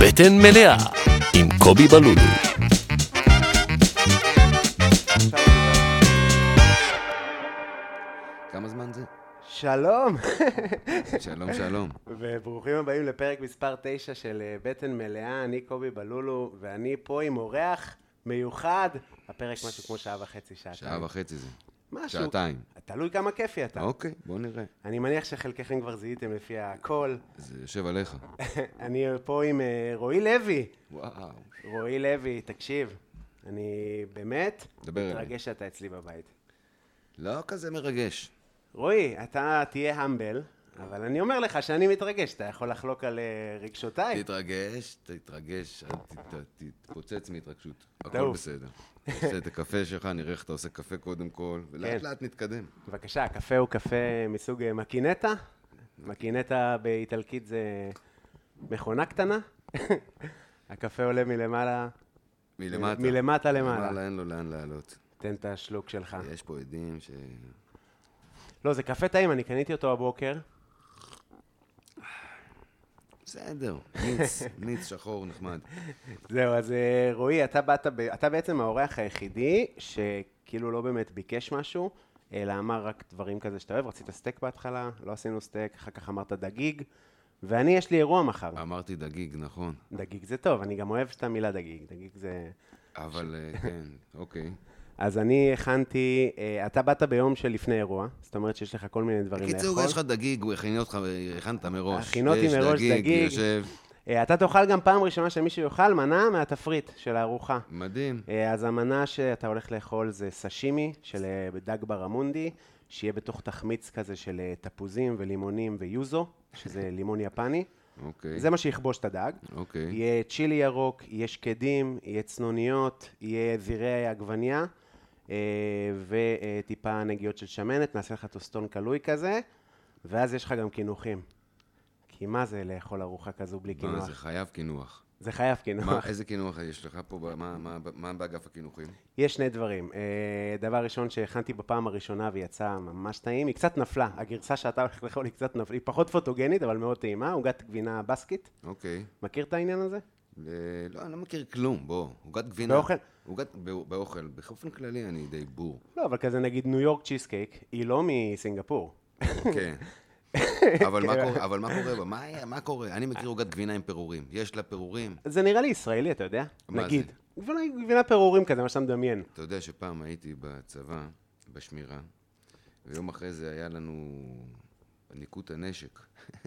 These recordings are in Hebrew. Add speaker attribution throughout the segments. Speaker 1: בטן מלאה עם קובי בלולו.
Speaker 2: כמה זמן זה?
Speaker 3: שלום,
Speaker 2: שלום, שלום.
Speaker 3: וברוכים הבאים לפרק מספר 9 של אה, בטן מלאה, אני קובי בלולו, ואני פה עם אורח מיוחד, הפרק משהו כמו שעה וחצי, שעתיים.
Speaker 2: שעה וחצי זה.
Speaker 3: משהו.
Speaker 2: שעתיים.
Speaker 3: תלוי כמה כיפי אתה.
Speaker 2: אוקיי, בוא נראה.
Speaker 3: אני מניח שחלקכם כבר זיהיתם לפי הקול.
Speaker 2: זה יושב עליך.
Speaker 3: אני פה עם אה, רועי לוי.
Speaker 2: וואו.
Speaker 3: רועי לוי, תקשיב, אני באמת
Speaker 2: דבר אליי.
Speaker 3: מתרגש שאתה אצלי בבית.
Speaker 2: לא כזה מרגש.
Speaker 3: רועי, אתה תהיה המבל, אבל אני אומר לך שאני מתרגש, אתה יכול לחלוק על אה, רגשותיי.
Speaker 2: תתרגש, תתרגש, אל ת- ת- תתפוצץ מהתרגשות. הכל
Speaker 3: תעוף.
Speaker 2: בסדר. תעשה את הקפה שלך, נראה איך אתה עושה קפה קודם כל, ולאט
Speaker 3: כן.
Speaker 2: לאט נתקדם.
Speaker 3: בבקשה, הקפה הוא קפה מסוג אה, מקינטה. מקינטה באיטלקית זה מכונה קטנה. הקפה עולה מלמעלה,
Speaker 2: מלמטה.
Speaker 3: מלמטה למעלה. אה.
Speaker 2: למעלה אין לו לאן לעלות.
Speaker 3: תן את השלוק שלך.
Speaker 2: יש פה עדים ש...
Speaker 3: לא, זה קפה טעים, אני קניתי אותו הבוקר.
Speaker 2: בסדר, ניץ, ניץ שחור נחמד.
Speaker 3: זהו, אז אה, רועי, אתה באת, ב... אתה בעצם האורח היחידי שכאילו לא באמת ביקש משהו, אלא אמר רק דברים כזה שאתה אוהב. רצית סטייק בהתחלה, לא עשינו סטייק, אחר כך אמרת דגיג, ואני, יש לי אירוע מחר.
Speaker 2: אמרתי דגיג, נכון.
Speaker 3: דגיג זה טוב, אני גם אוהב את המילה דגיג, דגיג זה...
Speaker 2: אבל אה, כן, אוקיי.
Speaker 3: אז אני הכנתי, אה, אתה באת ביום שלפני אירוע, זאת אומרת שיש לך כל מיני דברים לאכול.
Speaker 2: קיצור, יש לך דגיג, הוא הכין אותך, הכנת מראש.
Speaker 3: הכינותי
Speaker 2: יש
Speaker 3: מראש דגיג.
Speaker 2: יושב,
Speaker 3: אה, אתה תאכל גם פעם ראשונה שמישהו יאכל מנה מהתפריט של הארוחה.
Speaker 2: מדהים.
Speaker 3: אה, אז המנה שאתה הולך לאכול זה סשימי של אה, דג ברמונדי, שיהיה בתוך תחמיץ כזה של אה, תפוזים ולימונים ויוזו, שזה לימון יפני.
Speaker 2: אוקיי.
Speaker 3: זה מה שיכבוש את הדג.
Speaker 2: אוקיי.
Speaker 3: יהיה צ'ילי ירוק, יהיה שקדים, יהיה צנוניות, יהיה זירי עגבנייה, וטיפה נגיעות של שמנת, נעשה לך טוסטון קלוי כזה, ואז יש לך גם קינוחים. כי מה זה לאכול ארוחה כזו בלי
Speaker 2: מה, לא, זה
Speaker 3: קינוח?
Speaker 2: חייב קינוח.
Speaker 3: זה חייב
Speaker 2: מה,
Speaker 3: קינוח.
Speaker 2: איזה קינוח יש לך פה? ב- מה- מה- מה באגף הקינוחים?
Speaker 3: יש שני דברים. אה, דבר ראשון שהכנתי בפעם הראשונה ויצא ממש טעים, היא קצת נפלה. הגרסה שאתה הולך לאכול היא קצת נפלה. היא פחות פוטוגנית, אבל מאוד טעימה, עוגת גבינה בסקית.
Speaker 2: אוקיי.
Speaker 3: מכיר את העניין הזה?
Speaker 2: ל- לא, אני לא מכיר כלום, בוא. עוגת גבינה.
Speaker 3: באוכל?
Speaker 2: עוגת- בא- באוכל. באופן כללי אני די בור.
Speaker 3: לא, אבל כזה נגיד ניו יורק צ'יסקייק, היא לא מסינגפור.
Speaker 2: כן.
Speaker 3: כן.
Speaker 2: אבל מה קורה- אבל מה קורה בה? מה היה- מה קורה? אני מכיר עוגת גבינה עם פירורים. יש לה פירורים.
Speaker 3: זה נראה לי ישראלי, אתה יודע?
Speaker 2: מה זה?
Speaker 3: נגיד. גבינה, גבינה פירורים כזה, מה שאתה מדמיין.
Speaker 2: אתה יודע שפעם הייתי בצבא, בשמירה, ויום אחרי זה היה לנו ניקוט הנשק.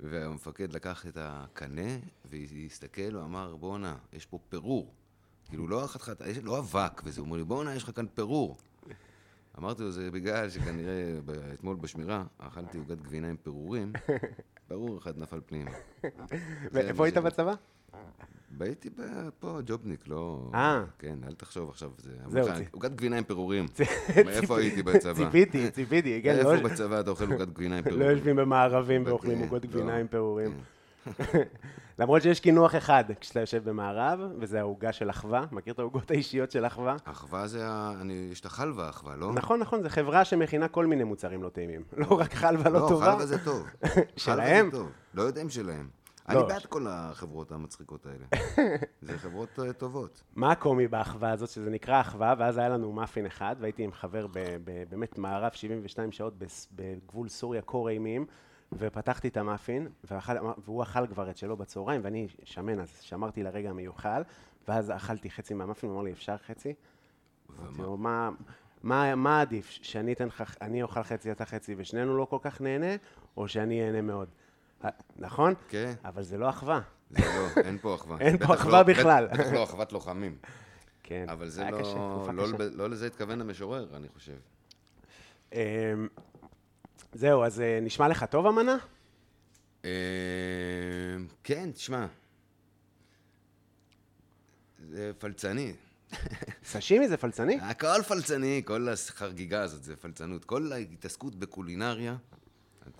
Speaker 2: והמפקד לקח את הקנה והסתכל, הוא אמר, בואנה, יש פה פירור. כאילו, לא חתיכת, יש- לא אבק, וזה אומר לי, בואנה, יש לך כאן פירור. אמרתי לו, זה בגלל שכנראה ב- אתמול בשמירה אכלתי עוגת גבינה עם פירורים, ברור אחד נפל פנימה. זה מה
Speaker 3: ואיפה היית
Speaker 2: ש-
Speaker 3: בצבא?
Speaker 2: הייתי ב- פה ג'ובניק, לא...
Speaker 3: אה.
Speaker 2: כן, אל תחשוב עכשיו, זה...
Speaker 3: זהו,
Speaker 2: אמרתי לך,
Speaker 3: צי-
Speaker 2: עוגת גבינה עם פירורים.
Speaker 3: ציפ-
Speaker 2: מאיפה הייתי בצבא?
Speaker 3: ציפיתי, ציפיתי. כן,
Speaker 2: איפה
Speaker 3: לא-
Speaker 2: בצבא אתה אוכל עוגת גבינה עם
Speaker 3: לא
Speaker 2: פירורים?
Speaker 3: יושבים במארבים ואוכלים
Speaker 2: כן,
Speaker 3: עוגות גבינה
Speaker 2: לא. כן.
Speaker 3: עם פירורים. למרות שיש קינוח אחד כשאתה יושב במערב, וזה העוגה של אחווה. מכיר את העוגות האישיות של אחווה?
Speaker 2: אחווה זה ה... אני... יש את החלבה, אחווה, לא?
Speaker 3: נכון, נכון, זו חברה שמכינה כל מיני מוצרים לא טעימים. לא רק חלבה לא טובה.
Speaker 2: חלבה זה טוב.
Speaker 3: שלהם?
Speaker 2: חלבה זה טוב. לא יודע אם שלהם. אני
Speaker 3: לא.
Speaker 2: בעד כל החברות המצחיקות האלה. זה חברות אה, טובות.
Speaker 3: מה הקומי באחווה הזאת, שזה נקרא אחווה, ואז היה לנו מאפין אחד, והייתי עם חבר ב, ב, באמת מערב 72 שעות בס- בגבול סוריה קור אימים, ופתחתי את המאפין, ואכל, והוא אכל כבר את שלו בצהריים, ואני שמן, אז שמרתי לרגע המיוחל, ואז אכלתי חצי מהמאפין, הוא אמר לי, אפשר חצי? אמרתי לו, מה, מה, מה עדיף, ש- שאני אתן לך, אני אוכל חצי, אתה חצי, ושנינו לא כל כך נהנה, או שאני אהנה מאוד? אה, נכון?
Speaker 2: כן.
Speaker 3: אבל זה לא אחווה.
Speaker 2: זה לא, אין פה אחווה.
Speaker 3: אין פה
Speaker 2: בטח לא-
Speaker 3: אחווה
Speaker 2: בט-
Speaker 3: בכלל.
Speaker 2: בטח לא אחוות לוחמים.
Speaker 3: כן.
Speaker 2: אבל זה
Speaker 3: היה
Speaker 2: לא...
Speaker 3: קשה, תקופה
Speaker 2: לא
Speaker 3: קשה.
Speaker 2: לב- לא לזה התכוון המשורר, אני חושב.
Speaker 3: אמ, זהו, אז אה, נשמע לך טוב המנה?
Speaker 2: אה, כן, תשמע. זה פלצני.
Speaker 3: סשימי זה פלצני?
Speaker 2: הכל פלצני, כל החגיגה הזאת זה פלצנות. כל ההתעסקות בקולינריה,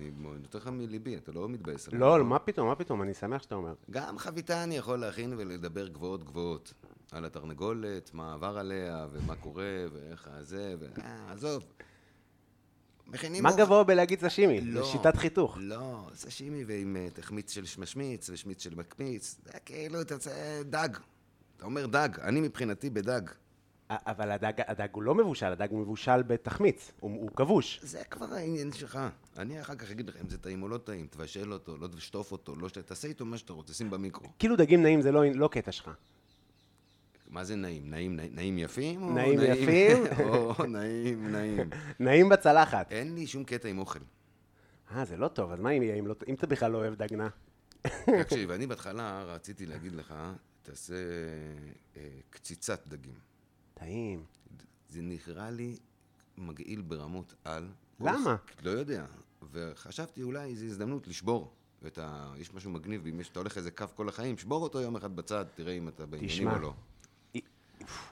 Speaker 2: אני נותן לך מליבי, אתה לא מתבאס. עליי,
Speaker 3: לא,
Speaker 2: נכון?
Speaker 3: מה פתאום, מה פתאום, אני שמח שאתה אומר.
Speaker 2: גם חביתה אני יכול להכין ולדבר גבוהות גבוהות. על התרנגולת, מה עבר עליה, ומה קורה, ואיך זה, ו... אה, עזוב. מכינים
Speaker 3: מה
Speaker 2: אוכל.
Speaker 3: גבוה בלהגיד סשימי?
Speaker 2: לא.
Speaker 3: זה שיטת חיתוך.
Speaker 2: לא, סשימי ועם אה, תחמיץ של משמיץ ושמיץ של מקמיץ, זה כאילו, אתה רוצה דג. אתה אומר דג, אני מבחינתי בדג.
Speaker 3: א- אבל הדג, הדג הוא לא מבושל, הדג הוא מבושל בתחמיץ, הוא, הוא כבוש.
Speaker 2: זה כבר העניין שלך. אני אחר כך אגיד לך אם זה טעים או לא טעים, תבשל אותו, לא תשטוף אותו, לא ש... תעשה איתו מה שאתה רוצה, שים במיקרו.
Speaker 3: כאילו דגים נעים זה לא, לא קטע שלך.
Speaker 2: מה זה נעים? נעים, נעים- נעים יפים? או
Speaker 3: נעים יפים?
Speaker 2: או נעים, נעים.
Speaker 3: נעים בצלחת.
Speaker 2: אין לי שום קטע עם אוכל.
Speaker 3: אה, זה לא טוב, אז מה אם יהיה אם לא... אם אתה בכלל לא אוהב דג נע?
Speaker 2: תקשיב, אני בהתחלה רציתי להגיד לך, תעשה אה, קציצת דגים.
Speaker 3: טעים.
Speaker 2: זה נראה לי מגעיל ברמות על.
Speaker 3: למה?
Speaker 2: לא יודע. וחשבתי אולי זו הזדמנות לשבור. את ה... יש משהו מגניב, אם יש- אתה הולך איזה קו כל החיים, שבור אותו יום אחד בצד, תראה אם אתה בעניינים
Speaker 3: תשמע,
Speaker 2: או לא.
Speaker 3: אי-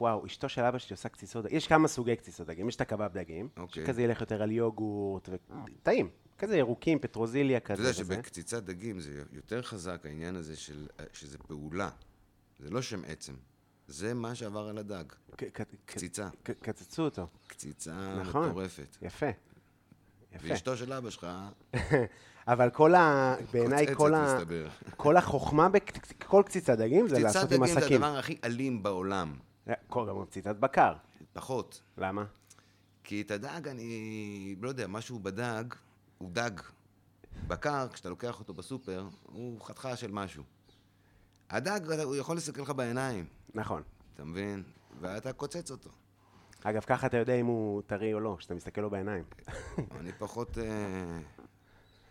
Speaker 3: וואו, אשתו של אבא שלי עושה קציצות דגים. יש כמה סוגי קציצות דגים, יש את הקבב דגים,
Speaker 2: אוקיי.
Speaker 3: שכזה ילך יותר על יוגורט, ו... טעים. כזה ירוקים, פטרוזיליה
Speaker 2: אתה
Speaker 3: כזה.
Speaker 2: יודע
Speaker 3: וזה.
Speaker 2: שבקציצת דגים זה יותר חזק העניין הזה של, שזה פעולה. זה לא שם עצם. זה מה שעבר על הדג.
Speaker 3: ק- ק- ק-
Speaker 2: קציצה.
Speaker 3: ק- קצצו אותו,
Speaker 2: קציצה
Speaker 3: נכון.
Speaker 2: מטורפת.
Speaker 3: יפה. יפה.
Speaker 2: ואשתו של אבא שלך,
Speaker 3: אבל כל ה... בעיניי
Speaker 2: קוצצת,
Speaker 3: כל ה...
Speaker 2: מסתבר.
Speaker 3: כל החוכמה בכל קציצת דגים זה
Speaker 2: קציצת
Speaker 3: לעשות עם
Speaker 2: דגים זה
Speaker 3: עסקים.
Speaker 2: הדבר הכי אלים בעולם.
Speaker 3: כל גם קציצת בקר.
Speaker 2: פחות.
Speaker 3: למה?
Speaker 2: כי את הדג, אני לא יודע, משהו בדג, הוא דג. בקר, כשאתה לוקח אותו בסופר, הוא חתיכה של משהו. הדג, הוא יכול להסתכל לך בעיניים,
Speaker 3: נכון.
Speaker 2: אתה מבין? ואתה קוצץ אותו.
Speaker 3: אגב, ככה אתה יודע אם הוא טרי או לא, כשאתה מסתכל לו בעיניים.
Speaker 2: אני פחות אה,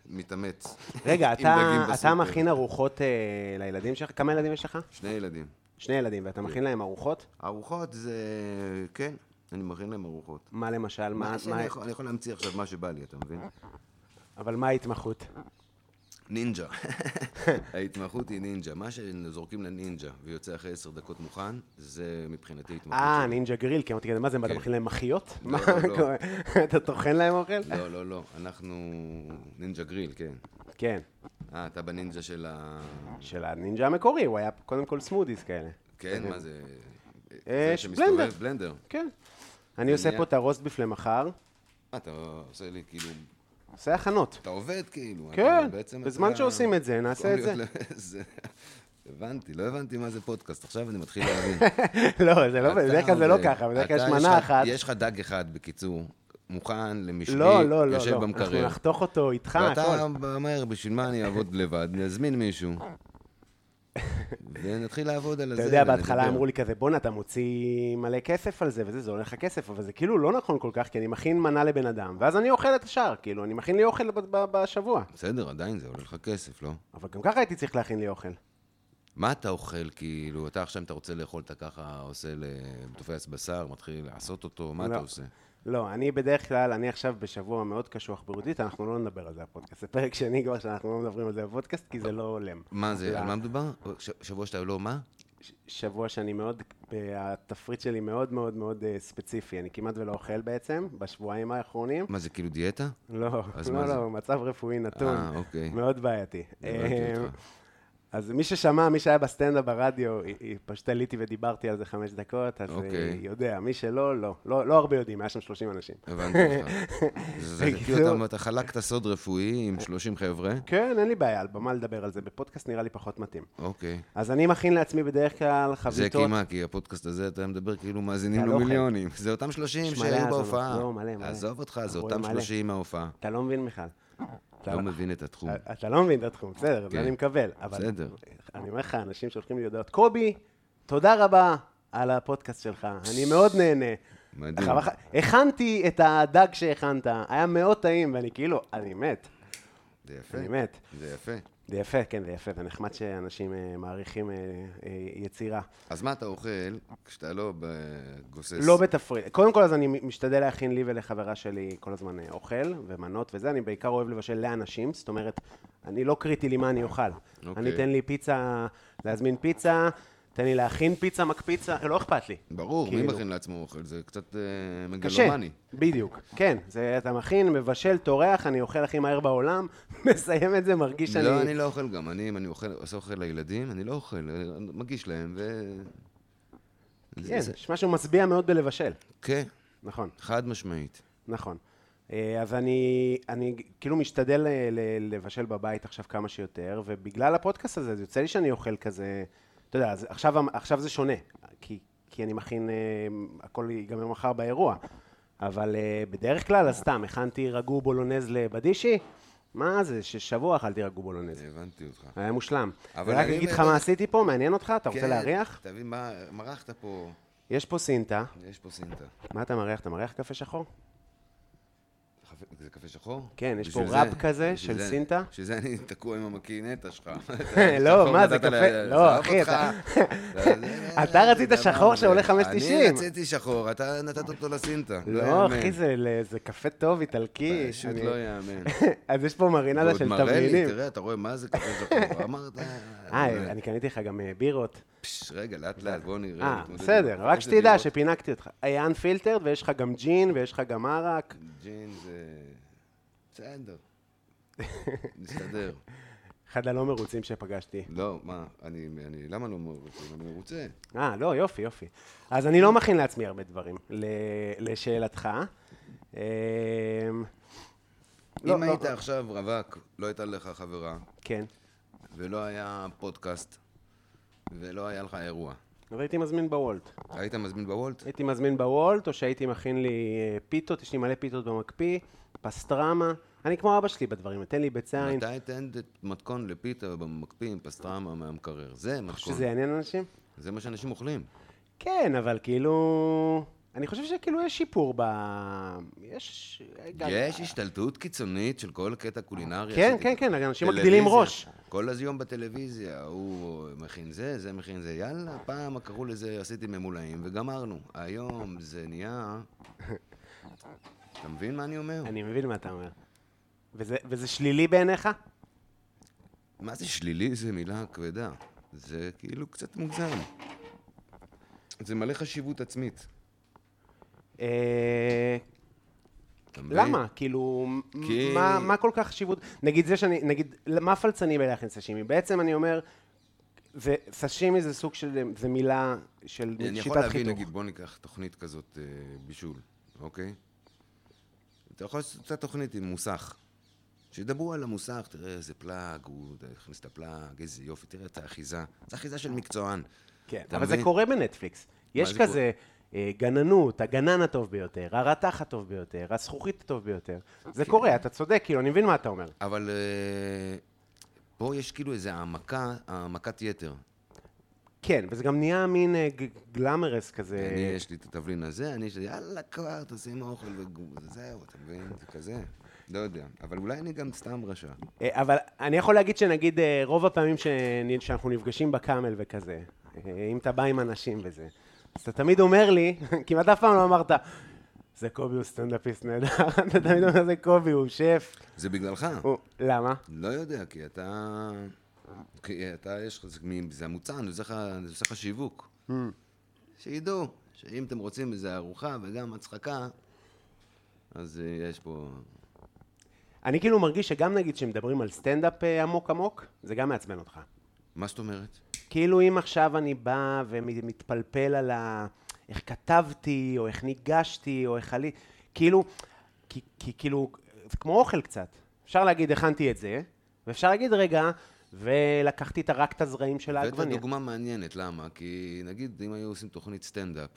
Speaker 2: מתאמץ.
Speaker 3: רגע,
Speaker 2: עם
Speaker 3: אתה,
Speaker 2: דגים
Speaker 3: אתה
Speaker 2: בסופר.
Speaker 3: מכין ארוחות אה, לילדים שלך? כמה ילדים יש לך?
Speaker 2: שני ילדים.
Speaker 3: שני ילדים,
Speaker 2: כן.
Speaker 3: ואתה מכין להם ארוחות?
Speaker 2: ארוחות זה... כן, אני מכין להם ארוחות.
Speaker 3: מה למשל? מה,
Speaker 2: מה
Speaker 3: מה,
Speaker 2: שאני יכול, אני יכול להמציא עכשיו מה שבא לי, אתה מבין?
Speaker 3: אבל מה ההתמחות?
Speaker 2: נינג'ה. ההתמחות היא נינג'ה. מה שזורקים לנינג'ה ויוצא אחרי עשר דקות מוכן, זה מבחינתי התמחות
Speaker 3: אה,
Speaker 2: שלי.
Speaker 3: נינג'ה גריל, כי אמרתי כזה, מה זה, מה, אתה
Speaker 2: כן.
Speaker 3: מכין להם מחיות?
Speaker 2: לא,
Speaker 3: מה
Speaker 2: לא.
Speaker 3: קורה? אתה טוחן להם אוכל?
Speaker 2: לא, לא, לא, אנחנו נינג'ה גריל, כן.
Speaker 3: כן,
Speaker 2: אה, אתה בנינג'ה של ה...
Speaker 3: של הנינג'ה המקורי, הוא היה קודם כל סמודיס כאלה.
Speaker 2: כן, מה זה?
Speaker 3: אוקיי. אה,
Speaker 2: זה
Speaker 3: ש-
Speaker 2: שמסתובב?
Speaker 3: בלנדר.
Speaker 2: בלנדר.
Speaker 3: כן. אני עושה
Speaker 2: נהיה-
Speaker 3: פה את הרוסט בפני מחר,
Speaker 2: אה, אתה עושה לי כאילו
Speaker 3: עושה הכנות.
Speaker 2: אתה עובד כאילו.
Speaker 3: כן,
Speaker 2: אבל בעצם
Speaker 3: בזמן
Speaker 2: אתה-
Speaker 3: שעושים את זה, נעשה
Speaker 2: יכול
Speaker 3: את
Speaker 2: להיות לא- זה. הבנתי, לא הבנתי מה זה פודקאסט, עכשיו אני מתחיל להבין.
Speaker 3: לא, זה לא,
Speaker 2: אתה
Speaker 3: בדרך כלל זה לא
Speaker 2: עובד.
Speaker 3: ככה, בדרך כלל
Speaker 2: אתה,
Speaker 3: יש
Speaker 2: לך-
Speaker 3: מנה אחת.
Speaker 2: יש לך דג אחד, בקיצור, מוכן למשלי,
Speaker 3: לא, לא, לא,
Speaker 2: יושב
Speaker 3: לא. אנחנו
Speaker 2: במקרר.
Speaker 3: נחתוך אותו איתך,
Speaker 2: ואתה
Speaker 3: הכל.
Speaker 2: אומר, בשביל מה אני אעבוד לבד? נזמין מישהו. ונתחיל לעבוד על
Speaker 3: אתה
Speaker 2: זה.
Speaker 3: יודע,
Speaker 2: ונדבר.
Speaker 3: בהתחלה אמרו לי כזה, בואנה, אתה מוציא מלא כסף על זה, וזה, זה עולה לך כסף, אבל זה כאילו לא נכון כל כך, כי אני מכין מנה לבן אדם, ואז אני אוכל את השאר, כאילו, אני מכין לי אוכל ב- ב- בשבוע.
Speaker 2: בסדר, עדיין זה עולה לך כסף, לא?
Speaker 3: אבל גם ככה הייתי צריך להכין לי אוכל.
Speaker 2: מה אתה אוכל, כאילו, אתה עכשיו, אם אתה רוצה לאכול, אתה ככה עושה, ל- תופס בשר, מתחיל לעשות אותו, מה
Speaker 3: לא.
Speaker 2: אתה עושה?
Speaker 3: לא, אני בדרך כלל, אני עכשיו בשבוע מאוד קשוח בריאותית, אנחנו לא נדבר על זה בפודקאסט. זה פרק שני כבר שאנחנו לא מדברים על זה בפודקאסט, כי זה לא הולם.
Speaker 2: מה זה, על
Speaker 3: לא.
Speaker 2: מה מדובר? ש- שבוע שאתה לא מה?
Speaker 3: ש- שבוע שאני מאוד, התפריט שלי מאוד מאוד מאוד אה, ספציפי, אני כמעט ולא אוכל בעצם, בשבועיים האחרונים.
Speaker 2: מה זה, כאילו דיאטה?
Speaker 3: לא,
Speaker 2: אז מה
Speaker 3: לא,
Speaker 2: זה?
Speaker 3: לא, מצב רפואי נתון.
Speaker 2: אה, אוקיי.
Speaker 3: מאוד בעייתי.
Speaker 2: הבנתי
Speaker 3: לא. אה,
Speaker 2: אותך.
Speaker 3: אז מי ששמע, מי שהיה בסטנדאפ ברדיו, היא- היא- פשוט עליתי ודיברתי על זה חמש דקות, אז אה,
Speaker 2: אוקיי. אה.
Speaker 3: יודע, מי שלא, לא. לא לא הרבה יודעים, היה שם 30 אנשים.
Speaker 2: הבנתי אותך. זה זה
Speaker 3: בקיצור-
Speaker 2: כאילו אתה אומר, אתה חלקת סוד רפואי עם 30 חבר'ה?
Speaker 3: כן, אין לי בעיה, על במה לדבר על זה, בפודקאסט נראה לי פחות מתאים.
Speaker 2: אוקיי.
Speaker 3: אז אני מכין לעצמי בדרך כלל
Speaker 2: זה
Speaker 3: חביתות.
Speaker 2: כי מה, כי הפודקאסט הזה, אתה מדבר כאילו מאזינים
Speaker 3: על
Speaker 2: לו
Speaker 3: אוכל.
Speaker 2: מיליונים. זה אותם 30
Speaker 3: יש מלא
Speaker 2: שהיו
Speaker 3: האזנות,
Speaker 2: בהופעה.
Speaker 3: לא, מלא, מלא.
Speaker 2: עזוב אותך, זה
Speaker 3: רואה
Speaker 2: אותם
Speaker 3: מלא.
Speaker 2: 30 מההופעה.
Speaker 3: אתה לא מבין, מיכל. אתה-
Speaker 2: לא מבין את התחום.
Speaker 3: אתה לא מבין את התחום, בסדר,
Speaker 2: כן.
Speaker 3: זה אני מקבל. אבל
Speaker 2: בסדר.
Speaker 3: אני אומר לך, אנשים שולחים לי הודעות, קובי, תודה רבה על הפודקאסט שלך, אני מאוד נהנה.
Speaker 2: מדהים.
Speaker 3: אחר כך, הכנתי את הדג שהכנת, היה מאוד טעים, ואני כאילו, אני מת,
Speaker 2: זה יפה.
Speaker 3: אני מת.
Speaker 2: זה יפה.
Speaker 3: זה יפה, כן, זה יפה, זה נחמד שאנשים אה, מעריכים אה, אה, יצירה.
Speaker 2: אז מה אתה אוכל כשאתה לא גוסס?
Speaker 3: לא בתפריט. קודם כל, אז אני משתדל להכין לי ולחברה שלי כל הזמן אה, אוכל ומנות וזה. אני בעיקר אוהב לבשל לאנשים, זאת אומרת, אני לא קריטי לי מה אני אוכל.
Speaker 2: אוקיי.
Speaker 3: אני, תן לי פיצה, להזמין פיצה, תן לי להכין פיצה, מקפיצה, לא אכפת לי.
Speaker 2: ברור, מי
Speaker 3: כאילו.
Speaker 2: מכין לעצמו אוכל? זה קצת אה,
Speaker 3: קשה,
Speaker 2: מגלומני.
Speaker 3: בדיוק, כן, זה אתה מכין, מבשל, טורח, אני אוכל הכי מהר בעולם, מסיים את זה, מרגיש שאני...
Speaker 2: לא, אני לא אוכל גם. אני, אם אני אוכל- עושה אוכל לילדים, אני לא אוכל, אה, מגיש להם, ו... זה-
Speaker 3: כן,
Speaker 2: זה-
Speaker 3: יש משהו משביע מאוד בלבשל,
Speaker 2: כן,
Speaker 3: נכון,
Speaker 2: חד משמעית.
Speaker 3: נכון. אה, אז אני, אני כאילו משתדל ל- ל- לבשל בבית עכשיו כמה שיותר, ובגלל הפודקאסט הזה, אז יוצא לי שאני אוכל כזה, אתה יודע, אז עכשיו, המ- עכשיו זה שונה, כי, כי אני מכין, אה, הכל ייגמר מחר באירוע, אבל אה, בדרך כלל, אז סתם, הכנתי רגו בולונז לבדישי, מה זה, ששבוע אכלתי רגו בולונז.
Speaker 2: אה, הבנתי אותך.
Speaker 3: היה מושלם.
Speaker 2: אבל
Speaker 3: ורק
Speaker 2: אני
Speaker 3: אגיד לך
Speaker 2: באמת-
Speaker 3: מה עשיתי פה, מעניין אותך? אתה רוצה
Speaker 2: כן,
Speaker 3: להריח?
Speaker 2: תבין, מה- מרחת פה,
Speaker 3: יש פה סינטה.
Speaker 2: יש פה סינטה.
Speaker 3: מה אתה מריח? אתה מריח קפה שחור?
Speaker 2: חפ- זה קפה שחור?
Speaker 3: כן, יש פה
Speaker 2: בשביל
Speaker 3: ראפ
Speaker 2: זה-
Speaker 3: כזה
Speaker 2: בשביל
Speaker 3: של
Speaker 2: זה-
Speaker 3: סינטה.
Speaker 2: בשביל זה אני תקוע עם המקינטה שלך.
Speaker 3: לא, מה, זה
Speaker 2: נתת לה-
Speaker 3: קפה- לא,
Speaker 2: זרק
Speaker 3: אחי,
Speaker 2: אותך.
Speaker 3: אתה-
Speaker 2: אתה-
Speaker 3: אתה רצית
Speaker 2: אתה יודע
Speaker 3: שחור
Speaker 2: מה זה.
Speaker 3: שעולה 5.90.
Speaker 2: אני רציתי שחור, אתה נתת אותו לסינטה.
Speaker 3: לא,
Speaker 2: יאמן.
Speaker 3: אחי, זה ל- זה קפה טוב, איטלקי.
Speaker 2: פשוט
Speaker 3: אני-
Speaker 2: לא יאמן.
Speaker 3: אז יש פה מרינדה
Speaker 2: ועוד
Speaker 3: של
Speaker 2: מראה לי,
Speaker 3: תבלינים.
Speaker 2: תראה, אתה רואה מה זה קפה שחור. אמרת...
Speaker 3: אה, אני קניתי לך גם אה, בירות.
Speaker 2: פש, רגע, לאט לאט, בוא נראה.
Speaker 3: אה,
Speaker 2: נתמודד עם-
Speaker 3: בסדר, רק
Speaker 2: יש
Speaker 3: שתדע
Speaker 2: לדירות.
Speaker 3: שפינקתי אותך. היה אנפילטרד, ויש לך גם ג'ין, ויש לך גם ערק.
Speaker 2: ג'ין זה... בסדר. נסתדר.
Speaker 3: אחד הלא מרוצים שפגשתי.
Speaker 2: לא, מה, אני, אני, למה לא מרוצה? אני מרוצה.
Speaker 3: אה, לא, יופי, יופי. אז אני לא מכין לעצמי הרבה דברים, ל- לשאלתך. אמ, לא,
Speaker 2: אם
Speaker 3: לא,
Speaker 2: היית עכשיו רווק, לא הייתה לך חברה,
Speaker 3: כן.
Speaker 2: ולא היה פודקאסט, ולא היה לך אירוע,
Speaker 3: אז הייתי מזמין בוולט.
Speaker 2: היית מזמין בוולט?
Speaker 3: הייתי מזמין בוולט, או שהייתי מכין לי אה, פיתות, יש לי מלא פיתות במקפיא, פסטרמה. אני כמו אבא שלי בדברים, תן לי ביצה עין.
Speaker 2: מתי תן את מתכון לפיתה במקפיא עם פסטרמה מהמקרר? זה מתכון.
Speaker 3: שזה יעניין אנשים?
Speaker 2: זה מה שאנשים אוכלים.
Speaker 3: כן, אבל כאילו... אני חושב שכאילו יש שיפור ב... יש... גם-
Speaker 2: יש השתלטות קיצונית של כל קטע קולינרי.
Speaker 3: כן,
Speaker 2: עשיתי-
Speaker 3: כן, כן, אנשים
Speaker 2: טלוויזיה.
Speaker 3: מגדילים ראש.
Speaker 2: כל אז יום בטלוויזיה, הוא מכין זה, זה מכין זה, יאללה, פעם קראו לזה, עשיתי ממולאים וגמרנו. היום זה נהיה... אתה מבין מה אני אומר?
Speaker 3: אני מבין מה אתה אומר. וזה, וזה שלילי בעיניך?
Speaker 2: מה זה שלילי? זו מילה כבדה. זה כאילו קצת מוגזם. זה מלא חשיבות עצמית.
Speaker 3: אה,
Speaker 2: אתה מבין?
Speaker 3: למה? כאילו,
Speaker 2: כי-
Speaker 3: מה, מה כל כך חשיבות? נגיד זה שאני, נגיד, מה פלצני בלהכין סשימי? בעצם אני אומר, זה, סשימי זה סוג של, זה מילה של
Speaker 2: אני יכול
Speaker 3: שיטת
Speaker 2: להבין,
Speaker 3: חיתוך.
Speaker 2: נגיד, בוא ניקח תוכנית כזאת אה, בישול, אוקיי? אתה יכול לעשות אותה תוכנית עם מוסך. שידברו על המוסך, תראה איזה פלאג, הוא הכניס את הפלאג, איזה יופי, תראה את האחיזה. זו אחיזה של מקצוען.
Speaker 3: כן,
Speaker 2: אתה
Speaker 3: אבל זה
Speaker 2: מבין?
Speaker 3: קורה בנטפליקס. יש
Speaker 2: זה
Speaker 3: כזה אה, גננות, הגנן הטוב ביותר, הרתח הטוב ביותר, הזכוכית הטוב ביותר.
Speaker 2: אוקיי.
Speaker 3: זה קורה, אתה צודק, כאילו, אני מבין מה אתה אומר.
Speaker 2: אבל אה, פה יש כאילו איזו העמקה, העמקת יתר.
Speaker 3: כן, וזה גם נהיה מין אה, ג- גלמרס כזה.
Speaker 2: אני, יש לי את התבלין הזה, אני יש לי, יאללה כבר, תשים אוכל וזהו, אתה מבין? זה כזה. לא יודע. אבל אולי אני גם סתם רשע.
Speaker 3: אה, אבל אני יכול להגיד שנגיד אה, רוב הפעמים שנ- שאנחנו נפגשים בקאמל וכזה, אה, אם אתה בא עם אנשים וזה, אז אתה תמיד אומר לי, כמעט אף פעם לא אמרת, זה קובי הוא סטנדאפיסט נהדר, אתה תמיד אומר זה קובי, הוא שף,
Speaker 2: זה בגללך.
Speaker 3: הוא... למה?
Speaker 2: לא יודע, כי אתה... כי אתה, יש לך... זה מ- זה המוצען, זה עושה לך- זה עושה לך שיווק. שידעו, שאם אתם רוצים איזו ארוחה וגם הצחקה, אז אה, יש פה...
Speaker 3: אני כאילו מרגיש שגם נגיד כשמדברים על סטנדאפ אה, עמוק עמוק, זה גם מעצבן אותך.
Speaker 2: מה זאת אומרת?
Speaker 3: כאילו אם עכשיו אני בא ומתפלפל על ה... איך כתבתי, או איך ניגשתי, או איך עלי... כאילו, כי, כי כאילו, זה כמו אוכל קצת. אפשר להגיד, הכנתי את זה, ואפשר להגיד, רגע, ולקחתי את רק את הזרעים של
Speaker 2: הבאת
Speaker 3: העגבניה.
Speaker 2: דוגמה מעניינת, למה? כי נגיד אם היו עושים תוכנית סטנדאפ,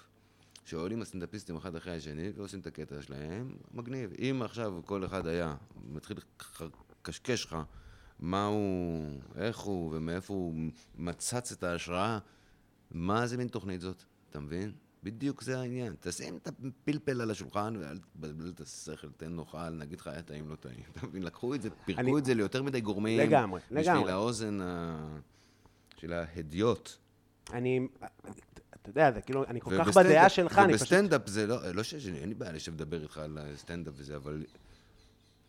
Speaker 2: שעולים הסטנדאפיסטים אחד אחרי השני ועושים את הקטע שלהם, מגניב. אם עכשיו כל אחד היה מתחיל לח- לקשקש לך מה הוא, איך הוא ומאיפה הוא מצץ את ההשראה, מה זה מין תוכנית זאת, אתה מבין? בדיוק זה העניין. תשים את הפלפל על השולחן ואל תבלבל את השכל, תן נאכל, נגיד לך היה טעים, לא טעים. אתה מבין? לקחו את זה, פירקו
Speaker 3: אני-
Speaker 2: את זה ליותר מדי גורמים.
Speaker 3: לגמרי, לגמרי.
Speaker 2: בשביל האוזן ה... של ההדיוט.
Speaker 3: אני, אתה יודע, זה כאילו, אני כל כך
Speaker 2: ובסטנדאפ-
Speaker 3: בדעה שלך, אני פשוט...
Speaker 2: ובסטנדאפ זה לא, לא שיש, אין לי בעיה לשבת לדבר איתך על סטנדאפ וזה, אבל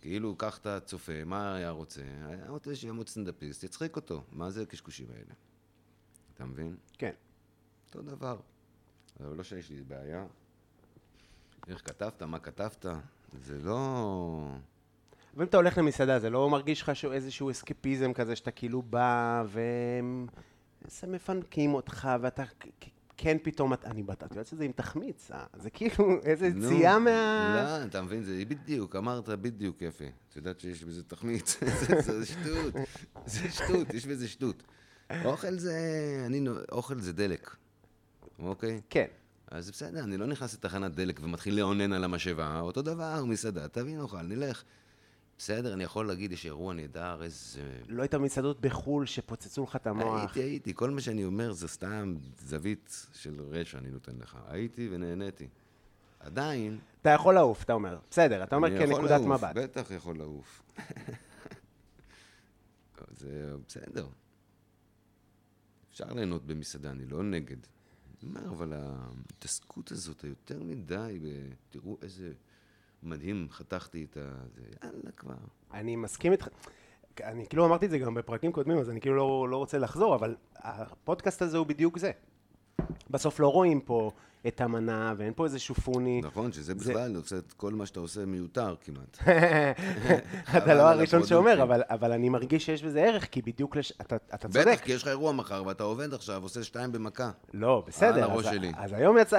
Speaker 2: כאילו, קח את הצופה, מה היה רוצה? היה רוצה שיעמוד סטנדאפיסט, יצחיק אותו. מה זה הקשקושים האלה? אתה מבין?
Speaker 3: כן.
Speaker 2: אותו דבר. אבל לא שיש לי בעיה. איך כתבת, מה כתבת, זה לא...
Speaker 3: ואם אתה הולך למסעדה, זה לא מרגיש לך שהוא- איזשהו אסקפיזם כזה, שאתה כאילו בא, והם מפנקים אותך, ואתה כ- כ- כן פתאום, את- אני בת- את יודעת שזה עם תחמיץ, אה? זה כאילו איזה
Speaker 2: נו,
Speaker 3: יציאה מה...
Speaker 2: לא, אתה מבין, זה בדיוק, אמרת בדיוק יפה. את יודעת שיש בזה תחמיץ, זה- זה שטות, זה שטות, יש בזה שטות. אוכל זה, אני, נו- אוכל זה דלק, אוקיי?
Speaker 3: כן.
Speaker 2: אז בסדר, אני לא נכנס לתחנת דלק ומתחיל לאונן על המשאבה, אותו דבר, מסעדה, תביא נאכל, נלך. בסדר, אני יכול להגיד, יש אירוע נהדר, איזה
Speaker 3: לא היית במסעדות בחו"ל שפוצצו לך את המוח.
Speaker 2: הייתי, הייתי, כל מה שאני אומר זה סתם זווית של רשע אני נותן לך. הייתי ונהניתי. עדיין,
Speaker 3: אתה יכול לעוף, אתה אומר. בסדר, אתה אומר
Speaker 2: אני יכול
Speaker 3: כנקודת
Speaker 2: לעוף,
Speaker 3: מבט.
Speaker 2: בטח יכול לעוף. זה בסדר. אפשר ליהנות במסעדה, אני לא נגד. אני אומר, אבל ההתעסקות הזאת, היותר מדי, ב... תראו איזה מדהים חתכתי את ה... זה, יאללה כבר.
Speaker 3: אני מסכים איתך. אני כאילו אמרתי את זה גם בפרקים קודמים, אז אני כאילו לא, לא רוצה לחזור, אבל הפודקאסט הזה הוא בדיוק זה. בסוף לא רואים פה את המנה, ואין פה איזה שופוני.
Speaker 2: נכון, שזה
Speaker 3: זה-
Speaker 2: בכלל עושה את כל מה שאתה עושה מיותר כמעט.
Speaker 3: אתה
Speaker 2: אבל
Speaker 3: לא הראשון
Speaker 2: הפרודוקטים.
Speaker 3: שאומר, אבל, אבל אני מרגיש שיש בזה ערך, כי בדיוק, לש... אתה, אתה צודק.
Speaker 2: בטח, כי יש לך אירוע מחר, ואתה עובד עכשיו, עושה שתיים במכה.
Speaker 3: לא, בסדר.
Speaker 2: על
Speaker 3: אז-
Speaker 2: הראש שלי.
Speaker 3: אז היום יצא...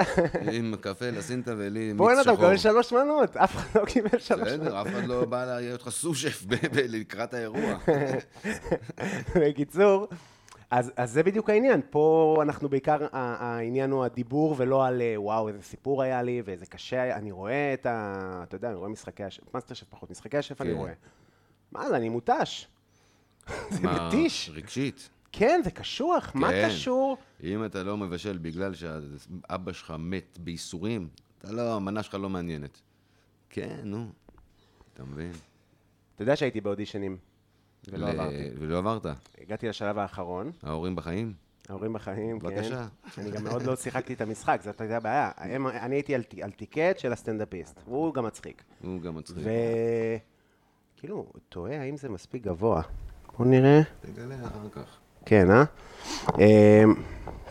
Speaker 2: עם קפה, לסינטה ולי מיץ שחור.
Speaker 3: בואנה, אתה מקבל שלוש מנות, אף אחד לא קיבל שלוש מנות.
Speaker 2: בסדר, אף אחד לא בא לה- להיות לך סושף ב- ב- לקראת האירוע.
Speaker 3: בקיצור, אז, אז זה בדיוק העניין. פה אנחנו בעיקר, ה- העניין הוא הדיבור ולא על אה, וואו, איזה סיפור היה לי ואיזה קשה היה. אני רואה את ה... אתה יודע, אני רואה משחקי השף, מאסטר שף פחות, משחקי השף אני
Speaker 2: כן.
Speaker 3: רואה. וואלה, אני מותש. זה
Speaker 2: מה,
Speaker 3: מתיש.
Speaker 2: רגשית.
Speaker 3: כן, זה קשוח, מה
Speaker 2: כן.
Speaker 3: קשור?
Speaker 2: אם אתה לא מבשל בגלל שאבא שלך מת בייסורים, אתה לא, המנה שלך לא מעניינת. כן, נו. אתה מבין?
Speaker 3: אתה יודע שהייתי באודישנים, ולא
Speaker 2: ל-
Speaker 3: עברתי.
Speaker 2: ולא עברת.
Speaker 3: הגעתי לשלב האחרון,
Speaker 2: ההורים בחיים?
Speaker 3: ההורים בחיים, כן.
Speaker 2: בבקשה.
Speaker 3: אני גם מאוד לא שיחקתי את המשחק, זאת הייתה הבעיה. הם- אני הייתי על ט- על טיקט של הסטנדאפיסט, והוא גם מצחיק.
Speaker 2: הוא גם מצחיק.
Speaker 3: וכאילו, תוהה האם זה מספיק גבוה. בוא נראה.
Speaker 2: תגלה אחר כך.
Speaker 3: כן, אה? אמ,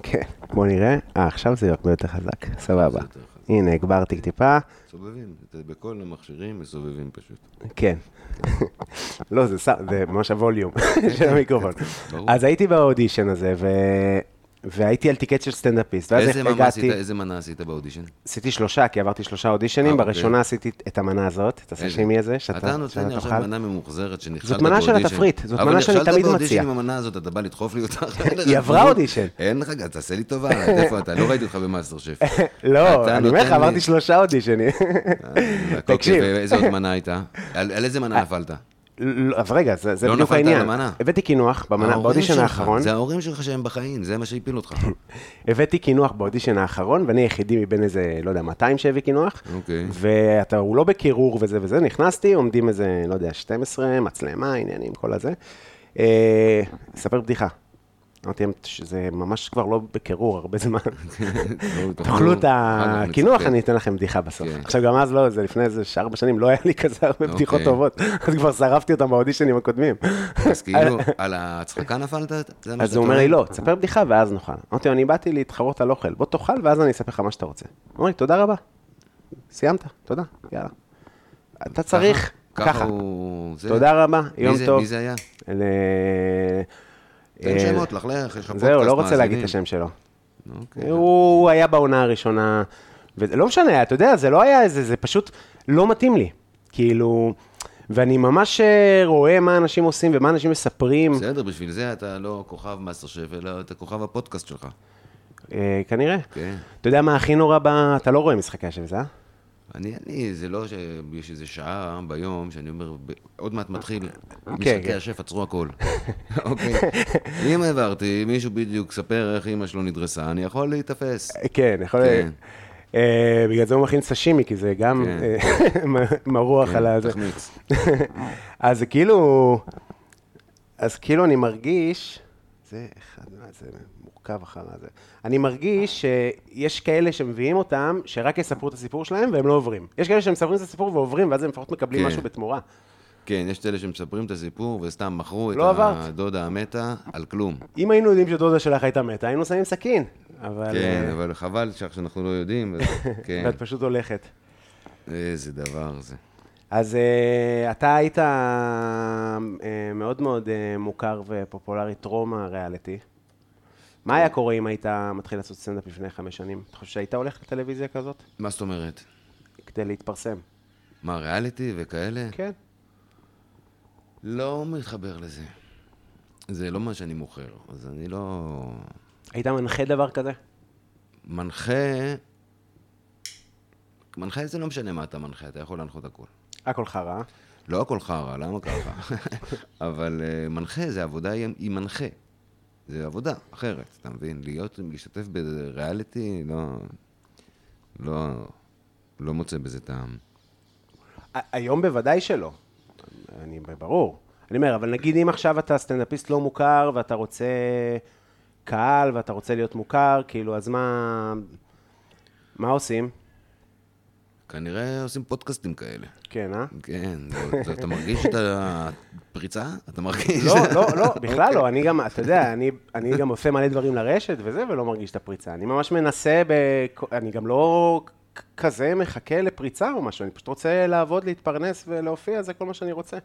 Speaker 3: כן, בוא נראה. אה, עכשיו זה הרבה יותר חזק, סבבה.
Speaker 2: יותר חזק.
Speaker 3: הנה, הגברתי טיפה.
Speaker 2: מסובבים. אתה בכל המכשירים מסובבים פשוט.
Speaker 3: כן. לא, זה ס- זה ממש הווליום של המיקרופון.
Speaker 2: ברור.
Speaker 3: אז הייתי באודישן הזה, ו... והייתי על טיקט של סטנדאפיסט, ואז
Speaker 2: איזה מנה
Speaker 3: הגעתי,
Speaker 2: עשית- איזה מנה עשית באודישן?
Speaker 3: עשיתי שלושה, כי עברתי שלושה אודישנים,
Speaker 2: אה,
Speaker 3: בראשונה
Speaker 2: אוקיי.
Speaker 3: עשיתי את המנה הזאת, את הסשימי הזה, שאתה
Speaker 2: אתה נותן לי
Speaker 3: שאתה
Speaker 2: עכשיו
Speaker 3: תאכל.
Speaker 2: מנה ממוחזרת שנכשלת
Speaker 3: זאת מנה של
Speaker 2: באודישן.
Speaker 3: התפריט, זאת
Speaker 2: אבל
Speaker 3: מנה שאני
Speaker 2: נכשלת
Speaker 3: תמיד
Speaker 2: באודישן
Speaker 3: מציע.
Speaker 2: עם המנה הזאת, אתה בא לדחוף לי אותה?
Speaker 3: היא עברה אודישן.
Speaker 2: אין לך, אז תעשה לי טובה, עד איפה אתה? לא ראיתי אותך במאסטר שף.
Speaker 3: לא,
Speaker 2: אתה
Speaker 3: אני אומר לך,
Speaker 2: נותן לי-
Speaker 3: עברתי שלושה אודישנים.
Speaker 2: אוקיי,
Speaker 3: תקשיב. אה,
Speaker 2: ואיזה עוד מנה הייתה? על על איזה מנה נפלת?
Speaker 3: לא, אז רגע, זה זה
Speaker 2: לא
Speaker 3: בדיוק
Speaker 2: נפלת על
Speaker 3: העניין.
Speaker 2: המנה.
Speaker 3: הבאתי קינוח במנה-
Speaker 2: ההורים
Speaker 3: באודישן
Speaker 2: שלך,
Speaker 3: האחרון.
Speaker 2: זה ההורים שלך שהם בחיים, זה מה שהפיל אותך.
Speaker 3: הבאתי קינוח באודישן האחרון, ואני היחידי מבין איזה, לא יודע, 200 שהביא קינוח.
Speaker 2: אוקיי.
Speaker 3: ואתה, הוא לא בקירור וזה וזה, נכנסתי, עומדים איזה, לא יודע, 12, מצלמה, עניינים, כל הזה. אה, אספר בדיחה. אמרתי להם שזה ממש כבר לא בקירור הרבה זמן.
Speaker 2: אוקיי.
Speaker 3: תאכלו את
Speaker 2: אחר כך
Speaker 3: הקינוח,
Speaker 2: נצטט.
Speaker 3: אני אתן לכם בדיחה בסוף.
Speaker 2: כן.
Speaker 3: עכשיו, גם אז לא, זה לפני איזה ארבע שנים, לא היה לי כזה הרבה בדיחות
Speaker 2: אוקיי.
Speaker 3: טובות. אז כבר שרפתי אותם באודישנים הקודמים.
Speaker 2: אז כאילו, על ההצחקה נפלת? זה מה שאתה
Speaker 3: אז הוא אומר לי, לא, תספר בדיחה ואז נאכל. אמרתי לו, אני באתי להתחרות על אוכל, בוא תאכל ואז אני אספר לך מה שאתה רוצה. הוא אומר לי, תודה רבה. סיימת, תודה, יאללה. אתה צריך,
Speaker 2: ככה
Speaker 3: ככה.
Speaker 2: הוא- זה-
Speaker 3: תודה רבה,
Speaker 2: מי
Speaker 3: יום
Speaker 2: זה-
Speaker 3: טוב.
Speaker 2: מי זה היה?
Speaker 3: ל-
Speaker 2: תן
Speaker 3: אה,
Speaker 2: שמות, לך לך, יש לך פודקאסט
Speaker 3: זהו, לא רוצה להגיד את
Speaker 2: מאזינים.
Speaker 3: השם שלו.
Speaker 2: אוקיי.
Speaker 3: הוא הוא היה בעונה הראשונה, וזה לא משנה, אתה יודע, זה לא היה איזה, זה פשוט לא מתאים לי. כאילו, ואני ממש אה, רואה מה אנשים עושים ומה אנשים מספרים.
Speaker 2: בסדר, בשביל זה אתה לא כוכב מאסטר שף, אלא אתה כוכב הפודקאסט שלך.
Speaker 3: אה, כנראה.
Speaker 2: כן.
Speaker 3: אתה יודע מה הכי נורא ב... אתה לא רואה משחקי השבט, אה?
Speaker 2: אני, אני, זה לא שיש איזה שעה ביום שאני אומר, ב- עוד מעט מתחיל,
Speaker 3: כן.
Speaker 2: משחקי השף עצרו הכל. אוקיי. אם העברתי, מישהו בדיוק ספר איך אימא שלו נדרסה, אני יכול להיתפס.
Speaker 3: כן, יכול
Speaker 2: כן.
Speaker 3: אה, בגלל זה הוא מכין סשימי, כי זה גם
Speaker 2: כן.
Speaker 3: אה, מ- מרוח על
Speaker 2: כן,
Speaker 3: הזה.
Speaker 2: תחמיץ.
Speaker 3: אז זה כאילו... אז כאילו אני מרגיש... זה אחד, זה מורכב אחר הזה. אני מרגיש שיש כאלה שמביאים אותם, שרק יספרו את הסיפור שלהם והם לא עוברים. יש כאלה שמספרים את הסיפור ועוברים, ואז הם לפחות מקבלים
Speaker 2: כן.
Speaker 3: משהו בתמורה.
Speaker 2: כן, יש את אלה שמספרים את הסיפור וסתם מכרו את
Speaker 3: לא עברת.
Speaker 2: הדודה המתה על כלום.
Speaker 3: אם היינו יודעים שדודה שלך הייתה מתה, היינו שמים סכין. אבל...
Speaker 2: כן,
Speaker 3: אה,
Speaker 2: אבל חבל שאנחנו לא יודעים. אז- כן,
Speaker 3: ואת פשוט הולכת.
Speaker 2: איזה דבר זה.
Speaker 3: אז uh, אתה היית אה, uh, מאוד מאוד uh, מוכר ופופולרי טרום הריאליטי. מה היה קורה אם היית מתחיל לעשות סטנדאפ לפני חמש שנים? אתה חושב שהיית הולך לטלוויזיה כזאת?
Speaker 2: מה זאת אומרת?
Speaker 3: כדי להתפרסם.
Speaker 2: מה, ריאליטי וכאלה?
Speaker 3: כן.
Speaker 2: לא מתחבר לזה. זה לא מה שאני מוכר, אז אני לא...
Speaker 3: היית מנחה דבר כזה?
Speaker 2: מנחה... מנחה זה לא משנה מה אתה מנחה, אתה יכול להנחות הכול.
Speaker 3: הכל חרא.
Speaker 2: לא הכל חרא, למה ככה? אבל אה, מנחה זה עבודה עם עם מנחה. זה עבודה אחרת, אתה מבין? להיות, להשתתף בריאליטי, לא... לא... לא מוצא בזה טעם.
Speaker 3: ה- היום בוודאי שלא. אני, ברור. אני אומר, אבל נגיד אם עכשיו אתה סטנדאפיסט לא מוכר ואתה רוצה קהל ואתה רוצה להיות מוכר, כאילו, אז מה... מה עושים?
Speaker 2: כנראה עושים פודקאסטים כאלה.
Speaker 3: כן, אה?
Speaker 2: כן, זה- זה- אתה מרגיש שאתה פריצה? אתה מרגיש?
Speaker 3: לא, לא, לא, בכלל לא. אני גם, אתה יודע, אני, אני גם עושה מלא דברים לרשת וזה, ולא מרגיש את הפריצה. אני ממש מנסה, ב... אני גם לא כ- כזה מחכה לפריצה או משהו, אני פשוט רוצה לעבוד, להתפרנס ולהופיע, זה כל מה שאני רוצה.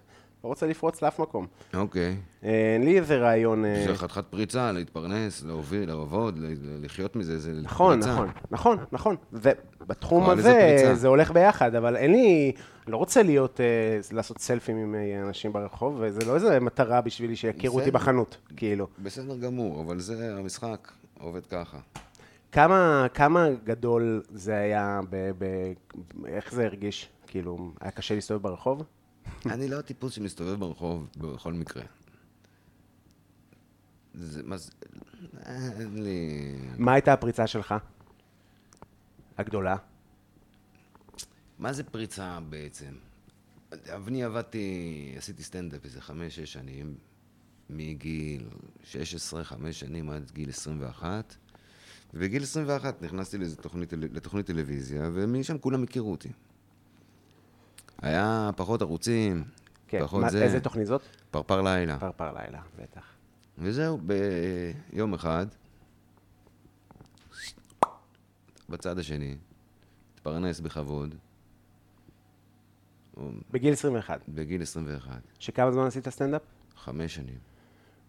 Speaker 3: לא רוצה לפרוץ לאף מקום.
Speaker 2: אוקיי.
Speaker 3: אה, אין לי איזה רעיון... אה,
Speaker 2: זה חתיכת פריצה, להתפרנס, להוביל, לעבוד, ל- ל- לחיות מזה, זה פריצה.
Speaker 3: נכון, נכון, נכון, נכון. ובתחום
Speaker 2: קורא לזה
Speaker 3: הזה
Speaker 2: פריצה.
Speaker 3: זה הולך ביחד, אבל אין לי, אני לא רוצה להיות, אה, לעשות סלפים עם אה, אנשים ברחוב, וזה לא איזה מטרה בשבילי שיכירו אותי
Speaker 2: בסדר.
Speaker 3: בחנות, כאילו.
Speaker 2: בסדר גמור, אבל זה המשחק, עובד ככה.
Speaker 3: כמה, כמה גדול זה היה, ב, ב, איך זה הרגיש? כאילו, היה קשה להסתובב ברחוב?
Speaker 2: אני לא הטיפוס שמסתובב ברחוב בכל מקרה. זה, מה זה, אה, אין לי...
Speaker 3: מה הייתה הפריצה שלך? הגדולה?
Speaker 2: מה זה פריצה בעצם? אבל אני עבדתי, עשיתי סטנדאפ איזה חמש, שש שנים, מגיל 16, חמש שנים עד גיל 21, ובגיל 21 נכנסתי לאיזו תוכנית, טל- לתוכנית טלוויזיה, ומשם כולם הכירו אותי. היה פחות ערוצים,
Speaker 3: כן.
Speaker 2: פחות
Speaker 3: מה,
Speaker 2: נכון, זה,
Speaker 3: איזה תוכנית זאת?
Speaker 2: פרפר לילה.
Speaker 3: פרפר לילה, בטח.
Speaker 2: וזהו, ביום אחד, בצד השני, התפרנס בכבוד,
Speaker 3: בגיל 21.
Speaker 2: בגיל 21,
Speaker 3: שכמה זמן עשית סטנדאפ?
Speaker 2: חמש שנים.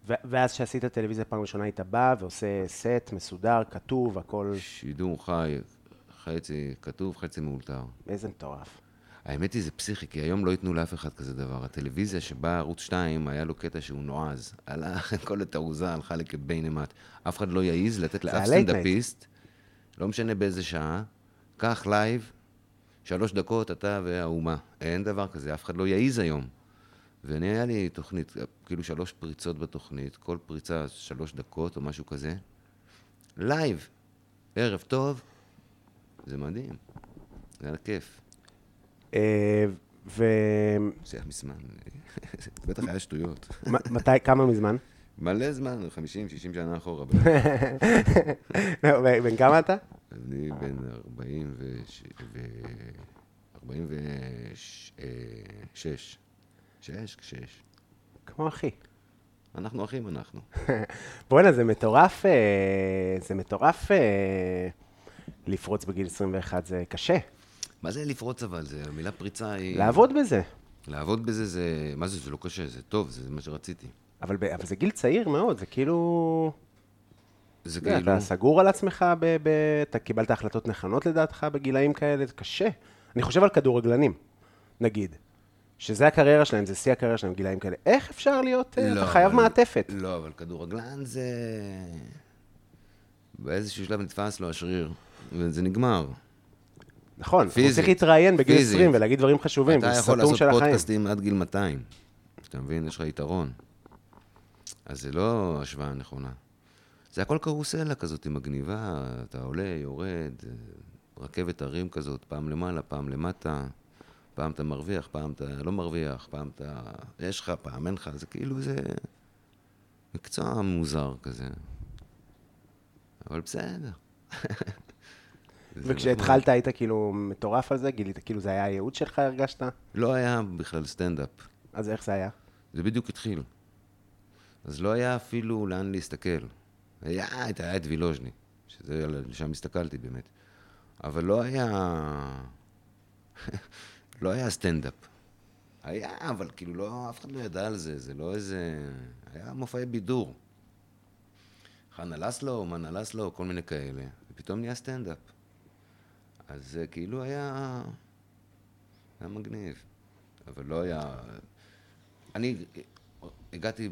Speaker 3: ו- ואז שעשית טלוויזיה פעם ראשונה, היית בא ועושה סט מסודר, כתוב, הכל...
Speaker 2: שידור חי, חצי כתוב, חצי מאולתר.
Speaker 3: איזה מטורף.
Speaker 2: האמת היא, זה פסיכי, כי היום לא ייתנו לאף אחד כזה דבר. הטלוויזיה שבה ערוץ 2, היה לו קטע שהוא נועז. הלך, כל התעוזה הלכה לקבין אימת. אף אחד לא יעז לתת לאף
Speaker 3: ה-late night.
Speaker 2: סטנדאפיסט, לא משנה באיזה שעה, קח לייב, שלוש דקות, אתה והאומה. אין דבר כזה, אף אחד לא יעז היום. ואני, היה לי תוכנית, כאילו שלוש פריצות בתוכנית, כל פריצה שלוש דקות או משהו כזה. לייב, ערב טוב, זה מדהים. זה היה כיף.
Speaker 3: אה, ומתי,
Speaker 2: זה היה מזמן, זה בטח היה שטויות.
Speaker 3: כמה מזמן?
Speaker 2: מלא זמן, 50, 60 שנה אחורה.
Speaker 3: לא, ב- בן כמה אתה?
Speaker 2: אני בן 40 ו... ו- 46. 6, 6.
Speaker 3: כמו אחי.
Speaker 2: אנחנו אחים אנחנו.
Speaker 3: בואנה, זה מטורף, אה, זה מטורף אה, לפרוץ בגיל 21, זה קשה.
Speaker 2: מה זה לפרוץ אבל? זה המילה פריצה היא...
Speaker 3: לעבוד בזה.
Speaker 2: לעבוד בזה זה... מה זה? זה לא קשה, זה טוב, זה מה שרציתי.
Speaker 3: אבל, ב- אבל זה גיל צעיר מאוד, זה כאילו...
Speaker 2: זה
Speaker 3: אתה יודע,
Speaker 2: כאילו...
Speaker 3: לא, אתה סגור על עצמך, ב, ב, אתה קיבלת החלטות נכונות לדעתך בגילאים כאלה, זה קשה. אני חושב על כדורגלנים, נגיד, שזה הקריירה שלהם, זה שיא הקריירה שלהם, גילאים כאלה. איך אפשר להיות, לא,
Speaker 2: לא,
Speaker 3: אתה חייב
Speaker 2: אבל-
Speaker 3: מעטפת.
Speaker 2: לא, אבל כדורגלן זה... באיזשהו שלב נתפס לו השריר, וזה נגמר.
Speaker 3: נכון, הוא
Speaker 2: פיזית,
Speaker 3: צריך להתראיין בגיל
Speaker 2: פיזית.
Speaker 3: 20 ולהגיד דברים חשובים,
Speaker 2: אתה
Speaker 3: זה
Speaker 2: יכול
Speaker 3: סתום
Speaker 2: לעשות
Speaker 3: של החיים.
Speaker 2: פודקאסטים עד גיל 200. אתה מבין? יש לך יתרון. אז זה לא השוואה נכונה. זה הכל קרוסלה כזאת מגניבה, אתה עולה, יורד, אה, רכבת הרים כזאת, פעם למעלה, פעם למטה, פעם אתה מרוויח, פעם אתה לא מרוויח, פעם אתה... יש לך, פעם אין לך, זה כאילו זה... מקצוע מוזר כזה. אבל בסדר. זה
Speaker 3: וכשהתחלת היית כאילו מטורף על זה, גילית, כאילו זה היה הייעוד שלך, הרגשת?
Speaker 2: לא היה בכלל סטנדאפ.
Speaker 3: אז איך זה היה?
Speaker 2: זה בדיוק התחיל. אז לא היה אפילו לאן להסתכל. היה, את- היה את וילוז'ני, שזה, לשם הסתכלתי באמת. אבל לא היה... לא היה סטנדאפ. היה, אבל כאילו לא, אף אחד לא ידע על זה, זה לא איזה... היה מופעי בידור. חנה לסלו, מנה לסלו, כל מיני כאלה. ופתאום נהיה סטנדאפ. אז זה כאילו היה... היה מגניב. אבל לא היה... אני הגעתי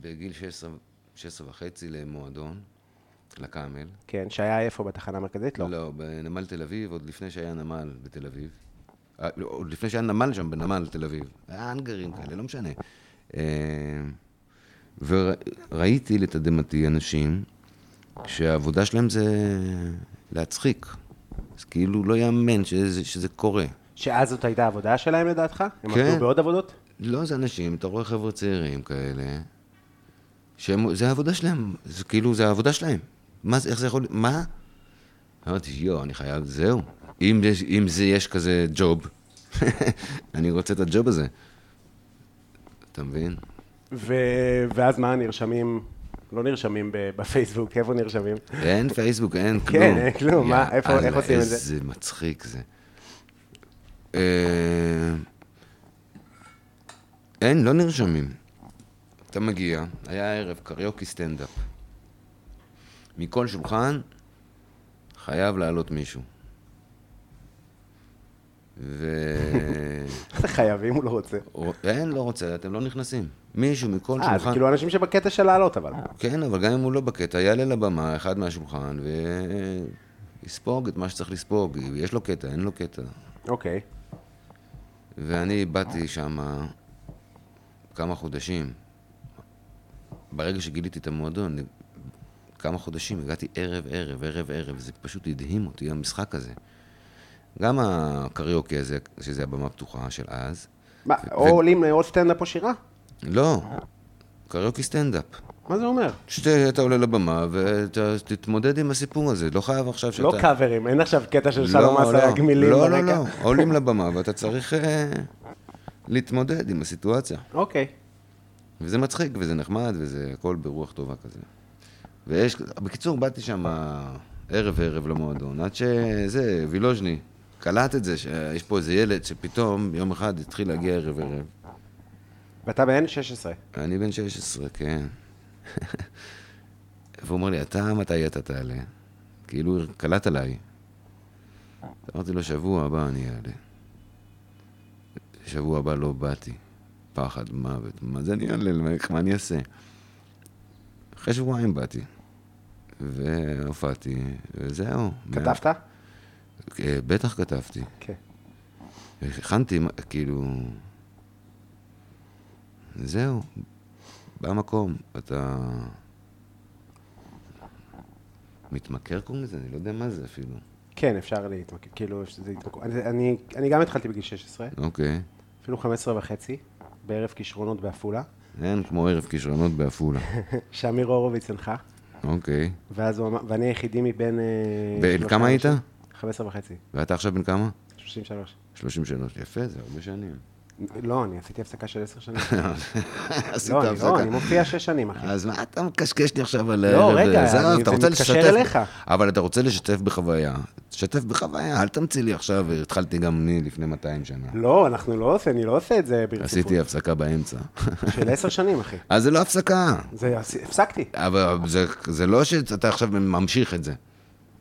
Speaker 2: בגיל 16, 16 וחצי למועדון, לקאמל.
Speaker 3: כן, שהיה איפה בתחנה המרכזית? לא.
Speaker 2: לא, בנמל תל אביב, עוד לפני שהיה נמל בתל אביב. אה, לא, עוד לפני שהיה נמל שם, בנמל תל אביב. היה האנגרים כאלה, לא משנה. אה, וראיתי לתדהמתי אנשים שהעבודה שלהם זה להצחיק. אז כאילו לא יאמן שזה, שזה קורה.
Speaker 3: שאז זאת הייתה העבודה שלהם לדעתך? הם
Speaker 2: כן.
Speaker 3: עבדו בעוד עבודות?
Speaker 2: לא, זה אנשים, אתה רואה חבר'ה צעירים כאלה, שהם, זה העבודה שלהם, זה כאילו, זה העבודה שלהם. מה זה, איך זה יכול, מה? אמרתי, יואו, אני חייב, זהו. אם, יש- אם זה יש כזה ג'וב, אני רוצה את הג'וב הזה. אתה מבין?
Speaker 3: ו... ואז מה, נרשמים, לא נרשמים ב- בפייסבוק, איפה נרשמים?
Speaker 2: אין פייסבוק, אין
Speaker 3: כן,
Speaker 2: כלום.
Speaker 3: אין כלום, מה,
Speaker 2: יאללה,
Speaker 3: איפה- איך עושים את זה?
Speaker 2: איזה מצחיק זה. אה, אין, לא נרשמים. אתה מגיע, היה ערב קריוקי סטנדאפ. מכל שולחן חייב לעלות מישהו. ו...
Speaker 3: זה חייבים, הוא לא רוצה.
Speaker 2: אין, לא רוצה, אתם לא נכנסים. מישהו מכל
Speaker 3: אה, זה
Speaker 2: שולחן.
Speaker 3: כאילו אנשים שבקטע של לעלות, אבל.
Speaker 2: כן, אבל גם אם הוא לא בקטע, יעלה לבמה, אחד מהשולחן, ויספוג את מה שצריך לספוג. יש לו קטע, אין לו קטע.
Speaker 3: אוקיי.
Speaker 2: ואני באתי שם כמה חודשים. ברגע שגיליתי את המועדון, כמה חודשים, הגעתי ערב-ערב, ערב-ערב, זה פשוט הדהים אותי, המשחק הזה. גם הקריוקי הזה, שזה הבמה הפתוחה של אז,
Speaker 3: מה, או עולים או סטנדאפ או שירה?
Speaker 2: לא, קריוקי סטנדאפ.
Speaker 3: מה זה אומר?
Speaker 2: שאתה עולה לבמה ותתמודד עם הסיפור הזה, לא חייב עכשיו שאתה...
Speaker 3: לא קאברים, אין עכשיו קטע של
Speaker 2: לא,
Speaker 3: שלום
Speaker 2: לא.
Speaker 3: אסייג מילים
Speaker 2: לא,
Speaker 3: ברקע.
Speaker 2: לא, לא, עולים לבמה ואתה צריך אה, להתמודד עם הסיטואציה.
Speaker 3: אוקיי.
Speaker 2: וזה מצחיק וזה נחמד וזה הכל ברוח טובה כזה. ויש, בקיצור, באתי שם ערב ערב למועדון, עד שזה, וילוז'ני, קלט את זה שיש פה איזה ילד שפתאום יום אחד התחיל להגיע ערב ערב.
Speaker 3: ואתה בן 16.
Speaker 2: אני בן 16, כן. והוא אומר לי, אתה מתי אתה תעלה? כאילו, קלט עליי. אמרתי לו, שבוע הבא אני אעלה. שבוע הבא לא באתי. פחד מוות, מה זה אני אעלה? מה- מה אני אעשה? אחרי שבועיים באתי. והופעתי, וזהו.
Speaker 3: כתבת?
Speaker 2: אה, בטח כתבתי.
Speaker 3: כן.
Speaker 2: הכנתי, מה- כאילו... זהו, במקום, אתה... מתמכר קוראים לזה? אני לא יודע מה זה אפילו.
Speaker 3: כן, אפשר להתמקד, כאילו, שזה יתמקד. אני- אני- אני גם התחלתי בגיל 16,
Speaker 2: אוקיי.
Speaker 3: אפילו 15 וחצי, בערב כישרונות בעפולה,
Speaker 2: אין כמו ערב כישרונות בעפולה.
Speaker 3: שאמיר הורוביץ הנחה,
Speaker 2: אוקיי.
Speaker 3: ואז הוא אמר, ואני היחידי מבין... אה,
Speaker 2: בן
Speaker 3: שלושה
Speaker 2: כמה היית?
Speaker 3: אנשים. 15 וחצי,
Speaker 2: ואתה עכשיו בן כמה?
Speaker 3: 33.
Speaker 2: 33. יפה, זה הרבה שנים.
Speaker 3: לא, אני עשיתי הפסקה של 10 שנים.
Speaker 2: עשית
Speaker 3: לא, אני לא,
Speaker 2: הפסקה.
Speaker 3: אני מופיע 6 שנים, אחי.
Speaker 2: אז מה אתה מקשקש לי עכשיו על...
Speaker 3: לא,
Speaker 2: הערב?
Speaker 3: רגע,
Speaker 2: עזוב,
Speaker 3: אני-
Speaker 2: אתה
Speaker 3: זה
Speaker 2: רוצה
Speaker 3: מתקשר
Speaker 2: לשתף-
Speaker 3: אליך.
Speaker 2: אבל אתה רוצה לשתף בחוויה. תשתף בחוויה, אל תמציא לי עכשיו, התחלתי גם אני לפני 200 שנה.
Speaker 3: לא, אנחנו לא עושים, אני לא עושה את זה ברציפות.
Speaker 2: עשיתי הפסקה באמצע.
Speaker 3: של 10 שנים, אחי.
Speaker 2: אז זה לא הפסקה.
Speaker 3: זה, הפסקתי.
Speaker 2: אבל זה, זה לא שאתה עכשיו ממשיך את זה.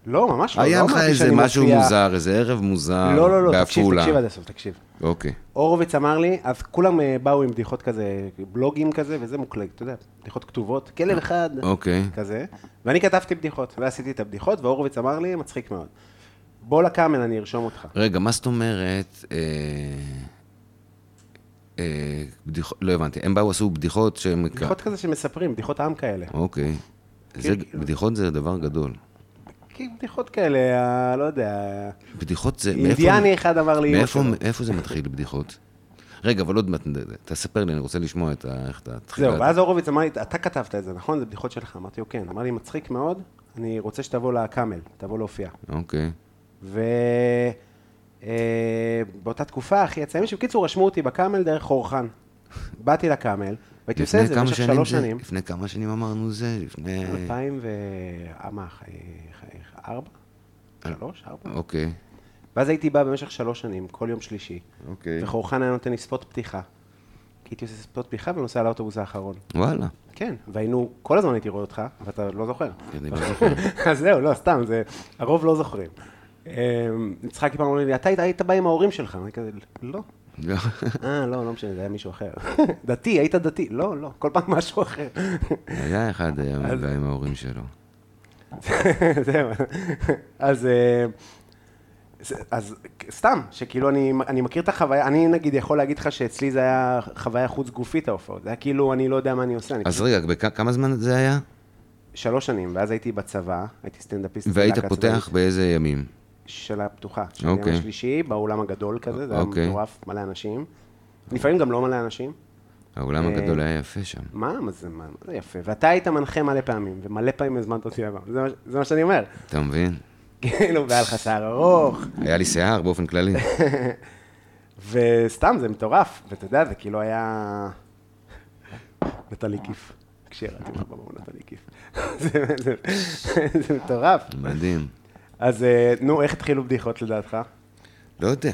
Speaker 3: לא, ממש לא.
Speaker 2: היה
Speaker 3: לא
Speaker 2: לך
Speaker 3: אמרתי
Speaker 2: איזה
Speaker 3: שאני
Speaker 2: משהו
Speaker 3: מופיע-
Speaker 2: מוזר, איזה ערב מוזר
Speaker 3: לא, לא, לא, תקשיב,
Speaker 2: בעפולה.
Speaker 3: תקשיב עד הסוף, תקשיב.
Speaker 2: אוקיי.
Speaker 3: הורוביץ אמר לי, אז כולם אה, באו עם בדיחות כזה, בלוגים כזה, וזה מוקלג, אתה יודע, בדיחות כתובות, כלב אחד,
Speaker 2: אוקיי.
Speaker 3: כזה, ואני כתבתי בדיחות, ועשיתי את הבדיחות, והורוביץ אמר לי, מצחיק מאוד. בוא לקאמל, אני ארשום אותך.
Speaker 2: רגע, מה זאת אומרת... אה, אה, בדיחות, לא הבנתי. הם באו, עשו בדיחות שהם...
Speaker 3: בדיחות כזה שמספרים, בדיחות עם כאלה.
Speaker 2: אוקיי. זה,
Speaker 3: כאילו-
Speaker 2: בדיחות זה דבר גדול. אוקיי.
Speaker 3: כי בדיחות כאלה, אה, לא יודע,
Speaker 2: בדיחות זה... מאיפה-
Speaker 3: אינדיאני אחד אמר לי, "אמא
Speaker 2: מאיפה
Speaker 3: שלו".
Speaker 2: מאיפה זה מתחיל, בדיחות? רגע, אבל עוד מעט, תספר לי, אני רוצה לשמוע את ה... איך אתה... תחילה.
Speaker 3: זהו, ואז הורוביץ אמר לי, אתה כתבת את זה, נכון? זה בדיחות שלך. אמרתי לו, כן. אמר לי, מצחיק מאוד, אני רוצה שתבוא לקאמל, תבוא להופיע.
Speaker 2: אוקיי.
Speaker 3: ו... אה, באותה תקופה, אחי, יצא מישהו, בקיצור, רשמו אותי בקאמל דרך חורחן. באתי לקאמל, והייתי עושה את
Speaker 2: לפני
Speaker 3: זה
Speaker 2: כמה
Speaker 3: במשך
Speaker 2: שנים
Speaker 3: שלוש
Speaker 2: זה-
Speaker 3: שנים.
Speaker 2: לפני כמה שנים אמרנו זה? לפני...
Speaker 3: אלפיים ו... אה, מה, אה, אה, ארבע?
Speaker 2: אה.
Speaker 3: שלוש? ארבע?
Speaker 2: אוקיי.
Speaker 3: ואז הייתי בא במשך שלוש שנים, כל יום שלישי.
Speaker 2: אוקיי.
Speaker 3: וחורחן היה נותן לי ספוט פתיחה. כי הייתי עושה ספוט פתיחה ונוסע לאוטובוס האחרון.
Speaker 2: וואלה.
Speaker 3: כן, והיינו, כל הזמן הייתי רואה אותך, ואתה לא זוכר.
Speaker 2: אני לא זוכר.
Speaker 3: אז זהו, לא, סתם, זה, הרוב לא זוכרים. אמ, יצחקי פעם אומר לי, אתה היית- היית בא עם ההורים שלך, אני כזה, לא.
Speaker 2: לא.
Speaker 3: אה, לא, לא משנה, זה היה מישהו אחר. דתי, היית דתי. לא, לא, כל פעם משהו אחר.
Speaker 2: היה אחד היה מגע עם ההורים שלו.
Speaker 3: זהו. אז... אה, זה- אז סתם, שכאילו אני, אני מכיר את החוויה, אני נגיד יכול להגיד לך שאצלי זה היה חוויה חוץ גופית ההופעות, זה היה כאילו אני לא יודע מה אני עושה, אני
Speaker 2: אז רגע, בכ- כמה זמן זה היה?
Speaker 3: שלוש שנים, ואז הייתי בצבא, הייתי סטנדאפיסט.
Speaker 2: והיית
Speaker 3: בלהקה
Speaker 2: פותח
Speaker 3: צבאית
Speaker 2: באיזה ימים?
Speaker 3: של הפתוחה, של
Speaker 2: אוקיי.
Speaker 3: הים השלישי, באולם הגדול כזה, זה היה
Speaker 2: אוקיי.
Speaker 3: מטורף, מלא אנשים. לפעמים גם לא מלא אנשים.
Speaker 2: האולם
Speaker 3: אה,
Speaker 2: הגדול היה יפה שם.
Speaker 3: מה? מה זה, מה, מה זה יפה? ואתה היית מנחה מלא פעמים, ומלא פעמים הזמנת אותי לבמה, זה, מה ש- זה מה שאני אומר.
Speaker 2: אתה מבין?
Speaker 3: כאילו, והיה לך שיער ארוך,
Speaker 2: היה לי שיער באופן כללי.
Speaker 3: וסתם, זה מטורף, ואתה יודע, זה כאילו היה... נתן לי כיף. כשירדתי לך בבמה, הוא נתן לי כיף. זה- זה- זה מטורף.
Speaker 2: מדהים.
Speaker 3: אז אה, נו, איך התחילו בדיחות לדעתך?
Speaker 2: לא יודע.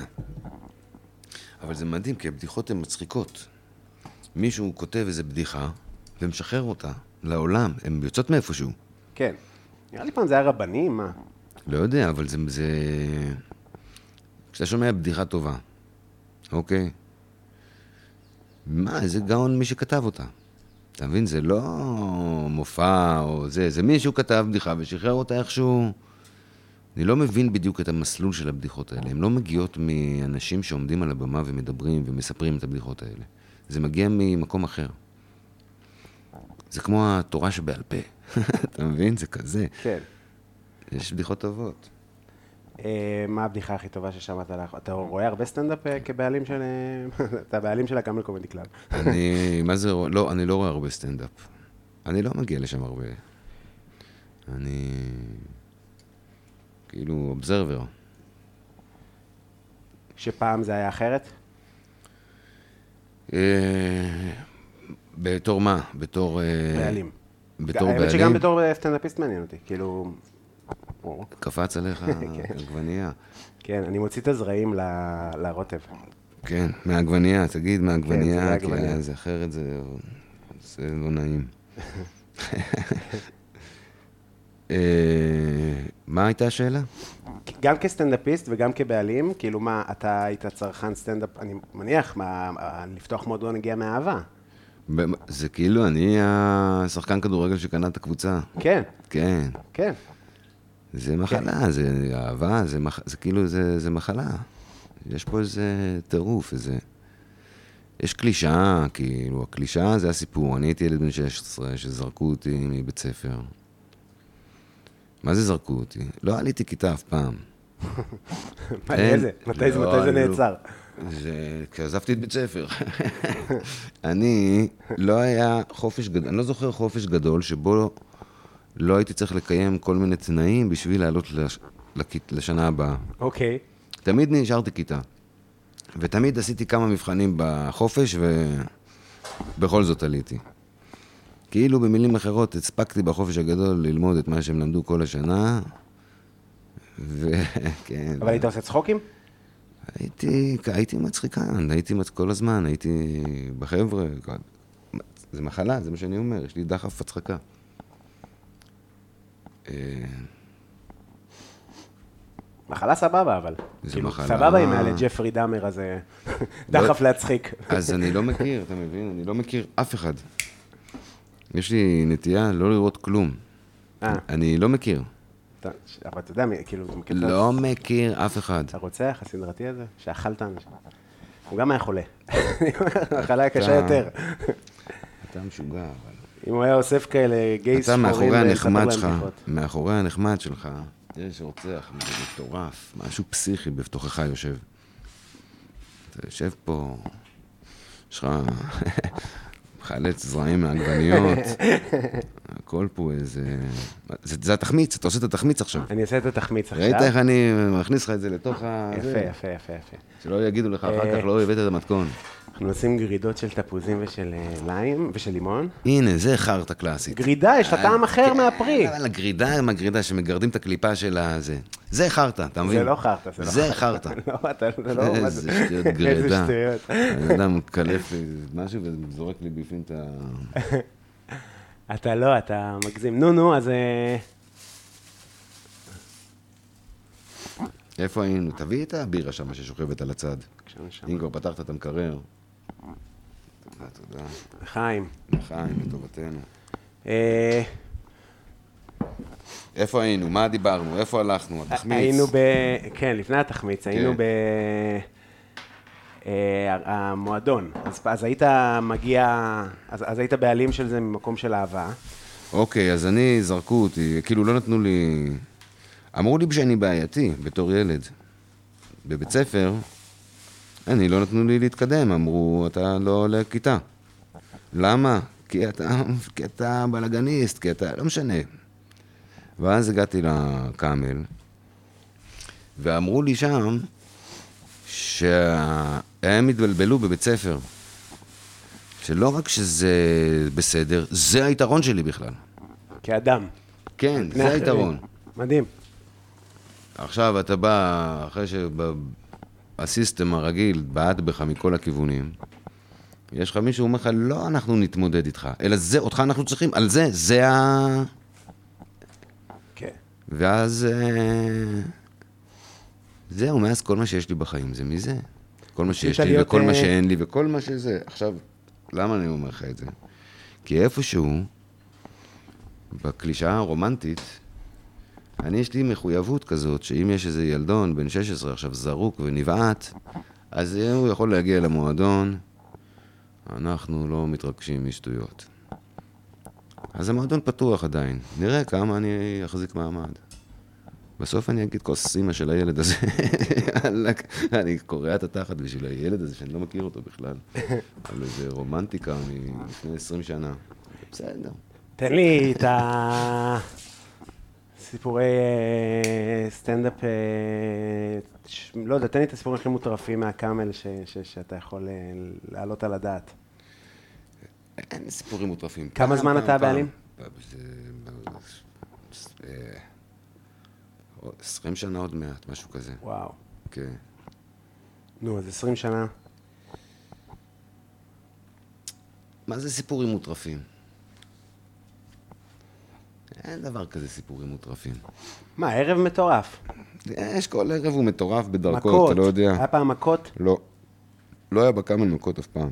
Speaker 2: אבל זה מדהים, כי הבדיחות הן מצחיקות. מישהו כותב איזו בדיחה ומשחרר אותה לעולם, הן יוצאות מאיפשהו.
Speaker 3: כן. נראה לי פעם זה היה רבנים, מה?
Speaker 2: לא יודע, אבל זה... זה... כשאתה שומע בדיחה טובה, אוקיי? מה, איזה גאון מי שכתב אותה. אתה מבין, זה לא מופע או זה, זה מישהו כתב בדיחה ושחרר אותה איכשהו. אני לא מבין בדיוק את המסלול של הבדיחות האלה. הן לא מגיעות מאנשים שעומדים על הבמה ומדברים ומספרים את הבדיחות האלה. זה מגיע ממקום אחר. זה כמו התורה שבעל פה. אתה מבין? זה כזה.
Speaker 3: כן.
Speaker 2: יש בדיחות טובות.
Speaker 3: אה, מה הבדיחה הכי טובה ששמעת לך? אתה רואה הרבה סטנדאפ אה, כבעלים של... אה, אתה הבעלים של הקאמל קומדי קלאב.
Speaker 2: אני, מה זה, רוא- לא, אני לא רואה הרבה סטנדאפ. אני לא מגיע לשם הרבה. אני כאילו אובזרבר.
Speaker 3: שפעם זה היה אחרת?
Speaker 2: אה, בתור מה? בתור... אה,
Speaker 3: בעלים.
Speaker 2: בתור
Speaker 3: האמת
Speaker 2: בעלים?
Speaker 3: שגם בתור אה, סטנדאפיסט מעניין אותי, כאילו... או.
Speaker 2: קפץ עליך עגבנייה.
Speaker 3: כן, אני מוציא את הזרעים ל- לרוטב.
Speaker 2: כן, מהעגבנייה, תגיד
Speaker 3: כן, זה
Speaker 2: מהעגבנייה, כי
Speaker 3: מהעגבנייה.
Speaker 2: היה זה אחרת, זה, זה לא נעים. אה, מה הייתה השאלה?
Speaker 3: גם כסטנדאפיסט וגם כבעלים, כאילו מה, אתה היית צרכן סטנדאפ, אני מניח, מה, ה- לפתוח מועדון הגיע מאהבה.
Speaker 2: במ- זה כאילו, אני השחקן כדורגל שקנה את הקבוצה.
Speaker 3: כן,
Speaker 2: כן.
Speaker 3: כן.
Speaker 2: זה מחלה, זה אהבה, זה, מח... זה כאילו, זה, זה מחלה. יש פה איזה טירוף, איזה... יש קלישאה, כאילו, הקלישאה זה הסיפור. אני הייתי ילד בן 16 שזרקו אותי מבית ספר. מה זה זרקו אותי? לא עליתי כיתה אף פעם.
Speaker 3: מה,
Speaker 2: אין.
Speaker 3: איזה? מתי זה-
Speaker 2: לא,
Speaker 3: מתי זה
Speaker 2: אני לא-
Speaker 3: נעצר?
Speaker 2: זה כשעזבתי את בית ספר. אני, לא היה חופש גדול, אני לא זוכר חופש גדול שבו לא הייתי צריך לקיים כל מיני תנאים בשביל לעלות לש... לכית- לשנה הבאה.
Speaker 3: אוקיי.
Speaker 2: תמיד נשארתי כיתה. ותמיד עשיתי כמה מבחנים בחופש, ובכל זאת עליתי. כאילו, במילים אחרות, הספקתי בחופש הגדול ללמוד את מה שהם למדו כל השנה, כן. וכן.
Speaker 3: אבל היית עושה צחוקים?
Speaker 2: הייתי, הייתי מצחיקן, הייתי מצ... כל הזמן, הייתי בחבר'ה. זה מחלה, זה מה שאני אומר, יש לי דחף הצחקה. אה,
Speaker 3: מחלה סבבה, אבל.
Speaker 2: זה
Speaker 3: כאילו,
Speaker 2: מחלה.
Speaker 3: סבבה עם מעלה ג'פרי דאמר הזה, דחף להצחיק.
Speaker 2: אז אני לא מכיר, אתה מבין? אני לא מכיר אף אחד. יש לי נטייה לא לראות כלום.
Speaker 3: אה,
Speaker 2: אני לא מכיר.
Speaker 3: אתה- אבל אתה יודע, מי- כאילו, אתה מכיר את
Speaker 2: לא מכיר אף אחד.
Speaker 3: הרוצח הסדרתי הזה, שאכל את האנשים. הוא גם היה חולה. המחלה היה קשה
Speaker 2: אתה-
Speaker 3: יותר.
Speaker 2: אתה משוגע, אבל...
Speaker 3: אם הוא היה אוסף כאלה גייס
Speaker 2: אתה
Speaker 3: שחורים,
Speaker 2: מאחורי
Speaker 3: ולספר להם
Speaker 2: הנחמד שלך,
Speaker 3: בדיחות.
Speaker 2: מאחורי הנחמד שלך, יש רוצח מטורף, משהו פסיכי בתוכך יושב. אתה יושב פה, יש לך חלץ זרעים מעגבניות, הכל פה איזה... זה, זה התחמיץ, אתה עושה את התחמיץ עכשיו.
Speaker 3: אני אעשה את התחמיץ עכשיו.
Speaker 2: ראית איך אני מכניס לך את זה לתוך ה...
Speaker 3: יפה,
Speaker 2: זה?
Speaker 3: יפה, יפה, יפה.
Speaker 2: שלא יגידו לך אחר
Speaker 3: אה.
Speaker 2: כך, לא הבאת את המתכון.
Speaker 3: אנחנו עושים גרידות של תפוזים ושל אה, ליים ושל לימון.
Speaker 2: הנה, זה חרטא קלאסית.
Speaker 3: גרידה, יש לה טעם אחר מהפרי.
Speaker 2: כן, אבל הגרידה עם הגרידה, שמגרדים את הקליפה של הזה. זה חרטא, אתה מבין?
Speaker 3: זה לא חרטא, זה לא
Speaker 2: זה חרטא.
Speaker 3: לא, אתה זה לא... מה
Speaker 2: איזה
Speaker 3: זה-
Speaker 2: שטויות
Speaker 3: איזה
Speaker 2: גרידה.
Speaker 3: שטויות.
Speaker 2: הבן אדם מקלף לי משהו וזורק לי בפנים את ה...
Speaker 3: אתה לא, אתה מגזים. נו, נו, אז... אה,
Speaker 2: איפה היינו? תביא את הבירה שם ששוכבת על הצד.
Speaker 3: כשאני שם.
Speaker 2: אם כבר פתחת את המקרר. תודה, תודה.
Speaker 3: חיים.
Speaker 2: חיים, לטובתנו.
Speaker 3: אה,
Speaker 2: איפה היינו? מה דיברנו? איפה הלכנו? התחמיץ.
Speaker 3: אה, היינו ב... כן, לפני התחמיץ, היינו
Speaker 2: כן.
Speaker 3: ב... אה, המועדון. אז, אז היית מגיע... אז, אז היית בעלים של זה ממקום של אהבה.
Speaker 2: אוקיי, אז אני, זרקו אותי, כאילו לא נתנו לי... אמרו לי שאני בעייתי בתור ילד. בבית ספר, אני, לא נתנו לי להתקדם, אמרו, אתה לא עולה כיתה. למה? כי אתה, כי אתה בלאגניסט, כי אתה... לא משנה. ואז הגעתי לקאמל, ואמרו לי שם שהם התבלבלו בבית ספר. שלא רק שזה בסדר, זה היתרון שלי בכלל.
Speaker 3: כאדם.
Speaker 2: כן,
Speaker 3: פני
Speaker 2: זה
Speaker 3: אחרים.
Speaker 2: היתרון.
Speaker 3: מדהים.
Speaker 2: עכשיו אתה בא, אחרי שהסיסטם הרגיל בעט בך מכל הכיוונים, יש לך מישהו אומר לך, לא אנחנו נתמודד איתך, אלא זה, אותך אנחנו צריכים, על זה, זה ה...
Speaker 3: כן.
Speaker 2: ואז... אה, זהו, מאז כל מה שיש לי בחיים זה מזה. כל מה שיש לי
Speaker 3: להיות,
Speaker 2: וכל
Speaker 3: אה,
Speaker 2: מה שאין לי וכל מה שזה. עכשיו, למה אני אומר לך את זה? כי איפשהו, בקלישאה הרומנטית, אני, יש לי מחויבות כזאת, שאם יש איזה ילדון בן 16 עכשיו זרוק ונבעט, אז הוא יכול להגיע למועדון, אנחנו לא מתרגשים משטויות. אז המועדון פתוח עדיין, נראה כמה אני אחזיק מעמד. בסוף אני אגיד כוס אימא של הילד הזה, יאללה, אני קורע את התחת בשביל הילד הזה שאני לא מכיר אותו בכלל, על איזה רומנטיקה מלפני 20 שנה. בסדר.
Speaker 3: תן לי את הסיפורי אה, סטנדאפ, אה, ש- לא יודע, תן לי את הסיפורים הכי מוטרפים מהקאמל ש- ש- שאתה יכול אה, להעלות על הדעת.
Speaker 2: אין סיפורים מוטרפים.
Speaker 3: כמה
Speaker 2: פעם,
Speaker 3: זמן
Speaker 2: פעם,
Speaker 3: אתה
Speaker 2: פעם.
Speaker 3: הבעלים?
Speaker 2: זה- אה, עוד 20 אה, שנה עוד מעט, משהו כזה.
Speaker 3: וואו.
Speaker 2: כן.
Speaker 3: נו, אז 20 שנה.
Speaker 2: מה זה סיפורים מוטרפים? אין דבר כזה סיפורים מוטרפים.
Speaker 3: מה, ערב מטורף.
Speaker 2: יש כל ערב הוא מטורף בדרכו,
Speaker 3: מכות. אה.
Speaker 2: אתה לא יודע.
Speaker 3: היה פעם מכות?
Speaker 2: לא. לא היה בקאמל מכות אף פעם.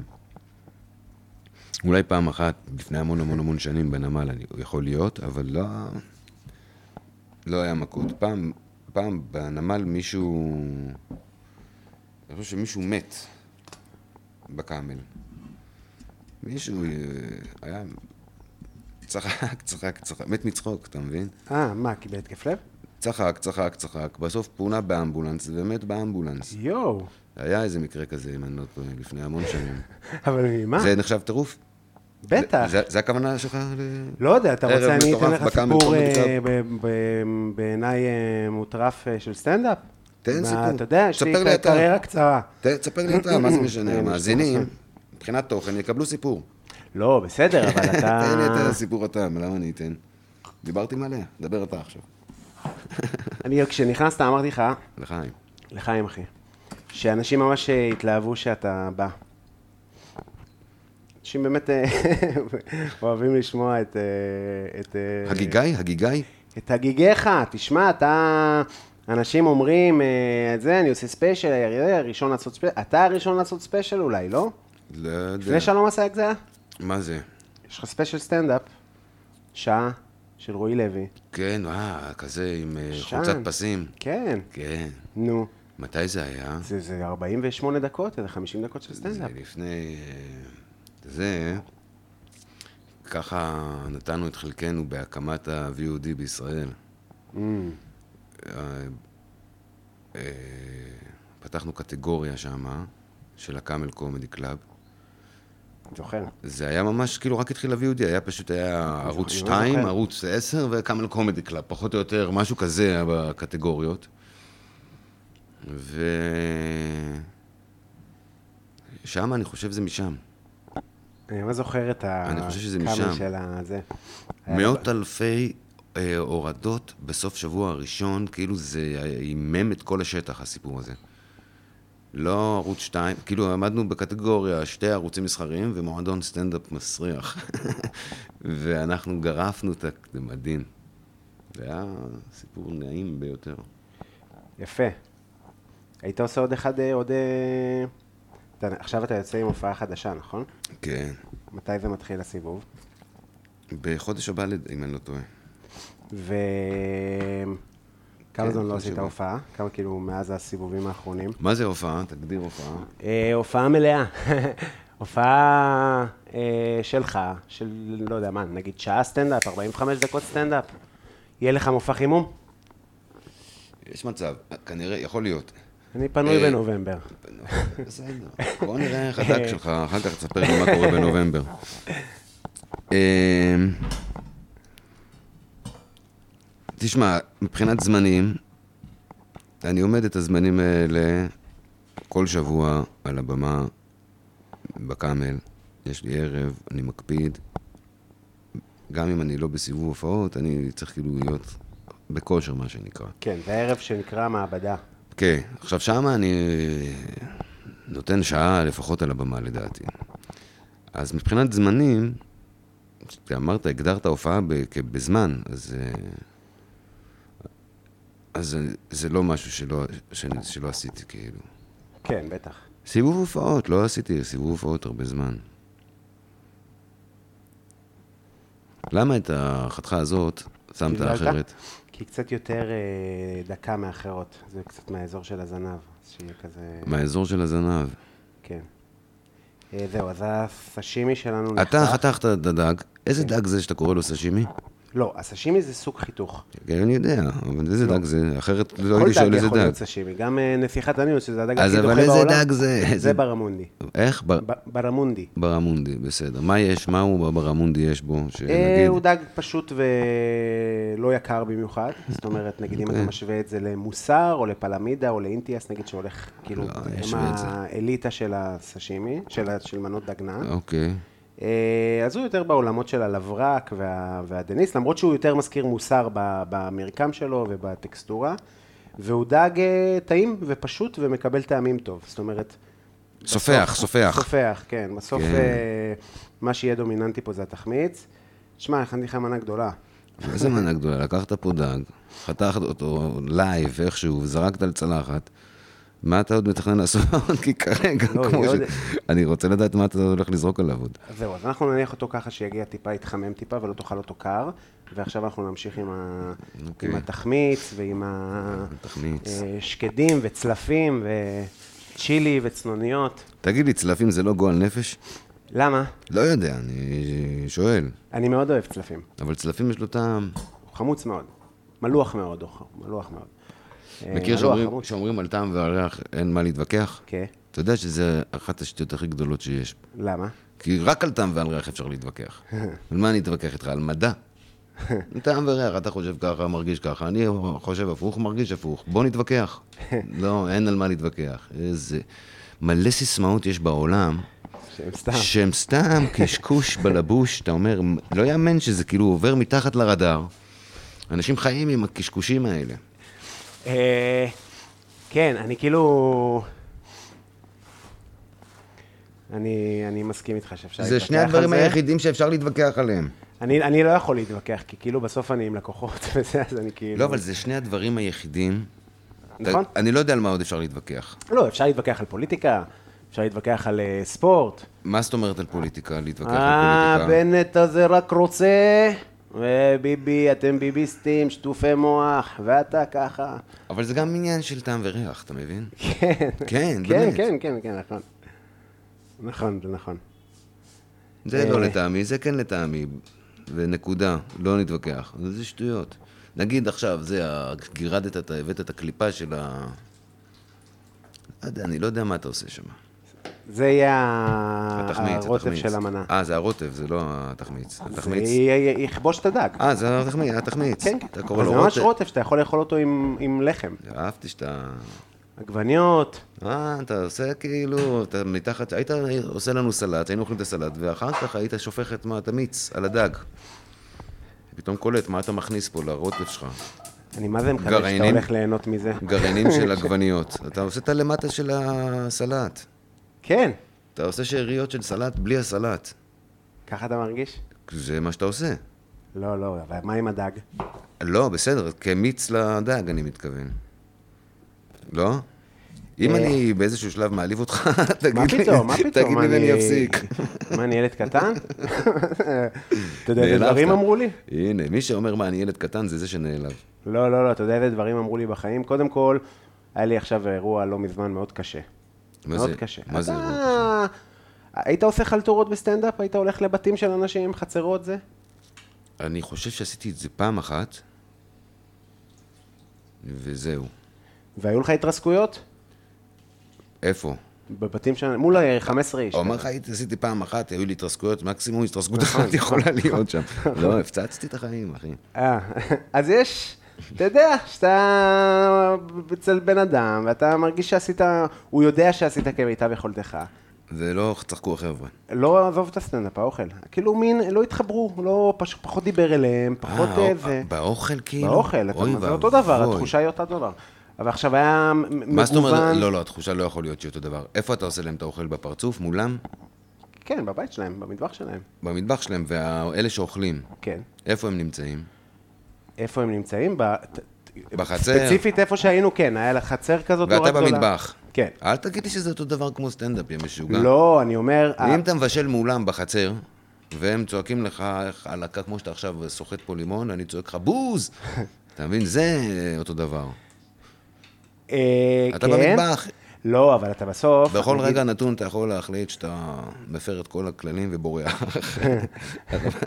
Speaker 2: אולי פעם אחת, לפני המון המון המון שנים בנמל, אני יכול להיות, אבל לא... לא היה מכות. פעם, פעם בנמל מישהו... אני חושב שמישהו מת בקאמל. מישהו אה, היה... צחק, צחק, צחק, מת מצחוק, אתה מבין?
Speaker 3: אה, מה, כי בהתקף לב?
Speaker 2: צחק, צחק, צחק, בסוף פונה באמבולנס ומת באמבולנס.
Speaker 3: יואו.
Speaker 2: היה איזה מקרה כזה, אם אני לא טועה, לפני המון שנים.
Speaker 3: אבל ממה?
Speaker 2: זה נחשב טירוף?
Speaker 3: אה. בטח.
Speaker 2: זה- זה הכוונה שלך? ל-
Speaker 3: לא יודע, אתה
Speaker 2: ערב
Speaker 3: רוצה, אני אתן
Speaker 2: מטורף
Speaker 3: לך
Speaker 2: בקאמל,
Speaker 3: סיפור
Speaker 2: קומדי
Speaker 3: אה,
Speaker 2: קלאב.
Speaker 3: ב- ב- בעיניי אה, מוטרף אה, של סטנדאפ?
Speaker 2: תן
Speaker 3: מה,
Speaker 2: סיפור.
Speaker 3: אתה יודע, יש לי
Speaker 2: ספר לי
Speaker 3: ק-
Speaker 2: אתה.
Speaker 3: קריירה קצרה.
Speaker 2: ת- תספר לי אתה, מה זה משנה?
Speaker 3: אה,
Speaker 2: המאזינים, מבחינת תוכן, יקבלו סיפור.
Speaker 3: לא, בסדר, אבל אתה...
Speaker 2: תן לי את הסיפור אתה, למה אני אתן? דיברתי מלא, דבר אתה עכשיו.
Speaker 3: אני, כשנכנסת, אמרתי לך,
Speaker 2: לחיים.
Speaker 3: אה. לחיים אחי, שאנשים ממש אה, התלהבו שאתה בא. אנשים באמת אה, אוהבים לשמוע את... אה, את אה,
Speaker 2: הגיגאי? הגיגאי?
Speaker 3: את הגיגיך, תשמע, אתה... אנשים אומרים, אה, את זה, אני עושה ספיישל, אה, ראשון לעשות ספיישל, אתה הראשון לעשות ספיישל אולי, לא?
Speaker 2: לא יודע.
Speaker 3: לפני שלום עשה את זה, היה?
Speaker 2: מה זה?
Speaker 3: יש לך ספיישל סטנדאפ, שעה, של רועי לוי.
Speaker 2: כן, אה, כזה עם אה,
Speaker 3: שם.
Speaker 2: חולצת פסים.
Speaker 3: כן,
Speaker 2: כן.
Speaker 3: נו.
Speaker 2: מתי זה היה?
Speaker 3: זה, זה 48 דקות, זה 50 דקות של
Speaker 2: זה
Speaker 3: סטנדאפ.
Speaker 2: לפני אה, זה, ככה נתנו את חלקנו בהקמת ה-VOD בישראל. Mm. אה, אה, פתחנו קטגוריה שמה, של הקאמל קומדי קלאב.
Speaker 3: זוכר.
Speaker 2: זה היה ממש, כאילו, רק התחיל ה-VOD, היה פשוט, היה ערוץ
Speaker 3: זוכר.
Speaker 2: 2, ערוץ 10 וקאמל קומדי קלאב, פחות או יותר, משהו כזה היה בקטגוריות. ו... שם, אני חושב, זה משם.
Speaker 3: אני ממש זוכר את ה...
Speaker 2: אני חושב שזה
Speaker 3: כמה
Speaker 2: משם.
Speaker 3: של ה... זה. היה
Speaker 2: מאות אלפי אה, הורדות בסוף שבוע הראשון, כאילו זה הימם את כל השטח, הסיפור הזה. לא ערוץ 2, כאילו עמדנו בקטגוריה שתי ערוצים מסחריים ומועדון סטנדאפ מסריח. ואנחנו גרפנו את ה... זה מדהים. זה היה סיפור נעים ביותר.
Speaker 3: אה, יפה. היית עושה עוד אחד, אה, עוד... אה, אתה- עכשיו אתה יוצא עם הופעה חדשה, נכון?
Speaker 2: כן.
Speaker 3: מתי זה מתחיל הסיבוב?
Speaker 2: בחודש הבא, לד- אם אני לא טועה.
Speaker 3: ו...
Speaker 2: כן,
Speaker 3: כמה זמן לא
Speaker 2: כל
Speaker 3: עשית
Speaker 2: שבוע.
Speaker 3: הופעה? כמה כאילו מאז הסיבובים האחרונים?
Speaker 2: מה זה הופעה? תגדיר הופעה.
Speaker 3: אה, הופעה מלאה. הופעה אה, שלך, של לא יודע מה, נגיד שעה סטנדאפ, 45 דקות סטנדאפ. יהיה לך מופע חימום?
Speaker 2: יש מצב, כנראה, יכול להיות.
Speaker 3: אני פנוי
Speaker 2: אה,
Speaker 3: בנובמבר.
Speaker 2: בסדר. בוא נראה איך הדק שלך, אחר כך תספר לי מה קורה בנובמבר. אמ, תשמע, מבחינת זמנים, אני עומד את הזמנים האלה כל שבוע על הבמה בקאמל. יש לי ערב, אני מקפיד. גם אם אני לא בסיבוב הופעות, אני צריך כאילו להיות בכושר, מה שנקרא.
Speaker 3: כן, זה ערב שנקרא מעבדה.
Speaker 2: כן, עכשיו שמה אני נותן שעה לפחות על הבמה לדעתי. אז מבחינת זמנים, כשאתה אמרת, הגדרת הופעה ב- כ- בזמן, אז, אה, אז זה- זה לא משהו שלא, שאני- שלא עשיתי כאילו.
Speaker 3: כן, בטח.
Speaker 2: סיבוב הופעות, לא עשיתי סיבוב הופעות הרבה זמן. למה את החתיכה הזאת שמת
Speaker 3: קיללת?
Speaker 2: אחרת?
Speaker 3: כי קצת יותר אה, דקה מאחרות. זה קצת מהאזור של הזנב. אז שיהיה כזה...
Speaker 2: מהאזור של הזנב.
Speaker 3: כן. אה, זהו, אז הסשימי שלנו
Speaker 2: אתה חתכת את הדג, איזה דג זה שאתה קורא לו סשימי?
Speaker 3: לא, הסשימי זה סוג חיתוך.
Speaker 2: כן, אני יודע, אבל איזה
Speaker 3: לא.
Speaker 2: דג זה? אחרת לא
Speaker 3: כל
Speaker 2: הייתי
Speaker 3: דג
Speaker 2: שואל איזה
Speaker 3: יכול
Speaker 2: דג.
Speaker 3: להיות סשימי. גם אה, נסיכת הניוס, שזה הדג הכי
Speaker 2: אז
Speaker 3: דוחה בעולם.
Speaker 2: אבל איזה דג זה? איזה-
Speaker 3: זה ברמונדי.
Speaker 2: איך? בר-
Speaker 3: ב- ברמונדי.
Speaker 2: ברמונדי, בסדר. מה יש? מה הוא ברמונדי יש בו?
Speaker 3: אה,
Speaker 2: שנגיד...
Speaker 3: הוא דג פשוט ולא יקר במיוחד, זאת אומרת, נגיד אם
Speaker 2: אוקיי.
Speaker 3: אתה משווה את זה למוסר או לפלמידה או לאינטיאס, נגיד שהולך, כאילו,
Speaker 2: לא, אני
Speaker 3: הם
Speaker 2: אשווה את זה.
Speaker 3: האליטה של הסשימי, של ה- של מנות דגנה.
Speaker 2: אוקיי.
Speaker 3: אה, אז הוא יותר בעולמות של הלברק וה, והדניס, למרות שהוא יותר מזכיר מוסר ב, במרקם שלו ובטקסטורה, והוא דג אה, טעים ופשוט ומקבל טעמים טוב, זאת אומרת...
Speaker 2: סופח,
Speaker 3: בסוף-
Speaker 2: סופח.
Speaker 3: סופח, כן. בסוף
Speaker 2: כן.
Speaker 3: אה, מה שיהיה דומיננטי פה זה התחמיץ. שמע, הכנתי לך מנה גדולה.
Speaker 2: איזה מנה גדולה, לקחת פה דג, חתכת אותו לייב איכשהו, זרקת על צלחת. מה אתה עוד מתכנן לעשות? כי כרגע,
Speaker 3: לא,
Speaker 2: כמו
Speaker 3: היא
Speaker 2: ש...
Speaker 3: עוד-
Speaker 2: אני רוצה לדעת מה אתה הולך לזרוק עליו עוד.
Speaker 3: אז זהו, אז אנחנו נניח אותו ככה שיגיע טיפה, יתחמם טיפה ולא תאכל אותו קר, ועכשיו אנחנו נמשיך עם, ה...
Speaker 2: אוקיי.
Speaker 3: עם התחמיץ ועם ה...
Speaker 2: תחמיץ.
Speaker 3: אה, שקדים וצלפים וצ'ילי וצנוניות.
Speaker 2: תגיד לי, צלפים זה לא גועל נפש?
Speaker 3: למה?
Speaker 2: לא יודע, אני שואל.
Speaker 3: אני מאוד אוהב צלפים.
Speaker 2: אבל צלפים יש לו טעם.
Speaker 3: הוא חמוץ מאוד. מלוח מאוד, הוא ח- מלוח מאוד. אה,
Speaker 2: מכיר
Speaker 3: מלוח
Speaker 2: שאומרים-
Speaker 3: חמוץ.
Speaker 2: שאומרים על טעם וריח אין מה להתווכח?
Speaker 3: כן.
Speaker 2: אתה יודע שזה אחת השטויות הכי גדולות שיש.
Speaker 3: למה?
Speaker 2: כי רק על טעם ועל ריח אפשר להתווכח. על מה אני אתווכח איתך? על מדע. טעם וריח, אתה חושב ככה, מרגיש ככה, אני חושב הפוך, מרגיש הפוך. בוא נתווכח. לא, אין על מה להתווכח. איזה... מלא סיסמאות יש בעולם,
Speaker 3: שהם סתם.
Speaker 2: שהם סתם קשקוש בלבוש, אתה אומר, לא יאמן שזה כאילו עובר מתחת לרדאר. אנשים חיים עם הקשקושים האלה.
Speaker 3: אה, כן, אני כאילו... אני, אני מסכים איתך שאפשר
Speaker 2: זה שני הדברים היחידים שאפשר להתווכח עליהם.
Speaker 3: אני, אני לא יכול להתווכח, כי כאילו בסוף אני עם לקוחות וזה, אז אני כאילו...
Speaker 2: לא, אבל זה שני הדברים היחידים. אתה-
Speaker 3: נכון.
Speaker 2: אני לא יודע על מה עוד אפשר להתווכח.
Speaker 3: לא, אפשר להתווכח על פוליטיקה, אפשר להתווכח על אה, ספורט,
Speaker 2: מה זאת אומרת על פוליטיקה? להתווכח על
Speaker 3: אה,
Speaker 2: פוליטיקה?
Speaker 3: בנט הזה רק רוצה, וביבי, אתם ביביסטים, שטופי מוח, ואתה ככה.
Speaker 2: אבל זה גם עניין של טעם וריח, אתה מבין?
Speaker 3: כן.
Speaker 2: כן,
Speaker 3: כן,
Speaker 2: באמת.
Speaker 3: כן, כן, כן, נכון. נכון, זה נכון.
Speaker 2: זה לא
Speaker 3: אה.
Speaker 2: לטעמי, זה כן לטעמי. ונקודה, לא נתווכח. זה שטויות. נגיד עכשיו, זה, ה- גירדת, את ה- הבאת את הקליפה של ה... לא יודע, אני לא יודע מה אתה עושה שם.
Speaker 3: זה יהיה ה-
Speaker 2: התחמיץ,
Speaker 3: הרוטב
Speaker 2: התחמיץ.
Speaker 3: אה, של המנה. אה,
Speaker 2: אה, זה הרוטב, זה לא התחמיץ.
Speaker 3: זה
Speaker 2: התחמיץ.
Speaker 3: יהיה- יהיה- יכבוש את הדג.
Speaker 2: אה, זה התחמיץ, התחמיץ.
Speaker 3: כן,
Speaker 2: אתה
Speaker 3: כן.
Speaker 2: קורא
Speaker 3: אבל
Speaker 2: לו
Speaker 3: זה ממש
Speaker 2: רוטב.
Speaker 3: רוטב שאתה יכול לאכול אותו עם- עם לחם.
Speaker 2: אהבתי שאתה...
Speaker 3: עגבניות.
Speaker 2: אה, אתה עושה כאילו, אתה מתחת, היית עושה לנו סלט, היינו אוכלים את הסלט, ואחר כך היית שופך את מה, את המיץ על הדג. פתאום קולט, מה אתה מכניס פה לרוטף שלך?
Speaker 3: אני מה זה מקווה שאתה
Speaker 2: גרעינים?
Speaker 3: הולך ליהנות מזה.
Speaker 2: גרעינים של עגבניות. אתה עושה את הלמטה של הסלט.
Speaker 3: כן,
Speaker 2: אתה עושה שאריות של סלט בלי הסלט.
Speaker 3: ככה אתה מרגיש?
Speaker 2: זה מה שאתה עושה.
Speaker 3: לא, לא, אבל מה עם הדג?
Speaker 2: לא, בסדר, כמיץ לדג, אני מתכוון. לא? אם
Speaker 3: אה.
Speaker 2: אני באיזשהו שלב מעליב אותך, תגיד
Speaker 3: מה
Speaker 2: לי,
Speaker 3: פתאום, מה פתאום?
Speaker 2: תגיד לי ואני אפסיק.
Speaker 3: מה, אני ילד קטן? אתה יודע איזה
Speaker 2: נעלבת.
Speaker 3: דברים אמרו לי?
Speaker 2: הנה, מי שאומר מה, אני ילד קטן, זה זה שנעלב.
Speaker 3: לא, לא, לא, אתה יודע איזה דברים אמרו לי בחיים? קודם כל, היה לי עכשיו אירוע לא מזמן מאוד קשה.
Speaker 2: מה
Speaker 3: מאוד
Speaker 2: זה-
Speaker 3: קשה.
Speaker 2: מה זה אירוע
Speaker 3: אתה... היית עושה חלטורות בסטנדאפ? היית הולך לבתים של אנשים, חצרות זה?
Speaker 2: אני חושב שעשיתי את זה פעם אחת, וזהו.
Speaker 3: והיו לך התרסקויות?
Speaker 2: איפה?
Speaker 3: בבתים של... מול ה- 15 איש.
Speaker 2: הוא אומר לך, הייתי- עשיתי פעם אחת, היו לי התרסקויות, מקסימום התרסקות
Speaker 3: נכון,
Speaker 2: אחת יכולה להיות שם. לא, הפצצתי את החיים, אחי.
Speaker 3: אה, אז יש, אתה יודע, שאתה אצל בן אדם, ואתה מרגיש שעשית, הוא יודע שעשית כמיטב יכולתך.
Speaker 2: זה לא, צחקו החבר'ה.
Speaker 3: לא עזוב את הסטנדאפ, האוכל. כאילו מין, לא התחברו, לא, פש, פחות דיבר אליהם, פחות
Speaker 2: אה,
Speaker 3: אה,
Speaker 2: או-
Speaker 3: זה.
Speaker 2: באוכל כאילו?
Speaker 3: באוכל, אתה-
Speaker 2: אוי
Speaker 3: זה אותו דבר,
Speaker 2: ואבוי.
Speaker 3: התחושה היא אותו דבר. אבל עכשיו היה מ- מגוון...
Speaker 2: מה זאת אומרת? לא, לא, התחושה לא יכול להיות שהיא אותו דבר. איפה אתה עושה להם את האוכל בפרצוף? מולם?
Speaker 3: כן, בבית שלהם, במטבח שלהם.
Speaker 2: במטבח שלהם, ואלה שאוכלים,
Speaker 3: כן.
Speaker 2: איפה הם נמצאים?
Speaker 3: איפה הם נמצאים? ב- ת- ת-
Speaker 2: בחצר.
Speaker 3: ספציפית איפה שהיינו, כן, היה לה חצר כזאת נורא
Speaker 2: ואתה
Speaker 3: גדולה.
Speaker 2: במטבח.
Speaker 3: כן.
Speaker 2: אל תגיד לי שזה אותו דבר כמו סטנדאפ, יא משוגע.
Speaker 3: לא, אני אומר...
Speaker 2: אם אתה מבשל מולם בחצר, והם צועקים לך "איך על הקק, כמו שאתה עכשיו סוחט פה לימון, אני צועק לך בוז! אתה מבין? זה אותו דבר.
Speaker 3: אה,
Speaker 2: אתה
Speaker 3: כן.
Speaker 2: במטבח.
Speaker 3: לא, אבל אתה בסוף...
Speaker 2: בכל
Speaker 3: נגיד,
Speaker 2: רגע נתון אתה יכול להחליט שאתה מפר את כל הכללים ובורח.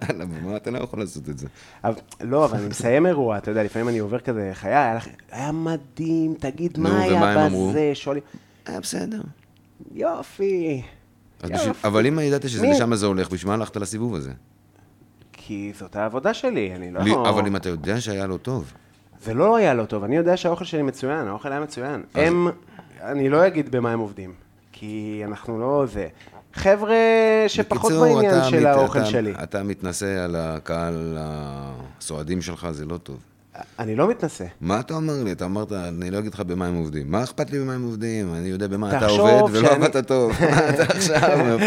Speaker 2: על הבמה אתה לא יכול לעשות את זה.
Speaker 3: אבל- לא, אבל אני מסיים אירוע, אתה יודע, לפעמים אני עובר כזה, חיי, היה לך- היה מדהים, תגיד,
Speaker 2: נו,
Speaker 3: מה
Speaker 2: ומה
Speaker 3: היה
Speaker 2: הם אמרו?
Speaker 3: בזה? שואלים,
Speaker 2: היה בסדר.
Speaker 3: יופי.
Speaker 2: אז בשביל-
Speaker 3: אה, יופי.
Speaker 2: אבל אם ידעת שזה
Speaker 3: מי-
Speaker 2: לשם זה הולך, בשביל מה הלכת לסיבוב הזה?
Speaker 3: כי זאת העבודה שלי, אני לא...
Speaker 2: לי- אבל אם אתה יודע שהיה לו טוב,
Speaker 3: זה לא היה לא טוב, אני יודע שהאוכל שלי מצוין, האוכל היה מצוין. הם, אני לא אגיד במה הם עובדים, כי אנחנו לא זה. חבר'ה שפחות
Speaker 2: בקיצור,
Speaker 3: בעניין
Speaker 2: אתה
Speaker 3: של
Speaker 2: מת-
Speaker 3: האוכל
Speaker 2: אתה-
Speaker 3: שלי.
Speaker 2: אתה מתנשא על הקהל הסועדים שלך, זה לא טוב.
Speaker 3: אני לא מתנשא.
Speaker 2: מה אתה אומר לי? אתה אמרת, אני לא אגיד לך במה הם עובדים. מה אכפת לי במה הם עובדים? אני יודע במה אתה
Speaker 3: תחשוב
Speaker 2: עובד, ולא
Speaker 3: שאני-
Speaker 2: עבדת טוב. מה אתה עכשיו?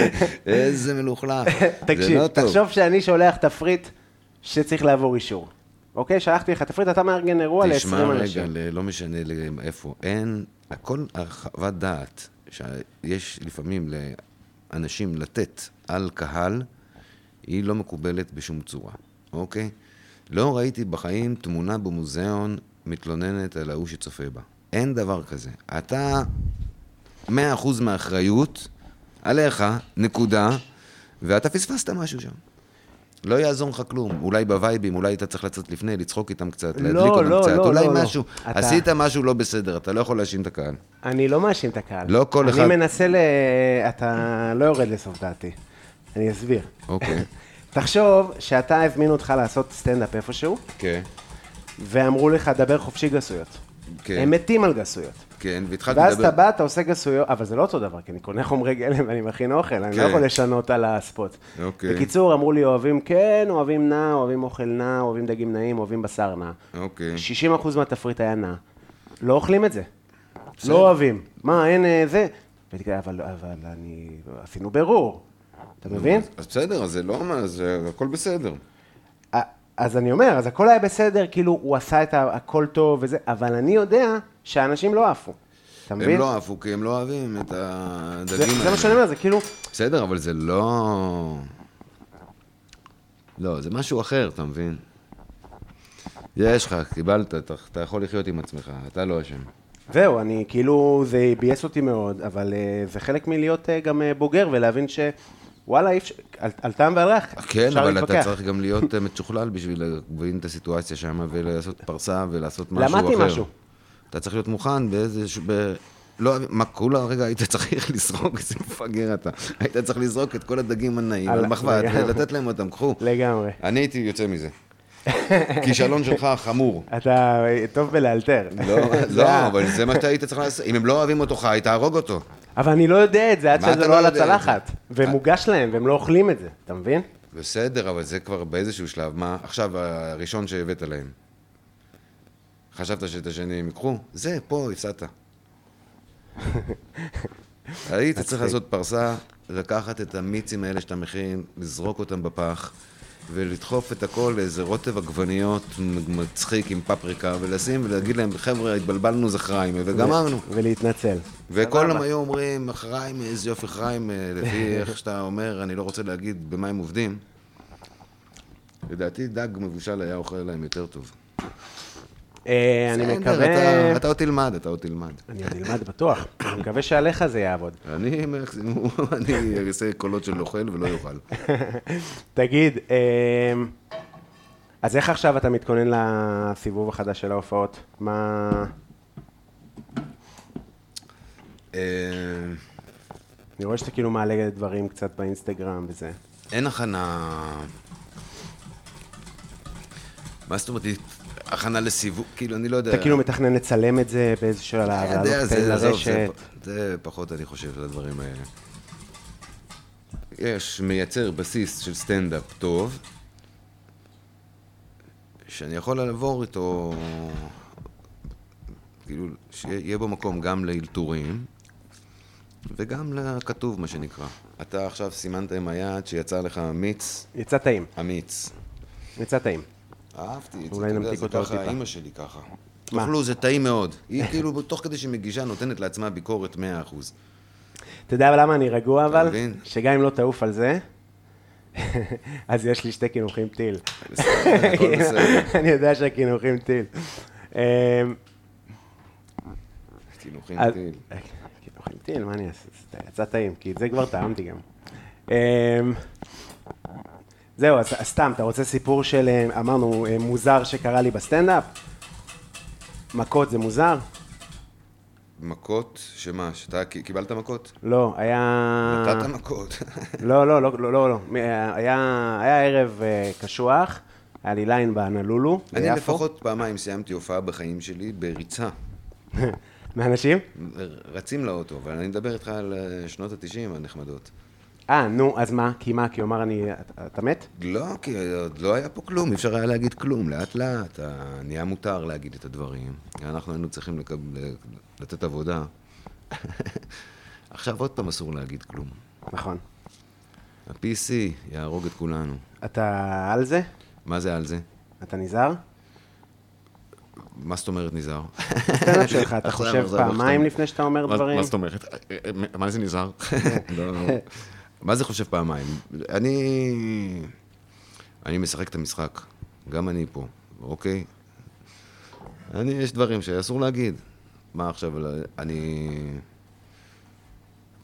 Speaker 2: איזה מלוכלך. זה
Speaker 3: תקשיב,
Speaker 2: לא טוב.
Speaker 3: תחשוב שאני שולח תפריט שצריך לעבור אישור. אוקיי, שלחתי לך תפריט, אתה מארגן אירוע ל-20
Speaker 2: תשמע רגע,
Speaker 3: אנשים.
Speaker 2: ל- לא משנה ל- איפה, אין, הכל הרחבת דעת שיש לפעמים לאנשים לתת על קהל, היא לא מקובלת בשום צורה, אוקיי? לא ראיתי בחיים תמונה במוזיאון מתלוננת על ההוא שצופה בה. אין דבר כזה. אתה 100% מהאחריות עליך, נקודה, ואתה פספסת משהו שם. לא יעזור לך כלום, אולי בווייבים, אולי אתה צריך לצאת לפני, לצחוק איתם קצת,
Speaker 3: לא,
Speaker 2: להדליק אותם
Speaker 3: לא,
Speaker 2: קצת,
Speaker 3: לא,
Speaker 2: אולי
Speaker 3: לא, לא.
Speaker 2: משהו.
Speaker 3: אתה-
Speaker 2: עשית משהו לא בסדר, אתה לא יכול להאשים את הקהל.
Speaker 3: אני לא מאשים את הקהל.
Speaker 2: לא כל אחד-
Speaker 3: אני מנסה ל... אתה לא יורד לסוף דעתי. אני אסביר.
Speaker 2: אוקיי,
Speaker 3: תחשוב שאתה הזמינו אותך לעשות סטנדאפ איפשהו,
Speaker 2: כן,
Speaker 3: ואמרו לך, דבר חופשי גסויות.
Speaker 2: כן.
Speaker 3: הם מתים על גסויות.
Speaker 2: כן, והתחלתי
Speaker 3: ואז אתה
Speaker 2: לדבר.
Speaker 3: בא, אתה עושה גסויות, אבל זה לא אותו דבר, כי אני קונה חומרי גלם ואני מכין אוכל, אני לא
Speaker 2: כן.
Speaker 3: יכול לשנות על הספוט.
Speaker 2: אוקיי.
Speaker 3: בקיצור, אמרו לי, אוהבים כן, אוהבים נע, אוהבים אוכל נע, אוהבים דגים נעים, אוהבים בשר נע.
Speaker 2: אוקיי.
Speaker 3: 60% מהתפריט היה נע. לא אוכלים את זה. לא אוהבים. מה, אין אה, זה? והייתי כזה, אבל, אבל אני... עשינו בירור. אתה מבין?
Speaker 2: אז בסדר, אז זה לא מה, זה הכל בסדר.
Speaker 3: א- אז אני אומר, אז הכל היה בסדר, כאילו, הוא עשה את ה- הכל טוב וזה, אבל אני יודע שהאנשים לא עפו. אתה מבין?
Speaker 2: הם לא עפו כי הם לא אוהבים את הדגים
Speaker 3: זה, זה מה שאני אומר, זה כאילו,
Speaker 2: בסדר, אבל זה לא... לא, זה משהו אחר, אתה מבין? יש לך, קיבלת, אתה, אתה יכול לחיות עם עצמך, אתה לא אשם.
Speaker 3: זהו, אני כאילו, זה ביאס אותי מאוד, אבל אה, זה חלק מלהיות אה, גם אה, בוגר ולהבין ש... וואלה, אי אפשר, על, על טעם ועל ריח,
Speaker 2: כן,
Speaker 3: אפשר
Speaker 2: אבל אתה
Speaker 3: להתווכח.
Speaker 2: צריך גם להיות אה, מצ'וכלל בשביל להבין את הסיטואציה שם ולעשות פרסה ולעשות משהו אחר.
Speaker 3: למדתי משהו.
Speaker 2: אתה צריך להיות מוכן באיזה... ש- ב... לא, מה, כולה רגע היית צריך לזרוק, איזה מפגר אתה. היית צריך לזרוק את כל הדגים הנעים
Speaker 3: על-
Speaker 2: על מחבת
Speaker 3: לגמרי.
Speaker 2: ולתת להם אותם, קחו.
Speaker 3: לגמרי.
Speaker 2: אני הייתי יוצא מזה. כישלון שלך חמור.
Speaker 3: אתה אה, טוב בלאלתר.
Speaker 2: לא,
Speaker 3: זה
Speaker 2: לא,
Speaker 3: ה-
Speaker 2: אבל זה מה שהיית צריך לעשות. אם הם לא אוהבים אותו חי, תהרוג אותו.
Speaker 3: אבל אני לא יודע את זה עד
Speaker 2: מה אתה
Speaker 3: שזה
Speaker 2: לא
Speaker 3: לא על
Speaker 2: יודע את
Speaker 3: הצלחת.
Speaker 2: זה?
Speaker 3: ומוגש להם, והם לא אוכלים את זה, אתה מבין?
Speaker 2: בסדר, אבל זה כבר באיזשהו שלב. מה, עכשיו הראשון שהבאת להם. חשבת שאת השני הם ייקחו? זה, פה הפסדת. היית צריך לעשות פרסה, לקחת את המיצים האלה שאתה מכין, לזרוק אותם בפח, ולדחוף את הכל לאיזה רוטב עגבניות מצחיק עם פפריקה, ולשים ולהגיד להם, חבר'ה, התבלבלנו זה חריימה, וגמרנו.
Speaker 3: ולהתנצל.
Speaker 2: וכל הם היו אומרים, חריימה, איזה יופי חריימה, לפי איך שאתה אומר, אני לא רוצה להגיד במה הם עובדים. לדעתי דג מבושל היה אוכל להם יותר טוב.
Speaker 3: אה, אני
Speaker 2: בסדר,
Speaker 3: מקווה...
Speaker 2: אתה- אתה עוד תלמד, אתה עוד תלמד.
Speaker 3: אני עוד אלמד בטוח. אני מקווה שעליך זה יעבוד.
Speaker 2: אני מקסימום, אני אעשה קולות של אוכל ולא יאכל.
Speaker 3: תגיד, אמ, אז איך עכשיו אתה מתכונן לסיבוב החדש של ההופעות? מה...
Speaker 2: אה,
Speaker 3: אני רואה שאתה כאילו מעלה דברים קצת באינסטגרם וזה.
Speaker 2: אין הכנה... מה זאת אומרת, הכנה לסיבוב? כאילו, אני לא יודע.
Speaker 3: אתה כאילו מתכנן לצלם את זה באיזשהו שלב,
Speaker 2: אני
Speaker 3: לעלות
Speaker 2: יודע,
Speaker 3: את זה
Speaker 2: זה- עזוב, זה
Speaker 3: לרשת.
Speaker 2: פ- זה פחות, אני חושב, לדברים האלה. יש, מייצר בסיס של סטנדאפ טוב, שאני יכול לעבור איתו, כאילו, שיהיה בו מקום גם לאלתורים, וגם לכתוב, מה שנקרא. אתה עכשיו סימנת עם היד שיצא לך מיץ,
Speaker 3: יצא טעים,
Speaker 2: אמיץ.
Speaker 3: יצא טעים.
Speaker 2: אהבתי את זה,
Speaker 3: אולי
Speaker 2: אתה יודע,
Speaker 3: נמתיק
Speaker 2: זה
Speaker 3: אותה עוד
Speaker 2: ככה,
Speaker 3: טיפה.
Speaker 2: אימא שלי ככה. תאכלו, זה טעים מאוד. היא כאילו, תוך כדי שהיא מגישה, נותנת לעצמה ביקורת 100%.
Speaker 3: אתה יודע למה אני רגוע אבל?
Speaker 2: מבין?
Speaker 3: שגם אם לא תעוף על זה, אז יש לי שתי קינוחים טיל.
Speaker 2: בסדר, הכל בסדר.
Speaker 3: אני יודע שהקינוחים טיל. אמ,
Speaker 2: קינוחים
Speaker 3: אז-
Speaker 2: טיל.
Speaker 3: כן, אוכלים טיל, מה אני אעשה? זה יצא טעים, כי את זה כבר טעמתי גם. אמ, זהו, אז אז סתם, אתה רוצה סיפור של, אמ, אמרנו, אמ, מוזר שקרה לי בסטנדאפ? מכות זה מוזר?
Speaker 2: מכות, שמה, שאתה כי- קיבלת מכות?
Speaker 3: לא, היה...
Speaker 2: נתת מכות.
Speaker 3: לא, לא, לא, לא, לא, לא. מ- היה, היה ערב אה, קשוח, היה לי ליין בהנלולו,
Speaker 2: אני
Speaker 3: ביפו.
Speaker 2: לפחות פעמיים סיימתי הופעה בחיים שלי בריצה.
Speaker 3: מאנשים?
Speaker 2: רצים לאוטו, אבל אני מדבר איתך על אה, שנות התשעים הנחמדות.
Speaker 3: אה, נו, אז מה? כי מה? כי הוא אמר אני... אתה- אתה מת?
Speaker 2: לא, כי עוד לא היה פה כלום, אי אפשר היה להגיד כלום. לאט לאט אה, נהיה מותר להגיד את הדברים. אנחנו היינו צריכים לקב... ל- לתת עבודה. עכשיו עוד פעם אסור להגיד כלום.
Speaker 3: נכון.
Speaker 2: ה-PC יהרוג את כולנו.
Speaker 3: אתה על זה?
Speaker 2: מה זה על זה?
Speaker 3: אתה נזהר?
Speaker 2: מה זאת אומרת נזהר?
Speaker 3: בסטנדאפ שלך, אתה
Speaker 2: עכשיו,
Speaker 3: חושב
Speaker 2: עכשיו,
Speaker 3: פעמיים
Speaker 2: עכשיו.
Speaker 3: לפני שאתה אומר
Speaker 2: מה-
Speaker 3: דברים?
Speaker 2: מה זאת אומרת? אה, אה, מה זה נזהר? לא, לא. מה זה חושב פעמיים? אני... אני משחק את המשחק. גם אני פה, אוקיי? אני, יש דברים שאסור להגיד. מה עכשיו, לא- אני...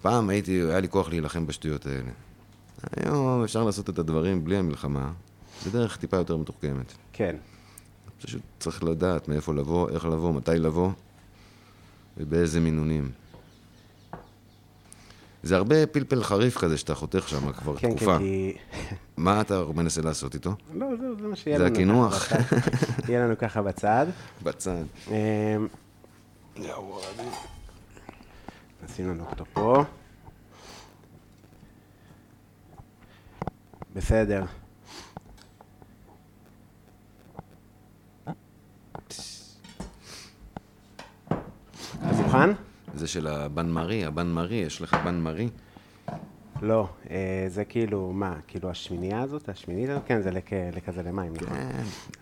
Speaker 2: פעם הייתי, היה לי כוח להילחם בשטויות האלה. היום אפשר לעשות את הדברים בלי המלחמה, בדרך טיפה יותר מתוחכמת.
Speaker 3: כן.
Speaker 2: פשוט צריך לדעת מאיפה לבוא, איך לבוא, מתי לבוא ובאיזה מינונים. זה הרבה פלפל חריף כזה שאתה חותך שם כבר
Speaker 3: כן,
Speaker 2: תקופה.
Speaker 3: כן, כי...
Speaker 2: מה אתה מנסה לעשות איתו?
Speaker 3: לא, זהו, זה מה שיהיה
Speaker 2: זה
Speaker 3: לנו. ככה
Speaker 2: הקינוח.
Speaker 3: בצד. יהיה לנו ככה בצד.
Speaker 2: בצד.
Speaker 3: אמ, נשים לנו אותו פה. בסדר. אתה מוכן?
Speaker 2: זה של הבן מרי, הבן מרי, יש לך בן מרי?
Speaker 3: לא, אה, זה כאילו, מה, כאילו השמינייה הזאת, השמינית הזאת, כן, זה לכ- לכזה למים, נכון?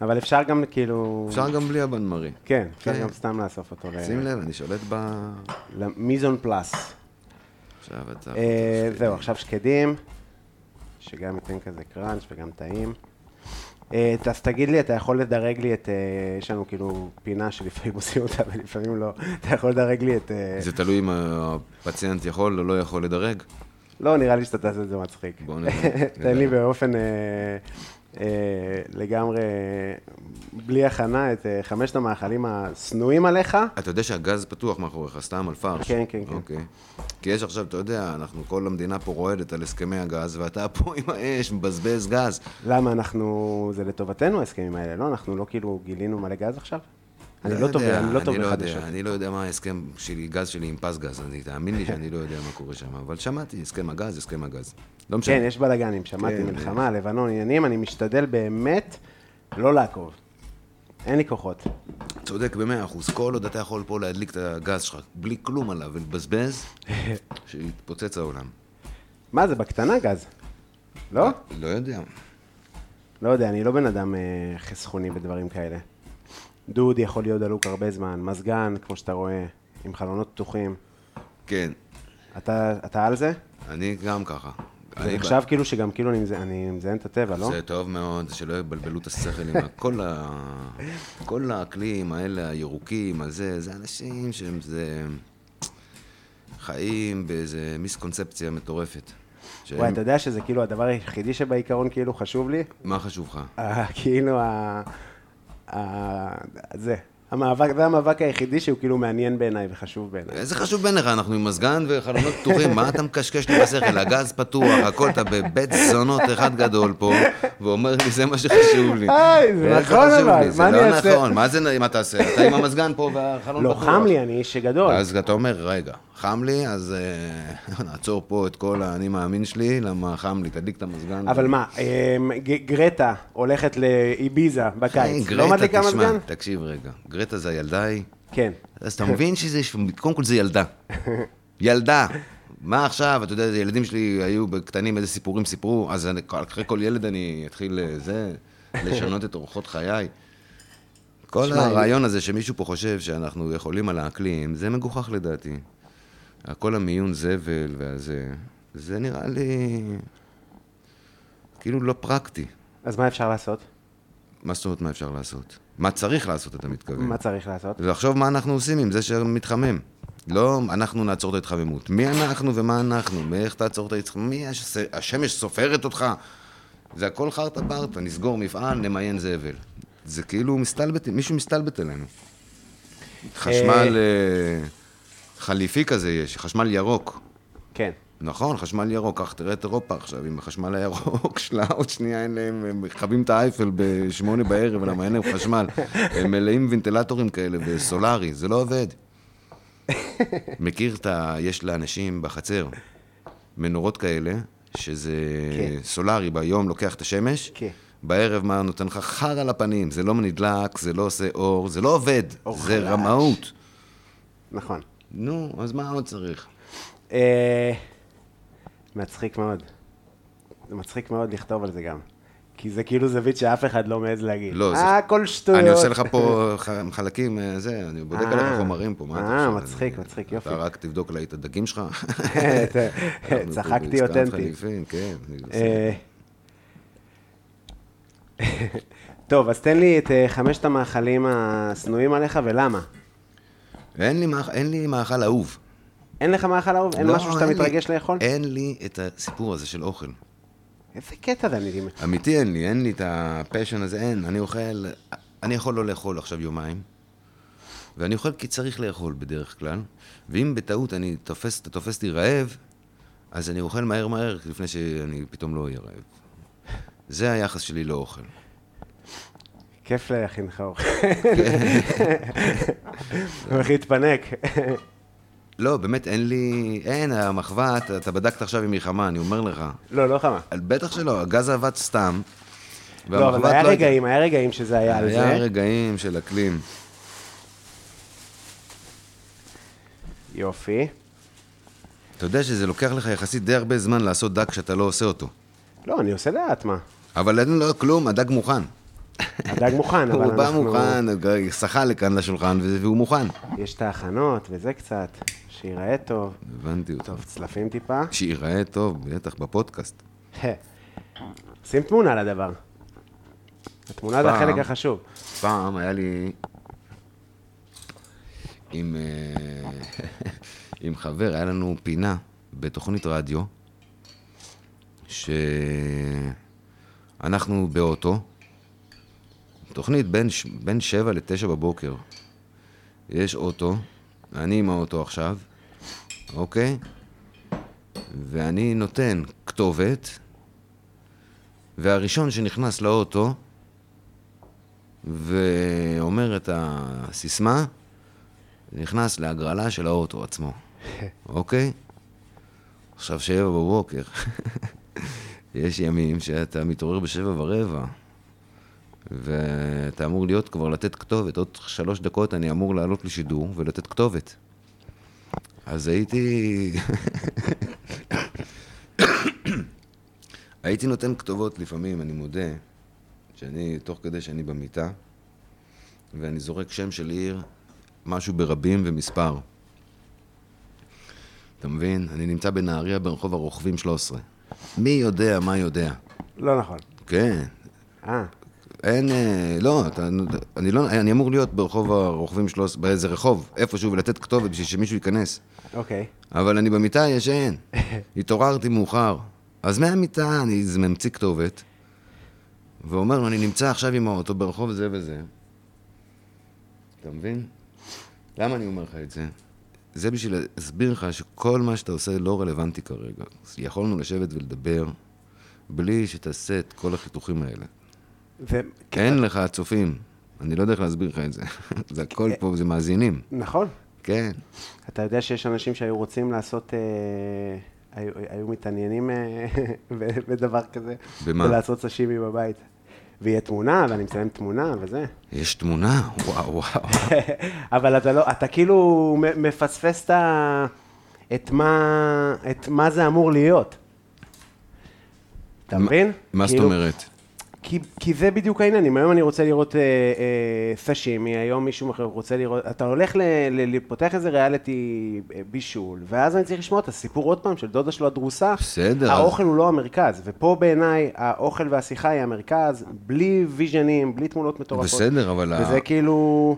Speaker 3: אבל אפשר גם כאילו...
Speaker 2: כן. אפשר גם בלי הבן מרי.
Speaker 3: כן, אפשר
Speaker 2: כן.
Speaker 3: גם סתם לאסוף אותו. ל-
Speaker 2: שים לב, אני שולט ב...
Speaker 3: למיזון פלאס.
Speaker 2: עכשיו אתה...
Speaker 3: אה, זהו, עכשיו שקדים, שגם ייתן כזה קראנץ' וגם טעים. אה, אז תגיד לי, אתה יכול לדרג לי את... אה, יש לנו כאילו פינה שלפעמים עושים אותה ולפעמים לא. אתה יכול לדרג לי את... אה,
Speaker 2: זה תלוי אם הפציינט יכול או לא יכול לדרג.
Speaker 3: לא, נראה לי שאתה תעשה את זה מצחיק.
Speaker 2: בוא נראה.
Speaker 3: תן לי באופן אה, אה, לגמרי, בלי הכנה, את אה, חמשת המאכלים השנואים עליך.
Speaker 2: אתה יודע שהגז פתוח מאחוריך, סתם על פרש.
Speaker 3: כן, כן, כן.
Speaker 2: אוקיי. כי יש עכשיו, אתה יודע, אנחנו, כל המדינה פה רועדת על הסכמי הגז, ואתה פה עם האש, מבזבז גז.
Speaker 3: למה אנחנו, זה לטובתנו ההסכמים האלה, לא? אנחנו לא כאילו גילינו מלא גז עכשיו? אני לא טוב,
Speaker 2: יודע,
Speaker 3: אני לא טוב
Speaker 2: יודע,
Speaker 3: בחדשות.
Speaker 2: אני לא יודע מה ההסכם שלי, גז שלי עם פס גז, אני, תאמין לי שאני לא יודע מה קורה שם, אבל שמעתי, הסכם הגז, הסכם הגז. לא משנה.
Speaker 3: כן, יש בלאגנים, שמעתי
Speaker 2: כן,
Speaker 3: מלחמה, לבנון, עניינים, אני משתדל באמת לא לעקוב. אין לי כוחות.
Speaker 2: צודק במאה אחוז. כל עוד אתה יכול פה להדליק את הגז שלך בלי כלום עליו ולבזבז, שיתפוצץ העולם.
Speaker 3: מה זה, בקטנה גז? לא?
Speaker 2: לא יודע.
Speaker 3: לא יודע, אני לא בן אדם אה, חסכוני בדברים כאלה. דוד יכול להיות דלוק הרבה זמן, מזגן, כמו שאתה רואה, עם חלונות פתוחים.
Speaker 2: כן,
Speaker 3: אתה, אתה על זה?
Speaker 2: אני גם ככה.
Speaker 3: זה
Speaker 2: אני
Speaker 3: נחשב כאילו שגם כאילו אני, מזה- אני מזיין את הטבע, לא?
Speaker 2: זה טוב מאוד, שלא יבלבלו את השכל עם ה- כל ה... כל האקלים, האלה הירוקים, הזה, זה אנשים שהם זה... חיים באיזה מיסקונספציה מטורפת. שהם-
Speaker 3: וואי, אתה יודע שזה כאילו הדבר היחידי שבעיקרון כאילו חשוב לי?
Speaker 2: מה חשוב לך?
Speaker 3: ה- כאילו ה... ה... זה. המאבק, זה המאבק היחידי שהוא כאילו מעניין בעיניי וחשוב בעיניי.
Speaker 2: איזה חשוב בעיניך, אנחנו עם מזגן וחלונות פתוחים, מה אתה מקשקש לי בשכל? הגז פתוח, הכל, אתה בבית זונות אחד גדול פה, ואומר לי, זה מה שחשוב לי.
Speaker 3: היי, זה
Speaker 2: איזה
Speaker 3: נכון
Speaker 2: חשוב
Speaker 3: אבל,
Speaker 2: לי,
Speaker 3: מה אני
Speaker 2: זה
Speaker 3: אעשה?
Speaker 2: לא נכון, מה זה, מה תעשה? אתה עם המזגן פה והחלון
Speaker 3: לא,
Speaker 2: פתוח.
Speaker 3: חם לי, אני איש גדול.
Speaker 2: אז אתה אומר, רגע, חם לי, אז אה, נעצור פה את כל האני מאמין שלי, למה חם לי, תדליק את המזגן.
Speaker 3: אבל מה, אמ, ג- גרטה הולכת לאביזה
Speaker 2: היי,
Speaker 3: בקיץ,
Speaker 2: גרטה,
Speaker 3: לא מדליקה
Speaker 2: תשמע,
Speaker 3: מזגן?
Speaker 2: תקשיב רגע, גרטה זה הילדה היא.
Speaker 3: כן.
Speaker 2: אז אתה מבין שזה, קודם כל זה ילדה. ילדה. מה עכשיו, אתה יודע, הילדים שלי היו בקטנים, איזה סיפורים סיפרו, אז אני, אחרי כל ילד אני אתחיל אה, זה, לשנות את אורחות חיי. כל
Speaker 3: שמע,
Speaker 2: הרעיון הזה שמישהו פה חושב שאנחנו יכולים על האקלים, זה מגוחך לדעתי. כל המיון זבל והזה, זה נראה לי כאילו לא פרקטי.
Speaker 3: אז מה אפשר לעשות?
Speaker 2: אוקיי. מה זאת אומרת, מה אפשר לעשות? מה צריך לעשות, אתה מתכוון?
Speaker 3: מה צריך לעשות?
Speaker 2: ולחשוב מה אנחנו עושים עם זה שמתחמם. לא אנחנו נעצור את ההתחממות. מי אנחנו ומה אנחנו? מאיך תעצור את ההתחממות? מי הש... השמש סופרת אותך? זה הכל חרטה ברטה, נסגור מפעל, נמיין זבל. זה כאילו מסתלבט, מישהו מסתלבט עלינו. חשמל אה, חליפי כזה יש, חשמל ירוק.
Speaker 3: כן.
Speaker 2: נכון, חשמל ירוק, קח תראה את אירופה עכשיו, עם החשמל הירוק שלה, עוד שנייה אין להם, הם מכבים את האייפל בשמונה בערב, למה אין להם חשמל. הם מלאים ונטילטורים כאלה וסולארי, זה לא עובד. מכיר את ה... יש לאנשים בחצר מנורות כאלה, שזה
Speaker 3: כן.
Speaker 2: סולארי, ביום לוקח את השמש,
Speaker 3: כן.
Speaker 2: בערב מה נותן לך חר על הפנים, זה לא נדלק, זה לא עושה אור, זה לא עובד,
Speaker 3: אור
Speaker 2: זה
Speaker 3: חלש.
Speaker 2: רמאות.
Speaker 3: נכון.
Speaker 2: נו, אז מה עוד צריך?
Speaker 3: אה, מצחיק מאוד. זה מצחיק מאוד לכתוב על זה גם. כי זה כאילו זווית שאף אחד לא מעז להגיד.
Speaker 2: לא,
Speaker 3: אה, הכל שטויות.
Speaker 2: אני עושה לך פה ח- חלקים, אה, זה, אני בודק
Speaker 3: אה.
Speaker 2: עליך חומרים פה, מה אתה
Speaker 3: אה,
Speaker 2: חושב?
Speaker 3: מצחיק,
Speaker 2: אני-
Speaker 3: מצחיק, יופי.
Speaker 2: אתה רק תבדוק לי את הדגים שלך. אנחנו פה
Speaker 3: אה, צחקתי
Speaker 2: בעסקת
Speaker 3: אותנטי.
Speaker 2: חליפין, כן. אני עושה-
Speaker 3: אה, טוב, אז תן לי את אה, חמשת המאכלים השנואים עליך ולמה.
Speaker 2: אין לי מאכ- אין לי מאכל אהוב.
Speaker 3: אין לך מאכל אהוב? אין
Speaker 2: לא,
Speaker 3: משהו שאתה
Speaker 2: אין לי-
Speaker 3: מתרגש לאכול?
Speaker 2: אין לי את הסיפור הזה של אוכל.
Speaker 3: איזה קטע זה, אני...
Speaker 2: אמיתי אין לי, אין לי את הפשן הזה, אין. אני אוכל, אני יכול לא לאכול עכשיו יומיים, ואני אוכל כי צריך לאכול בדרך כלל, ואם בטעות אני תופס, אתה תופס אותי רעב, אז אני אוכל מהר מהר לפני שאני פתאום לא אהיה רעב. זה היחס שלי לאוכל.
Speaker 3: כיף להכין לך אוכל. הוא הכי התפנק.
Speaker 2: לא, באמת, אין לי... אין, המחווה, אתה, אתה בדקת עכשיו עם מלחמה, אני אומר לך.
Speaker 3: לא, לא חמה.
Speaker 2: על- בטח שלא, הגז עבד סתם.
Speaker 3: לא, אבל
Speaker 2: והמחבת
Speaker 3: היה
Speaker 2: הייתה-
Speaker 3: רגעים, היה רגעים שזה היה על
Speaker 2: היה
Speaker 3: זה.
Speaker 2: רגעים של אקלים.
Speaker 3: יופי.
Speaker 2: אתה יודע שזה לוקח לך יחסית די הרבה זמן לעשות דק כשאתה לא עושה אותו.
Speaker 3: לא, אני עושה לאט, מה?
Speaker 2: אבל אין לו כלום, הדג מוכן.
Speaker 3: הדג מוכן, כן, אבל
Speaker 2: הוא בא
Speaker 3: אנחנו...
Speaker 2: מוכן, הוא שחה לכאן לשולחן, וזה- והוא מוכן.
Speaker 3: יש את ההכנות וזה קצת, שייראה טוב.
Speaker 2: הבנתי אותו.
Speaker 3: טוב, צלפים טיפה.
Speaker 2: שייראה טוב, בטח בפודקאסט.
Speaker 3: שים תמונה לדבר. התמונה זה
Speaker 2: פעם.
Speaker 3: החלק החשוב.
Speaker 2: פעם היה לי עם, אה, עם חבר, היה לנו פינה בתוכנית רדיו, שאנחנו באוטו, תוכנית בין, ש- בין שבע לתשע בבוקר. יש אוטו, אני עם האוטו עכשיו, אוקיי? ואני נותן כתובת, והראשון שנכנס לאוטו, ואומר את הסיסמה, נכנס להגרלה של האוטו עצמו, אוקיי? עכשיו שבע בבוקר. יש ימים שאתה מתעורר בשבע ורבע, ואתה אמור להיות כבר לתת כתובת. עוד שלוש דקות אני אמור לעלות לשידור ולתת כתובת. אז הייתי... הייתי נותן כתובות לפעמים, אני מודה, שאני, תוך כדי שאני במיטה, ואני זורק שם של עיר, משהו ברבים ומספר. אתה מבין? אני נמצא בנהריה ברחוב הרוכבים 13. מי יודע מה יודע?
Speaker 3: לא נכון.
Speaker 2: כן,
Speaker 3: אה,
Speaker 2: אין, אה, לא, אתה, אני לא, אני אמור להיות ברחוב הרוכבים 13, באיזה רחוב, איפשהו, ולתת כתובת בשביל שמישהו ייכנס.
Speaker 3: אוקיי.
Speaker 2: אבל אני במיטה ישן. התעוררתי מאוחר. אז מהמיטה אני ז- ממציא כתובת, ואומר לו, אני נמצא עכשיו עם האוטו ברחוב זה וזה. אתה מבין? למה אני אומר לך את זה? זה בשביל להסביר לך שכל מה שאתה עושה לא רלוונטי כרגע. יכולנו לשבת ולדבר בלי שתעשה את כל החיתוכים האלה.
Speaker 3: זה...
Speaker 2: אין לך צופים. אני לא יודע איך להסביר לך את זה. זה הכל פה, זה מאזינים.
Speaker 3: נכון.
Speaker 2: כן.
Speaker 3: אתה יודע שיש אנשים שהיו רוצים לעשות, אה, היו, היו מתעניינים אה, ב- בדבר כזה.
Speaker 2: במה?
Speaker 3: ולעשות סשימי בבית. ויהיה תמונה, ואני מצלם תמונה וזה.
Speaker 2: יש תמונה? וואו, וואו.
Speaker 3: אבל אתה לא, אתה כאילו מ- מפספס את ה... את מה, את מה זה אמור להיות. אתה
Speaker 2: מה-
Speaker 3: מבין?
Speaker 2: מה זאת
Speaker 3: כאילו,
Speaker 2: אומרת?
Speaker 3: כי, כי זה בדיוק העניינים, היום אני רוצה לראות אה, אה, סשימי, היום מישהו אחר רוצה לראות, אתה הולך ל, ל, לפותח איזה ריאליטי אה, בישול, ואז אני צריך לשמוע את הסיפור עוד פעם של דודה שלו הדרוסה.
Speaker 2: בסדר, אז-
Speaker 3: האוכל הוא לא המרכז, ופה בעיניי האוכל והשיחה היא המרכז, בלי ויז'נים, בלי תמונות מטורפות.
Speaker 2: בסדר, אבל ה-
Speaker 3: וזה כאילו,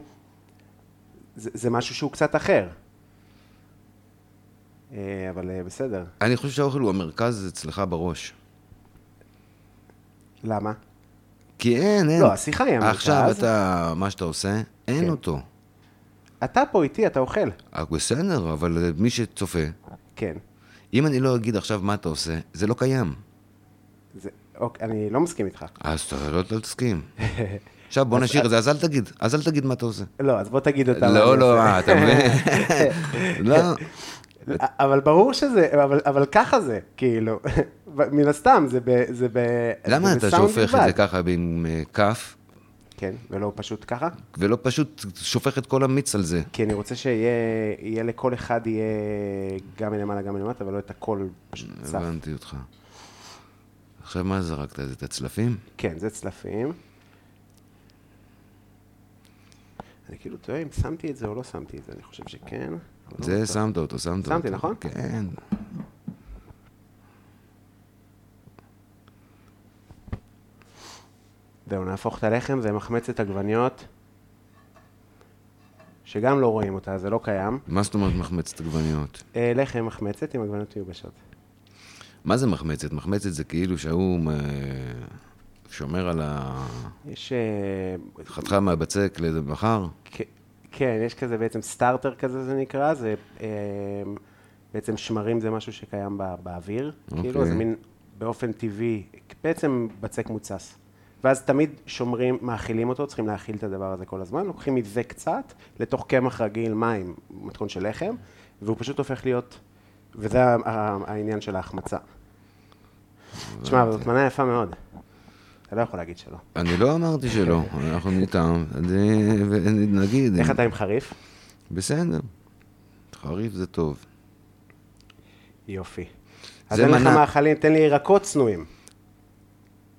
Speaker 3: זה, זה משהו שהוא קצת אחר. אה, אבל אה, בסדר,
Speaker 2: אני חושב שהאוכל הוא המרכז אצלך בראש.
Speaker 3: למה?
Speaker 2: כי אין, אין.
Speaker 3: לא, השיחה היא המרכז.
Speaker 2: עכשיו אתה, מה שאתה עושה, אין
Speaker 3: כן.
Speaker 2: אותו.
Speaker 3: אתה פה איתי, אתה אוכל.
Speaker 2: אה, בסדר, אבל מי שצופה,
Speaker 3: כן.
Speaker 2: אם אני לא אגיד עכשיו מה אתה עושה, זה לא קיים.
Speaker 3: זה, אוקיי, אני לא מסכים איתך.
Speaker 2: אז אתה לא לא תסכים. עכשיו בוא נשאיר את זה, אז אל תגיד, אז אל תגיד מה אתה עושה.
Speaker 3: לא, אז בוא תגיד אותה. מה
Speaker 2: לא,
Speaker 3: אני
Speaker 2: לא,
Speaker 3: עושה. כן.
Speaker 2: אה, אתה מבין? לא,
Speaker 3: אבל ברור שזה, אבל, אבל ככה זה, כאילו. מן הסתם, זה ב... זה ב
Speaker 2: למה
Speaker 3: זה
Speaker 2: אתה
Speaker 3: בסאונד
Speaker 2: שופך את
Speaker 3: בלבד.
Speaker 2: זה ככה עם אה, כף,
Speaker 3: כן, ולא פשוט ככה?
Speaker 2: ולא פשוט שופך את כל המיץ על זה?
Speaker 3: כי אני רוצה שיהיה יהיה לכל אחד יהיה גם מלמעלה, גם מלמטה, ולא את הכל פשוט צף.
Speaker 2: הבנתי אותך. עכשיו מה זרקת? זה את הצלפים?
Speaker 3: כן, זה צלפים. אני כאילו תוהה אם שמתי את זה או לא שמתי את זה, אני חושב שכן. אבל לא
Speaker 2: זה
Speaker 3: בטוח.
Speaker 2: שמת אותו, שמת אותו.
Speaker 3: שמתי, נכון?
Speaker 2: כן.
Speaker 3: זהו, נהפוך את הלחם, זה מחמצת עגבניות, שגם לא רואים אותה, זה לא קיים.
Speaker 2: מה זאת אומרת מחמצת עגבניות?
Speaker 3: אה, לחם מחמצת עם עגבניות מיובשות.
Speaker 2: מה זה מחמצת? מחמצת זה כאילו שההוא אה, שומר על ה...
Speaker 3: יש... אה,
Speaker 2: חתיכה מהבצק למחר?
Speaker 3: כ- כן, יש כזה בעצם סטארטר כזה זה נקרא, זה אה, בעצם שמרים זה משהו שקיים בא- באוויר, כאילו
Speaker 2: אוקיי.
Speaker 3: זה מין באופן טבעי, בעצם בצק מוצס. ואז תמיד שומרים, מאכילים אותו, צריכים להאכיל את הדבר הזה כל הזמן, לוקחים מזה קצת לתוך קמח רגיל, מים, מתכון של לחם, והוא פשוט הופך להיות, וזה ה- ה- העניין של ההחמצה. תשמע, אבל זאת מנה יפה מאוד. אתה לא יכול להגיד שלא.
Speaker 2: אני לא אמרתי שלא, אנחנו איתם. אני- ונגיד...
Speaker 3: איך אתה עם חריף?
Speaker 2: בסדר. חריף זה טוב.
Speaker 3: יופי. אז
Speaker 2: זה
Speaker 3: אין לך
Speaker 2: מנה-
Speaker 3: מאכלים, תן לי ירקות צנועים.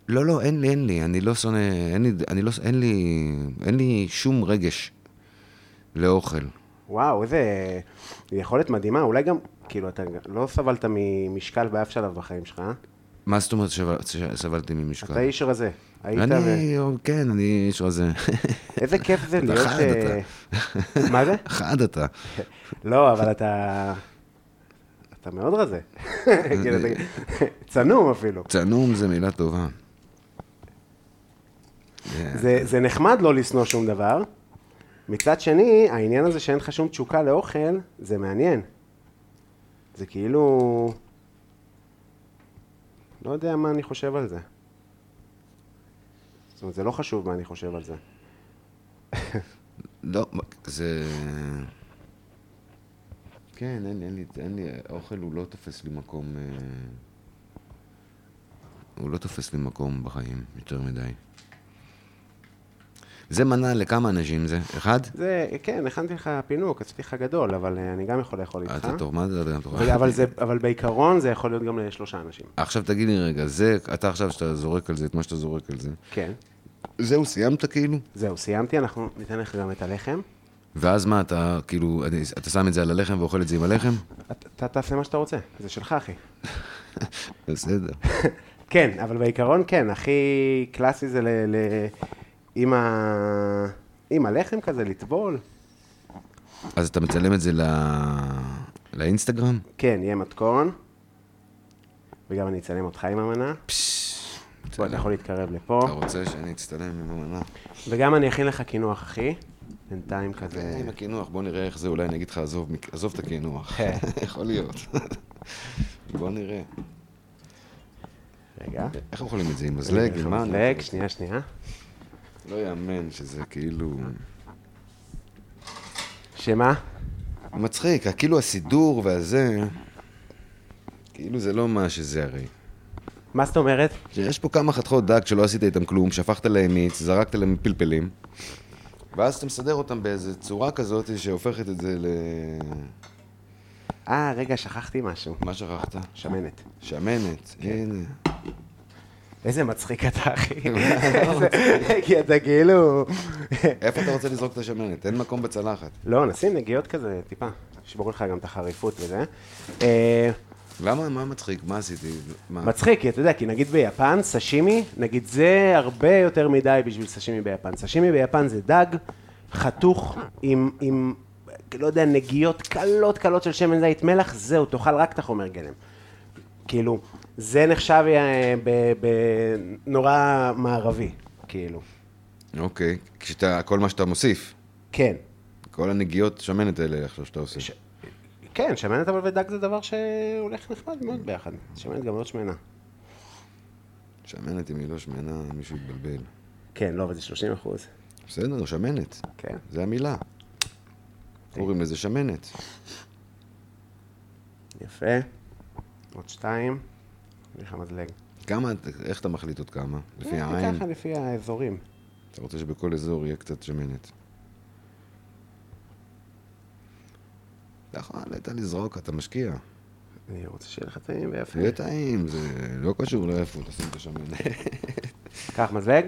Speaker 2: לא, לא, אין לי, אין לי, אני לא שונא, אין לי, אני לא, אין לי, אין לי שום רגש לאוכל.
Speaker 3: וואו, איזה יכולת מדהימה. אולי גם, כאילו, אתה לא סבלת ממשקל באף שלב בחיים שלך, אה?
Speaker 2: מה זאת אומרת שבל- שסבלתי ממשקל?
Speaker 3: אתה איש רזה. היית ו...
Speaker 2: כן. אני, כן, אני איש רזה.
Speaker 3: איזה כיף זה
Speaker 2: אתה
Speaker 3: להיות...
Speaker 2: חד,
Speaker 3: אה, מה זה?
Speaker 2: חד אתה.
Speaker 3: לא, אבל אתה... אתה מאוד רזה. כאילו, אתה- צנום אפילו.
Speaker 2: צנום זה מילה טובה. אה,
Speaker 3: זה, זה נחמד לא לשנוא שום דבר. מצד שני, העניין הזה שאין לך שום תשוקה לאוכל, זה מעניין. זה כאילו... לא יודע מה אני חושב על זה. זאת אומרת, זה לא חשוב מה אני חושב על זה.
Speaker 2: לא, זה... כן, אין, אין לי, אין לי, האוכל הוא לא תופס לי מקום... אה, הוא לא תופס לי מקום בחיים יותר מדי. זה מנה לכמה אנשים זה? אחד?
Speaker 3: זה, כן, הכנתי לך פינוק, עשיתי לך גדול, אבל אה, אני גם יכול לאכול איתך.
Speaker 2: אתה תורמת, אתה תורמת.
Speaker 3: ו- אבל, זה, אבל בעיקרון זה יכול להיות גם לשלושה אנשים.
Speaker 2: עכשיו תגיד לי רגע, זה, אתה עכשיו שאתה זורק על זה, את מה שאתה זורק על זה.
Speaker 3: כן.
Speaker 2: זהו, סיימת כאילו?
Speaker 3: זהו, סיימתי, אנחנו ניתן לך גם את הלחם.
Speaker 2: ואז מה, אתה כאילו, אתה שם את זה על הלחם ואוכל את זה עם הלחם?
Speaker 3: אתה- אתה תעשה מה שאתה רוצה, זה שלך, אחי.
Speaker 2: בסדר.
Speaker 3: כן, אבל בעיקרון כן, הכי קלאסי זה ל... ל... עם, ה... עם הלחם כזה, לטבול.
Speaker 2: אז אתה מצלם את זה ל... לאינסטגרם?
Speaker 3: כן, יהיה מתכון. וגם אני אצלם אותך עם המנה. בוא, אתה יכול להתקרב לפה.
Speaker 2: אתה רוצה שאני אצטלם עם המנה?
Speaker 3: וגם אני אכין לך קינוח, אחי. בינתיים
Speaker 2: זה
Speaker 3: כזה...
Speaker 2: אה, עם הקינוח, בוא נראה איך זה, אולי אני אגיד לך, עזוב, מק- עזוב את הקינוח. יכול להיות. בוא נראה.
Speaker 3: רגע.
Speaker 2: איך אוכלים את זה, עם מזלג? אה, עם מה?
Speaker 3: מזלג, שנייה, שנייה.
Speaker 2: לא יאמן שזה כאילו...
Speaker 3: שמה?
Speaker 2: מצחיק, כאילו הסידור והזה, כאילו זה לא מה שזה הרי.
Speaker 3: מה זאת אומרת?
Speaker 2: שיש פה כמה חתיכות דג שלא עשית איתם כלום, שפכת להם מיץ, זרקת להם פלפלים, ואז אתה מסדר אותם באיזו צורה כזאת שהופכת את זה ל...
Speaker 3: אה, רגע, שכחתי משהו.
Speaker 2: מה שכחת?
Speaker 3: שמנת.
Speaker 2: שמנת, הנה.
Speaker 3: איזה מצחיק אתה, אחי. איזה- כי אתה כאילו...
Speaker 2: איפה אתה רוצה לזרוק את השמנת? אין מקום בצלחת.
Speaker 3: לא, נשים נגיעות כזה, טיפה. ישבור לך גם את החריפות וזה. אה,
Speaker 2: למה? מה מצחיק? מה עשיתי? מה?
Speaker 3: מצחיק, כי אתה יודע, כי נגיד ביפן, סשימי, נגיד זה הרבה יותר מדי בשביל סשימי ביפן. סשימי ביפן זה דג חתוך עם, עם לא יודע, נגיעות קלות קלות של שמן זית מלח, זהו, תאכל רק את החומר גלם. כאילו, זה נחשב אה, ב- ב- נורא מערבי, כאילו.
Speaker 2: אוקיי, כשאתה, כל מה שאתה מוסיף,
Speaker 3: כן.
Speaker 2: כל הנגיעות שמנת האלה עכשיו שאתה עושה.
Speaker 3: ש- כן, שמנת אבל ודג זה דבר שהולך נחמד מאוד ביחד. שמנת גם מאוד שמנה.
Speaker 2: שמנת אם היא לא שמנה, מישהו יתבלבל.
Speaker 3: כן, לא, אבל זה 30 אחוז.
Speaker 2: בסדר, שמנת.
Speaker 3: כן.
Speaker 2: זה המילה. קוראים לזה שמנת.
Speaker 3: יפה. עוד שתיים. אני לך מזלג.
Speaker 2: כמה, איך אתה מחליט עוד כמה? לפי
Speaker 3: אה,
Speaker 2: העין?
Speaker 3: ככה לפי האזורים.
Speaker 2: אתה רוצה שבכל אזור יהיה קצת שמנת. אתה יכול, אתה לזרוק, אתה משקיע.
Speaker 3: אני רוצה שיהיה לך טעים ויפה.
Speaker 2: יהיה טעים, זה לא קשור לאיפה תשים את השמנת.
Speaker 3: קח מזלג?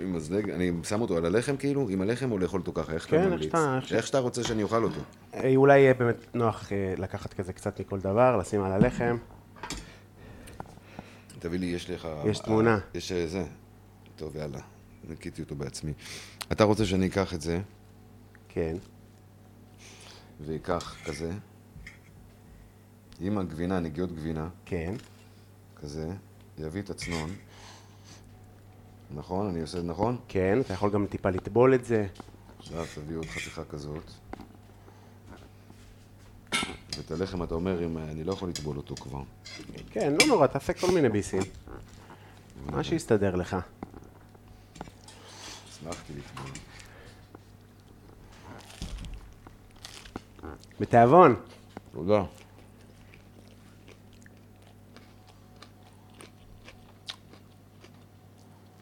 Speaker 2: עם מזלג, אני שם אותו על הלחם כאילו? עם הלחם או לאכול אותו ככה? איך אתה
Speaker 3: כן, איך
Speaker 2: ממליץ?
Speaker 3: שאתה- איך ש-
Speaker 2: איך שאתה רוצה שאני אוכל אותו.
Speaker 3: אה, אולי יהיה באמת נוח אה, לקחת כזה קצת מכל דבר, לשים על הלחם.
Speaker 2: תביא לי, יש לך...
Speaker 3: יש תמונה.
Speaker 2: יש אה, זה. טוב, יאללה. ניקיתי אותו בעצמי. אתה רוצה שאני אקח את זה,
Speaker 3: כן.
Speaker 2: ואקח כזה, עם הגבינה, נגיעות גבינה,
Speaker 3: כן.
Speaker 2: כזה, יביא את הצנון. נכון? אני עושה את זה נכון?
Speaker 3: כן, אתה יכול גם טיפה לטבול את זה.
Speaker 2: עכשיו תביא עוד חתיכה כזאת. ואת הלחם אתה אומר, אם אה, אני לא יכול לטבול אותו כבר.
Speaker 3: כן, לא נורא, תעשה כל מיני ביסים. מה שיסתדר לך.
Speaker 2: הצלחתי לטבול.
Speaker 3: בתיאבון.
Speaker 2: תודה.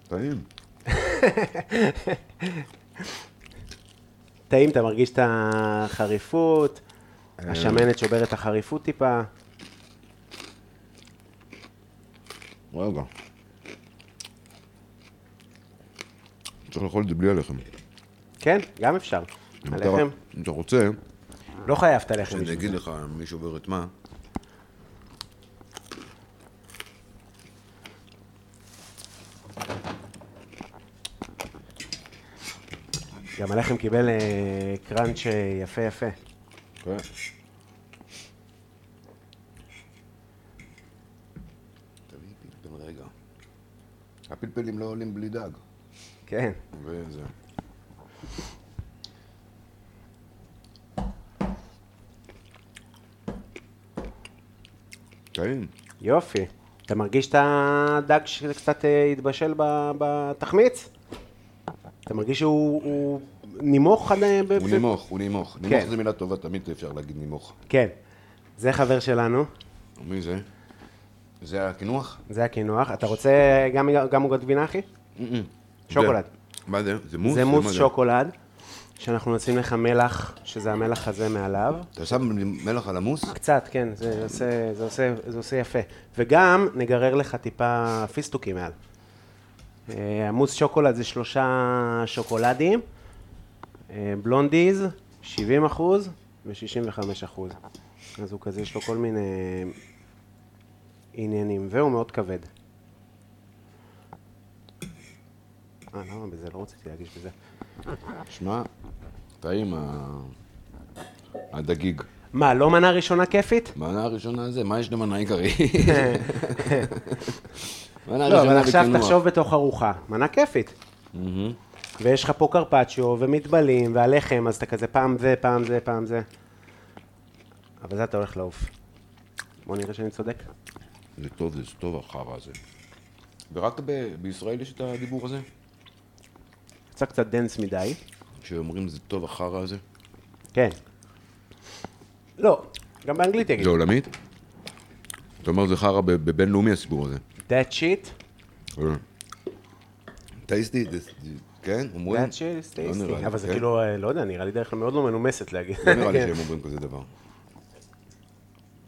Speaker 2: טעים.
Speaker 3: טעים, אתה מרגיש את החריפות,
Speaker 2: אה.
Speaker 3: השמנת שוברת את החריפות טיפה.
Speaker 2: רגע. צריך לאכול את זה בלי הלחם.
Speaker 3: כן, גם אפשר.
Speaker 2: אם אתה-
Speaker 3: הלחם,
Speaker 2: אם אתה רוצה,
Speaker 3: לא חייב את הלחם.
Speaker 2: שאני
Speaker 3: בשביל
Speaker 2: אגיד
Speaker 3: זה.
Speaker 2: לך מי שובר את מה.
Speaker 3: גם הלחם קיבל אה, קראנץ' אה, יפה יפה.
Speaker 2: כן. תביא פלפל רגע. הפלפלים לא עולים בלי דג.
Speaker 3: כן.
Speaker 2: וזה. טעים.
Speaker 3: יופי. אתה מרגיש את הדג שזה קצת אה, התבשל ב- בתחמיץ? אתה מרגיש שהוא הוא נימוך עד... אה, ב-
Speaker 2: הוא
Speaker 3: ב-
Speaker 2: נימוך, הוא נימוך. נימוך
Speaker 3: כן.
Speaker 2: זו מילה טובה, תמיד אפשר להגיד נימוך.
Speaker 3: כן. זה חבר שלנו,
Speaker 2: מי זה? זה הקינוח?
Speaker 3: זה הקינוח. אתה רוצה גם גם עוגות גבינה, אחי? שוקולד.
Speaker 2: זה. מה זה? זה מוס?
Speaker 3: זה
Speaker 2: מה
Speaker 3: מוס שוקולד, שאנחנו נשים לך מלח, שזה המלח הזה מעליו.
Speaker 2: אתה שם מלח על המוס?
Speaker 3: קצת, כן, זה עושה, זה, עושה, זה עושה יפה. וגם נגרר לך טיפה פיסטוקים מעל. אה, המוס שוקולד זה שלושה שוקולדים, אה, בלונדיז, 70 אחוז ו-65 אחוז. אז הוא כזה, יש לו כל מיני עניינים, והוא מאוד כבד. אה, למה בזה? לא רציתי להגיש בזה.
Speaker 2: שמע, טעים ה- הדגיג.
Speaker 3: מה, לא מנה ראשונה כיפית?
Speaker 2: מנה הראשונה זה, מה יש למנה עיקרי? מנה
Speaker 3: לא, אבל
Speaker 2: הראשונה
Speaker 3: עכשיו
Speaker 2: בקינוח.
Speaker 3: תחשוב בתוך ארוחה, מנה כיפית. ויש לך פה קרפצ'יו ומטבלים והלחם, אז אתה כזה פעם זה, פעם זה, פעם זה. אבל זה אתה הולך לעוף. בוא נראה שאני צודק.
Speaker 2: זה טוב, זה טוב החרא הזה. ורק ב- בישראל יש את הדיבור הזה?
Speaker 3: יצא קצת דנס מדי.
Speaker 2: שאומרים זה טוב החרא הזה?
Speaker 3: כן. לא, גם באנגלית
Speaker 2: זה
Speaker 3: יגידו.
Speaker 2: עולמית? אתה אומר זה חרא ב- בבינלאומי הסיפור הזה.
Speaker 3: That shit,
Speaker 2: אה. טייסטי, זה- כן,
Speaker 3: that
Speaker 2: אומרים?
Speaker 3: shit is
Speaker 2: לא נראה
Speaker 3: tasty.
Speaker 2: לי,
Speaker 3: אבל זה
Speaker 2: כן?
Speaker 3: כאילו, אה, לא יודע, נראה לי דרך מאוד לא מנומסת להגיד.
Speaker 2: לא נראה לי
Speaker 3: כן.
Speaker 2: שהם אומרים כזה דבר.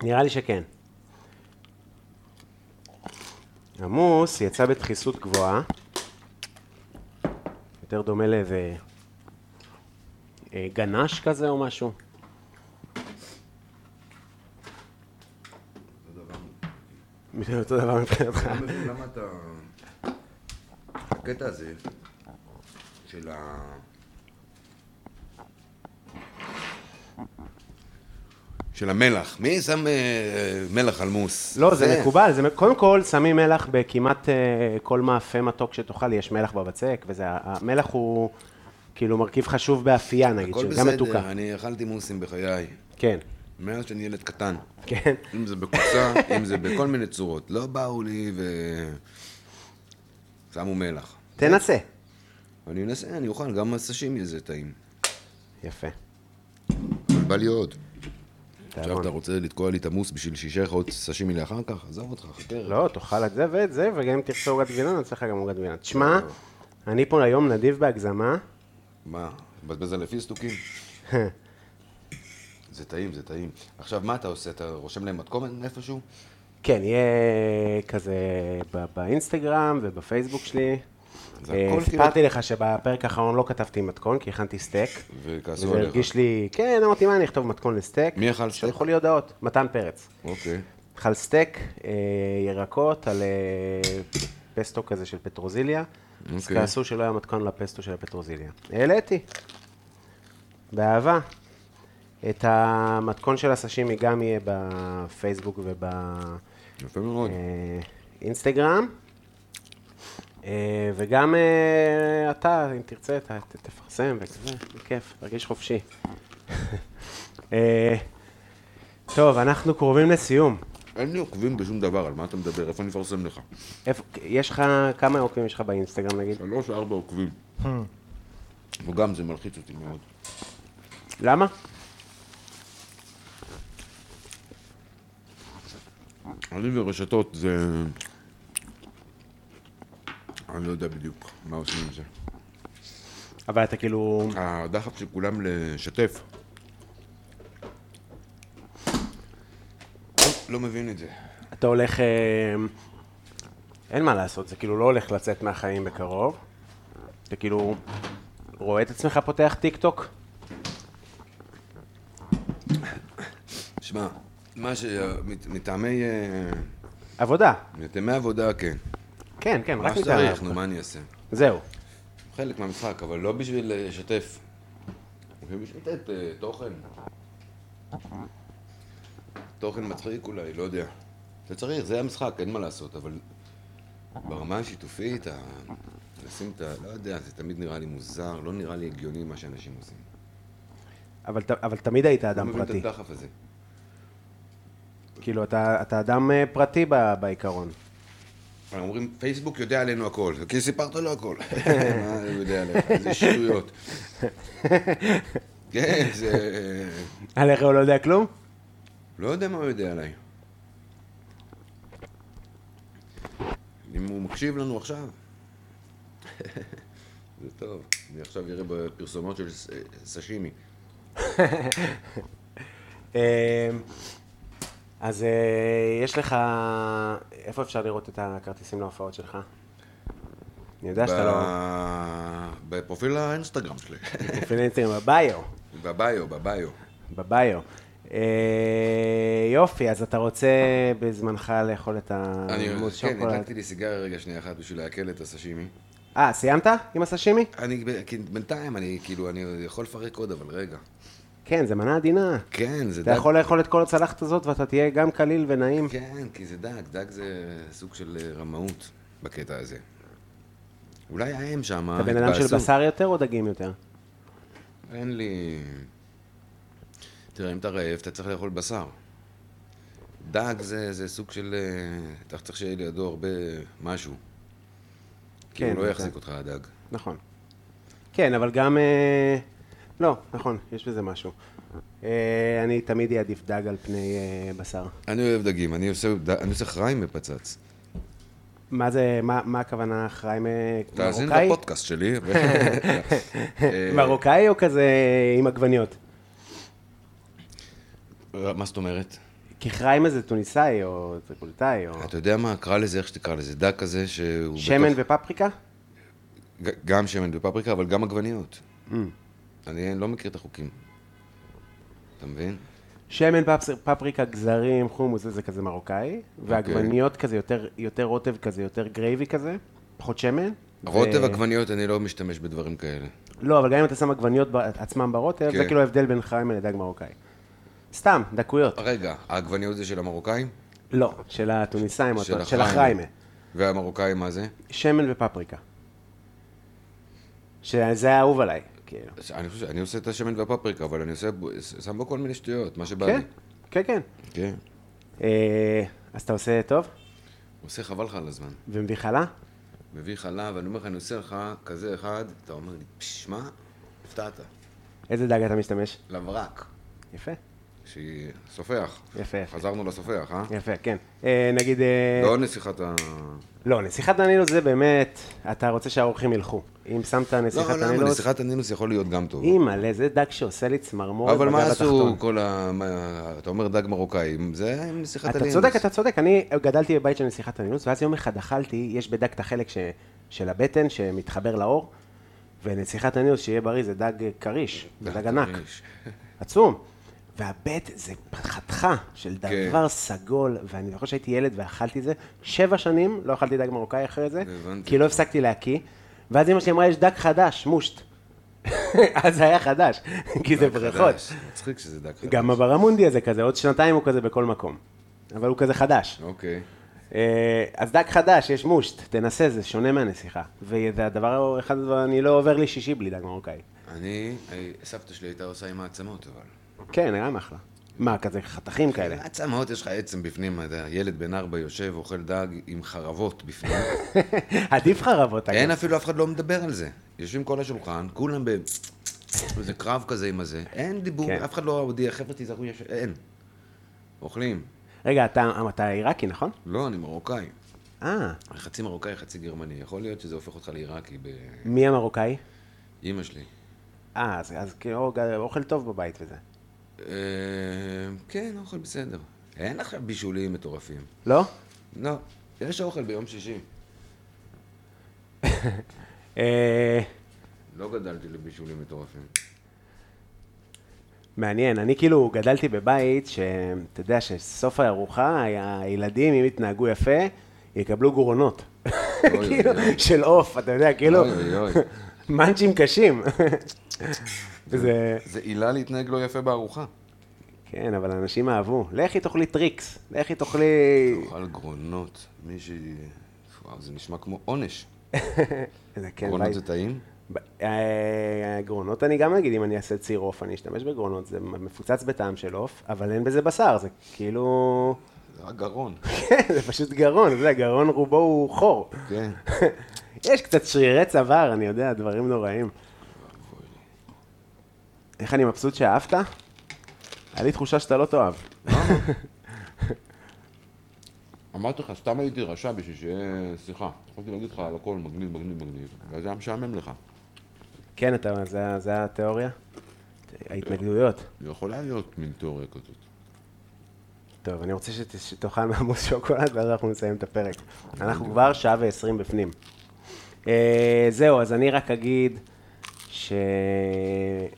Speaker 3: נראה לי שכן. עמוס יצא בדחיסות גבוהה, יותר דומה לאיזה אה, גנש כזה או משהו. אותו דבר מבחינתך.
Speaker 2: לא מבין למה אתה... הקטע הזה של ה... של המלח. מי שם אה, מלח על מוס?
Speaker 3: לא, זה מקובל, זה, מ- קודם כל שמים מלח בכמעט אה, כל מאפה מתוק שתאכל, יש מלח בבצק, וזה, המלח הוא כאילו מרכיב חשוב באפייה נגיד,
Speaker 2: הכל
Speaker 3: שהוא גם מתוקה.
Speaker 2: בסדר, אני אכלתי מוסים בחיי.
Speaker 3: כן,
Speaker 2: מאז שאני ילד קטן.
Speaker 3: כן.
Speaker 2: אם זה בקופסה, אם זה בכל מיני צורות. לא באו לי ו... שמו מלח.
Speaker 3: תנסה.
Speaker 2: אני אנסה, אני אוכל, גם הסשימי זה טעים.
Speaker 3: יפה.
Speaker 2: בא לי עוד. עכשיו
Speaker 3: תיאבון.
Speaker 2: אתה רוצה לתקוע לי את המוס בשביל שישאר לך עוד סשימי לאחר כך? עזוב אותך, חכה.
Speaker 3: לא, תאכל את זה ואת זה, וגם אם תרצה עוגת גבינה, נעשה לך גם עוגת גבינה. תשמע, אני פה היום נדיב בהגזמה.
Speaker 2: מה, מבזבז על פיסטוקים? זה טעים, זה טעים. עכשיו, מה אתה עושה? אתה רושם להם מתכונת איפשהו?
Speaker 3: כן, יהיה כזה ב- באינסטגרם ובפייסבוק שלי.
Speaker 2: זה
Speaker 3: אה,
Speaker 2: הכל כאילו-
Speaker 3: סיפרתי לך שבפרק האחרון לא כתבתי מתכון, כי הכנתי סטייק.
Speaker 2: וכעסו
Speaker 3: וזה
Speaker 2: עליך.
Speaker 3: הרגיש לי, כן, אמרתי, מה אני אכתוב מתכון לסטייק?
Speaker 2: מי אכל סטייק?
Speaker 3: שלחו לי הודעות, מתן פרץ.
Speaker 2: אוקיי.
Speaker 3: אכל סטייק, אה, ירקות, על אה, פסטו כזה של פטרוזיליה. אז
Speaker 2: אוקיי.
Speaker 3: כעסו שלא היה מתכון לפסטו של הפטרוזיליה. העליתי, באהבה. את המתכון של הסשימי גם יהיה בפייסבוק אה,
Speaker 2: יפה מאוד.
Speaker 3: ובאינסטגרם. אה, וגם אה, אתה, אם תרצה, ת- ת- תפרסם וכזה, בכיף, תרגיש חופשי. אה, טוב, אנחנו קרובים לסיום.
Speaker 2: אין לי עוקבים בשום דבר, על מה אתה מדבר? איפה אני אפרסם לך?
Speaker 3: איפה, יש לך, כמה עוקבים יש לך באינסטגרם נגיד?
Speaker 2: שלוש, ארבע עוקבים.
Speaker 3: אה.
Speaker 2: וגם זה מלחיץ אותי מאוד.
Speaker 3: למה?
Speaker 2: אני ורשתות זה... אני לא יודע בדיוק מה עושים עם זה.
Speaker 3: אבל אתה כאילו,
Speaker 2: הדחף של כולם לשתף. לא מבין את זה.
Speaker 3: אתה הולך, אה, אין מה לעשות, זה כאילו לא הולך לצאת מהחיים בקרוב. אתה כאילו רואה את עצמך פותח טיק טוק?
Speaker 2: שמע, מה ש... מת- מטעמי... אה,
Speaker 3: עבודה.
Speaker 2: מטעמי עבודה, כן.
Speaker 3: כן, כן, רק
Speaker 2: מה
Speaker 3: מטעם
Speaker 2: שצריך,
Speaker 3: העבודה.
Speaker 2: נו, מה אני אעשה?
Speaker 3: זהו.
Speaker 2: חלק מהמשחק, אבל לא בשביל אה, לשתף. בשביל לשתף אה, תוכן. תוכן מצחיק אולי, לא יודע. זה צריך, זה המשחק, אין מה לעשות, אבל ברמה השיתופית, ה... לשים את ה... לא יודע, זה תמיד נראה לי מוזר, לא נראה לי הגיוני מה שאנשים עושים.
Speaker 3: אבל, ת- אבל תמיד היית אדם
Speaker 2: לא מבין
Speaker 3: פרטי.
Speaker 2: את הדחף הזה.
Speaker 3: כאילו, אתה, אתה אדם אה, פרטי ב, בעיקרון.
Speaker 2: אבל אומרים, פייסבוק יודע עלינו הכל, כי סיפרת לו הכל. מה הוא יודע עליך? איזה שטויות. כן, זה...
Speaker 3: עליך הוא לא יודע כלום?
Speaker 2: לא יודע מה הוא יודע עליי. אם הוא מקשיב לנו עכשיו. זה טוב. אני עכשיו אראה בפרסומות של ס- סשימי.
Speaker 3: אה, אז אה, יש לך... איפה אפשר לראות את הכרטיסים להופעות שלך? אני יודע שאתה לא...
Speaker 2: ב- בפרופיל האינסטגרם שלי.
Speaker 3: פרופיל אינסטגרם בביו.
Speaker 2: בביו, בביו.
Speaker 3: בביו. אה, יופי, אז אתה רוצה בזמנך לאכול את
Speaker 2: אני,
Speaker 3: המוס
Speaker 2: כן,
Speaker 3: שוקולד.
Speaker 2: הדלקתי לי סיגריה רגע שנייה אחת בשביל לעכל את הסשימי.
Speaker 3: אה, סיימת עם הסשימי?
Speaker 2: אני, ב- כי בינתיים, אני כאילו, אני יכול לפרק עוד, אבל רגע.
Speaker 3: כן, זה מנה עדינה.
Speaker 2: כן, זה
Speaker 3: אתה
Speaker 2: דג.
Speaker 3: יכול לאכול את כל הצלחת הזאת ואתה תהיה גם קליל ונעים.
Speaker 2: כן, כי זה דג, דג זה סוג של אה, רמאות בקטע הזה. אולי האם שם
Speaker 3: אתה בן אדם של בשר יותר או דגים יותר?
Speaker 2: אין לי... תראה, אם אתה רעב, אתה צריך לאכול בשר. דג זה, זה סוג של... אה, אתה צריך שיהיה לידו הרבה משהו. כי
Speaker 3: כן,
Speaker 2: הוא לא
Speaker 3: אתה-
Speaker 2: יחזיק אותך הדג.
Speaker 3: נכון. כן, אבל גם... אה, לא, נכון, יש בזה משהו. אה, אני תמיד אעדיף דג על פני אה, בשר.
Speaker 2: אני אוהב דגים, אני עושה, ד- אני עושה חריים בפצץ.
Speaker 3: מה זה, מה מה הכוונה אחראי מ-
Speaker 2: תאזין אה,
Speaker 3: מרוקאי?
Speaker 2: לפודקאסט שלי.
Speaker 3: מרוקאי או כזה עם עגבניות?
Speaker 2: אה, מה זאת אומרת?
Speaker 3: כי חריימה זה טוניסאי או טריפוליטאי או...
Speaker 2: אתה יודע מה? קרא לזה איך שתקרא לזה. דג כזה שהוא...
Speaker 3: שמן
Speaker 2: בתוך-
Speaker 3: ופפריקה?
Speaker 2: ג- גם שמן ופפריקה, אבל גם עגבניות.
Speaker 3: Mm.
Speaker 2: אני לא מכיר את החוקים. אתה מבין?
Speaker 3: שמן, פפס- פפריקה, גזרים, חומוס, זה- זה כזה
Speaker 2: אוקיי.
Speaker 3: מרוקאי, ועגבניות כזה, יותר- יותר רוטב כזה, יותר גרייבי כזה, פחות שמן. ו-
Speaker 2: רוטב עגבניות, אני לא משתמש בדברים כאלה.
Speaker 3: לא, אבל גם אם אתה שם עגבניות ב- עצמם ברוטב, זה
Speaker 2: כן.
Speaker 3: כאילו ההבדל בין חיים לדג מרוקאי. סתם, דקויות.
Speaker 2: רגע, העגבניות זה של המרוקאים?
Speaker 3: לא, של הטוניסאים,
Speaker 2: של
Speaker 3: של
Speaker 2: החריימה.
Speaker 3: החריימה.
Speaker 2: והמרוקאים מה זה?
Speaker 3: שמן ופפריקה. שזה היה אהוב עליי, כאילו.
Speaker 2: אני חושב שאני עושה את השמן והפפריקה, אבל אני עושה, בו- שם בו כל מיני שטויות, מה שבא
Speaker 3: כן,
Speaker 2: לי.
Speaker 3: כן, כן.
Speaker 2: כן.
Speaker 3: אה, אז אתה עושה טוב?
Speaker 2: עושה חבל לך על הזמן.
Speaker 3: ומביא חלה?
Speaker 2: מביא חלב, אני אומר לך, אני עושה לך כזה אחד, אתה אומר לי, פשש, מה? הפתעת.
Speaker 3: איזה דג אתה משתמש?
Speaker 2: לברק.
Speaker 3: יפה,
Speaker 2: שהיא סופח.
Speaker 3: יפה, יפה.
Speaker 2: חזרנו לסופח, אה?
Speaker 3: יפה, כן. אה, נגיד... אה,
Speaker 2: לא נסיכת ה...
Speaker 3: לא, נסיכת דנילוס זה באמת, אתה רוצה שהאורחים ילכו. אם שמת נסיכת
Speaker 2: לא, למה?
Speaker 3: דנילוס,
Speaker 2: נסיכת הנילוס יכול להיות גם טוב.
Speaker 3: אימא'לה, זה דג שעושה לי צמרמורת
Speaker 2: אבל
Speaker 3: בגב
Speaker 2: מה עשו
Speaker 3: התחתון.
Speaker 2: כל ה... מה- אתה אומר דג מרוקאי, זה עם נסיכת
Speaker 3: אתה
Speaker 2: הנילוס.
Speaker 3: צודק, אתה צודק. אני גדלתי בבית של נסיכת דנילוס, ואז יום אחד אכלתי, יש בדג את החלק ש- של הבטן שמתחבר לאור, ונסיכת דנילוס, שיהיה בריא, זה דג כריש, זה דג ענק,
Speaker 2: כריש.
Speaker 3: עצום. והבט זה חתיכה של
Speaker 2: כן.
Speaker 3: דבר סגול, ואני זוכר שהייתי ילד ואכלתי את זה, שבע שנים לא אכלתי דג מרוקאי אחרי זה,
Speaker 2: הבנתי.
Speaker 3: כי לא הפסקתי להקיא, ואז אמא שלי אמרה, יש דג חדש, מושט. אז זה היה חדש, כי זה בריכות.
Speaker 2: חדש. מצחיק שזה דג חדש.
Speaker 3: גם הברמונדי הזה כזה, עוד שנתיים הוא כזה בכל מקום. אבל הוא כזה חדש.
Speaker 2: אוקיי.
Speaker 3: אה, אז דג חדש, יש מושט, תנסה, זה שונה מהנסיכה. וזה הדבר, אחד הדבר, אני לא עובר לי שישי בלי דג מרוקאי.
Speaker 2: אני, אה, סבתא שלי הייתה עושה עם העצמות, אבל.
Speaker 3: כן, היה אחלה. מה, כזה חתכים כאלה?
Speaker 2: העצמות, יש לך עצם בפנים, אתה ילד בן ארבע יושב, אוכל דג עם חרבות בפנים.
Speaker 3: עדיף חרבות, אגב.
Speaker 2: אין אפילו, אף אחד לא מדבר על זה. יושבים כל השולחן, כולם ב... איזה קרב כזה עם הזה. אין דיבור,
Speaker 3: כן.
Speaker 2: אף אחד לא הודיע, חבר'ה תיזהרו, יש... אין. אוכלים.
Speaker 3: רגע, אתה אתה עיראקי, נכון?
Speaker 2: לא, אני מרוקאי.
Speaker 3: אה,
Speaker 2: אני חצי מרוקאי, חצי גרמני. יכול להיות שזה הופך אותך לעיראקי באימא
Speaker 3: מי המרוקאי?
Speaker 2: שלי.
Speaker 3: אה, אז- אז כאילו, ג- אוכל טוב בבית וזה.
Speaker 2: אה, כן, אוכל בסדר. אין עכשיו בישולים מטורפים.
Speaker 3: לא?
Speaker 2: לא, יש אוכל ביום שישי.
Speaker 3: אה,
Speaker 2: לא גדלתי לבישולים מטורפים.
Speaker 3: מעניין, אני כאילו גדלתי בבית שאתה יודע שסוף הארוחה, היה- הילדים, אם יתנהגו יפה, יקבלו גרונות.
Speaker 2: אוי,
Speaker 3: כאילו,
Speaker 2: אוי.
Speaker 3: של עוף, אתה יודע, כאילו,
Speaker 2: אוי, אוי.
Speaker 3: מאנצ'ים קשים. זה...
Speaker 2: זה עילה להתנהג לא יפה בארוחה.
Speaker 3: כן, אבל אנשים אהבו. לכי תאכלי טריקס, לכי תאכלי...
Speaker 2: אוכל גרונות, מישהי... וואו, זה נשמע כמו עונש.
Speaker 3: זה כן,
Speaker 2: גרונות
Speaker 3: בית.
Speaker 2: זה טעים?
Speaker 3: ב- אה, גרונות אני גם אגיד, אם אני אעשה ציר עוף, אני אשתמש בגרונות, זה מפוצץ בטעם של עוף, אבל אין בזה בשר, זה כאילו...
Speaker 2: זה רק גרון.
Speaker 3: כן, זה פשוט גרון, אתה יודע, גרון רובו הוא חור.
Speaker 2: כן.
Speaker 3: יש קצת שרירי צוואר, אני יודע, דברים נוראים. איך אני מבסוט שאהבת? היה לי תחושה שאתה לא תאהב.
Speaker 2: אמרתי לך, סתם הייתי רשע בשביל שיהיה שיחה. יכולתי להגיד לך על הכל מגניב, מגניב, מגניב. ואז היה משעמם לך.
Speaker 3: כן, אתה, זה, זה התיאוריה? ההתנגדויות.
Speaker 4: יכולה להיות מין תיאוריה כזאת.
Speaker 3: טוב, אני רוצה שת- שתאכל מעמוס שוקולד ואז אנחנו נסיים את הפרק. אנחנו כבר שעה ועשרים בפנים. אה, זהו, אז אני רק אגיד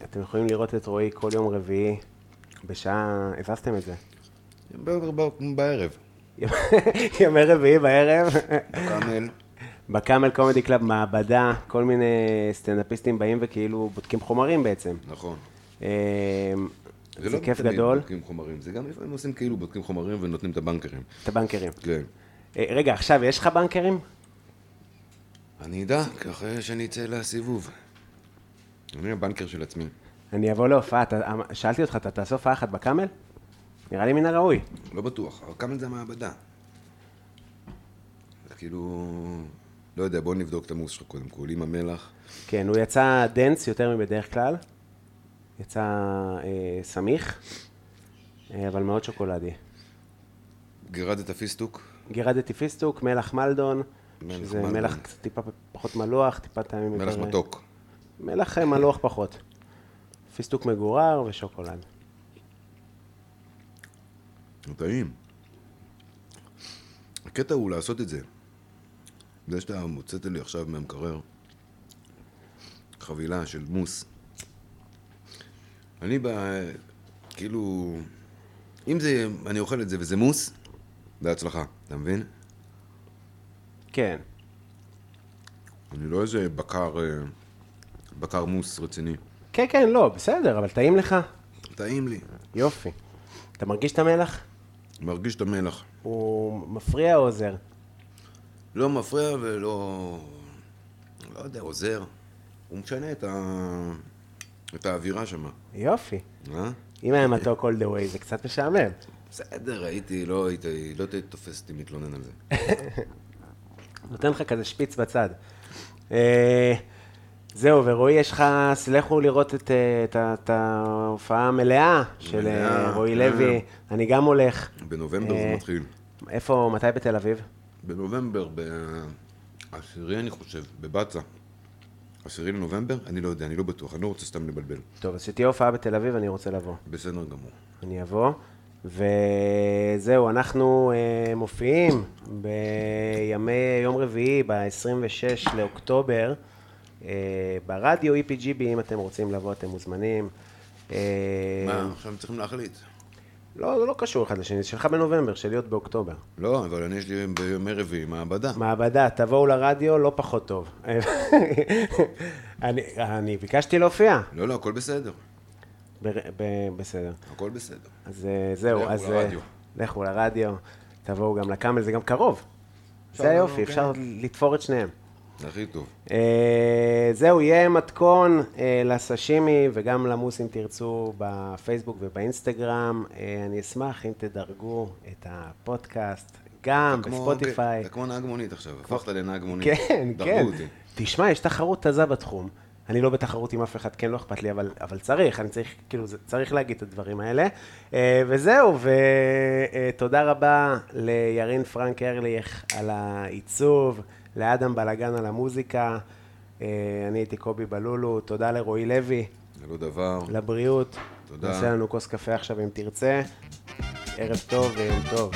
Speaker 3: שאתם יכולים לראות את רועי כל יום רביעי בשעה, הזזתם את זה.
Speaker 2: ב- ב- בערב.
Speaker 3: ימי רביעי בערב.
Speaker 2: קאמל,
Speaker 3: בקאמל קומדי קלאב, מעבדה, כל מיני סטנדאפיסטים באים וכאילו בודקים חומרים בעצם.
Speaker 2: נכון.
Speaker 3: אה, זה,
Speaker 2: לא
Speaker 3: כיף
Speaker 2: תמיד
Speaker 3: גדול,
Speaker 2: בודקים חומרים, זה גם לפעמים עושים כאילו בודקים חומרים ונותנים את הבנקרים.
Speaker 3: את הבנקרים.
Speaker 2: כן.
Speaker 3: אה, רגע, עכשיו יש לך בנקרים?
Speaker 2: אני אדע, כי אחרי שאני אצא לסיבוב. אני הבנקר של עצמי.
Speaker 3: אני אבוא להופעה, אתה- אמ- שאלתי אותך, אתה תעשה הופעה אחת בקאמל? נראה לי מן הראוי.
Speaker 2: לא בטוח, אבל כמה זה המעבדה? זה כאילו... לא יודע, בוא נבדוק את המוס שלך קודם כל, עם המלח.
Speaker 3: כן, הוא יצא דנס יותר מבדרך כלל, יצא אה, סמיך, אה, אבל מאוד שוקולדי.
Speaker 2: גירדת את הפיסטוק?
Speaker 3: גירדתי פיסטוק, מלח מלדון,
Speaker 2: מלח
Speaker 3: שזה
Speaker 2: מלדון.
Speaker 3: מלח קצת טיפה פ- פחות מלוח, טיפה טעמים
Speaker 2: מלח
Speaker 3: יותר- אה,
Speaker 2: מתוק.
Speaker 3: מלח אה, מלוח פחות. פיסטוק מגורר ושוקולד.
Speaker 4: זה טעים.
Speaker 2: הקטע הוא לעשות את זה. זה שאתה מוצאת לי עכשיו מהמקרר חבילה של מוס. אני ב... כאילו... אם זה... אני אוכל את זה וזה מוס, זה הצלחה, אתה מבין?
Speaker 3: כן,
Speaker 4: אני לא איזה בקר, אה,
Speaker 2: בקר מוס רציני.
Speaker 3: כן, כן, לא, בסדר, אבל טעים לך?
Speaker 2: טעים לי.
Speaker 3: יופי. אתה מרגיש את המלח?
Speaker 2: מרגיש את המלח.
Speaker 3: הוא מפריע או עוזר?
Speaker 2: לא מפריע ולא... לא יודע, עוזר. הוא משנה את ה... את האווירה שם.
Speaker 3: יופי.
Speaker 2: אה?
Speaker 3: אם היה מתוק all the way זה קצת משעמם.
Speaker 2: בסדר, הייתי, לא הייתי, לא הייתי תופס אותי מתלונן על זה.
Speaker 3: נותן לך כזה שפיץ בצד. אה, זהו, ורועי, יש לך, אז לכו לראות את, אה, את, ה- את ההופעה המלאה של אה,
Speaker 2: מלאה,
Speaker 3: רועי
Speaker 2: כן.
Speaker 3: לוי. אני גם הולך.
Speaker 2: בנובמבר
Speaker 3: אה,
Speaker 2: זה מתחיל.
Speaker 3: איפה, מתי בתל אביב?
Speaker 2: בנובמבר, בעשירי אני חושב, בבצע. עשירי לנובמבר? אני לא יודע, אני לא בטוח, אני לא רוצה סתם לבלבל.
Speaker 3: טוב, אז שתהיה הופעה בתל אביב, אני רוצה לבוא.
Speaker 2: בסדר גמור.
Speaker 3: אני אבוא. וזהו, אנחנו אה, מופיעים בימי יום רביעי, ב-26 לאוקטובר, אה, ברדיו E EPGB, אם אתם רוצים לבוא, אתם מוזמנים. אה,
Speaker 2: מה, עכשיו צריכים להחליט.
Speaker 3: לא, זה לא קשור אחד לשני, זה שלך בנובמבר, שלי עוד באוקטובר.
Speaker 2: לא, אבל אני יש לי בימי רביעי מעבדה.
Speaker 3: מעבדה, תבואו לרדיו, לא פחות טוב. אני, אני ביקשתי להופיע.
Speaker 2: לא, לא, הכל בסדר.
Speaker 3: בר, ב, בסדר.
Speaker 2: הכל בסדר.
Speaker 3: אז אה, זהו,
Speaker 2: לכו
Speaker 3: אז... אה,
Speaker 2: לרדיו.
Speaker 3: לכו לרדיו, תבואו גם לקאמל, זה גם קרוב. זה היופי, אפשר לתפור את שניהם.
Speaker 2: הכי טוב.
Speaker 3: אה, זהו, יהיה מתכון אה, לסשימי וגם למוס אם תרצו בפייסבוק ובאינסטגרם. אה, אני אשמח אם תדרגו את הפודקאסט גם
Speaker 2: אתה כמו-
Speaker 3: בספוטיפיי.
Speaker 2: אתה כמו נהג מונית עכשיו, הפכת לנהג מונית.
Speaker 3: כן, כן.
Speaker 2: דרגו אותי.
Speaker 3: תשמע, יש תחרות עזה בתחום. אני לא בתחרות עם אף אחד, כן, לא אכפת לי, אבל, אבל צריך, אני צריך, כאילו, זה- צריך להגיד את הדברים האלה. אה, וזהו, ותודה רבה לירין פרנק ארליך על העיצוב, לאדם בלגן על המוזיקה, אה, אני הייתי קובי בלולו, תודה לרועי לוי,
Speaker 2: זה לא דבר.
Speaker 3: לבריאות.
Speaker 2: תודה.
Speaker 3: נעשה לנו כוס קפה עכשיו אם תרצה. ערב טוב ויום טוב.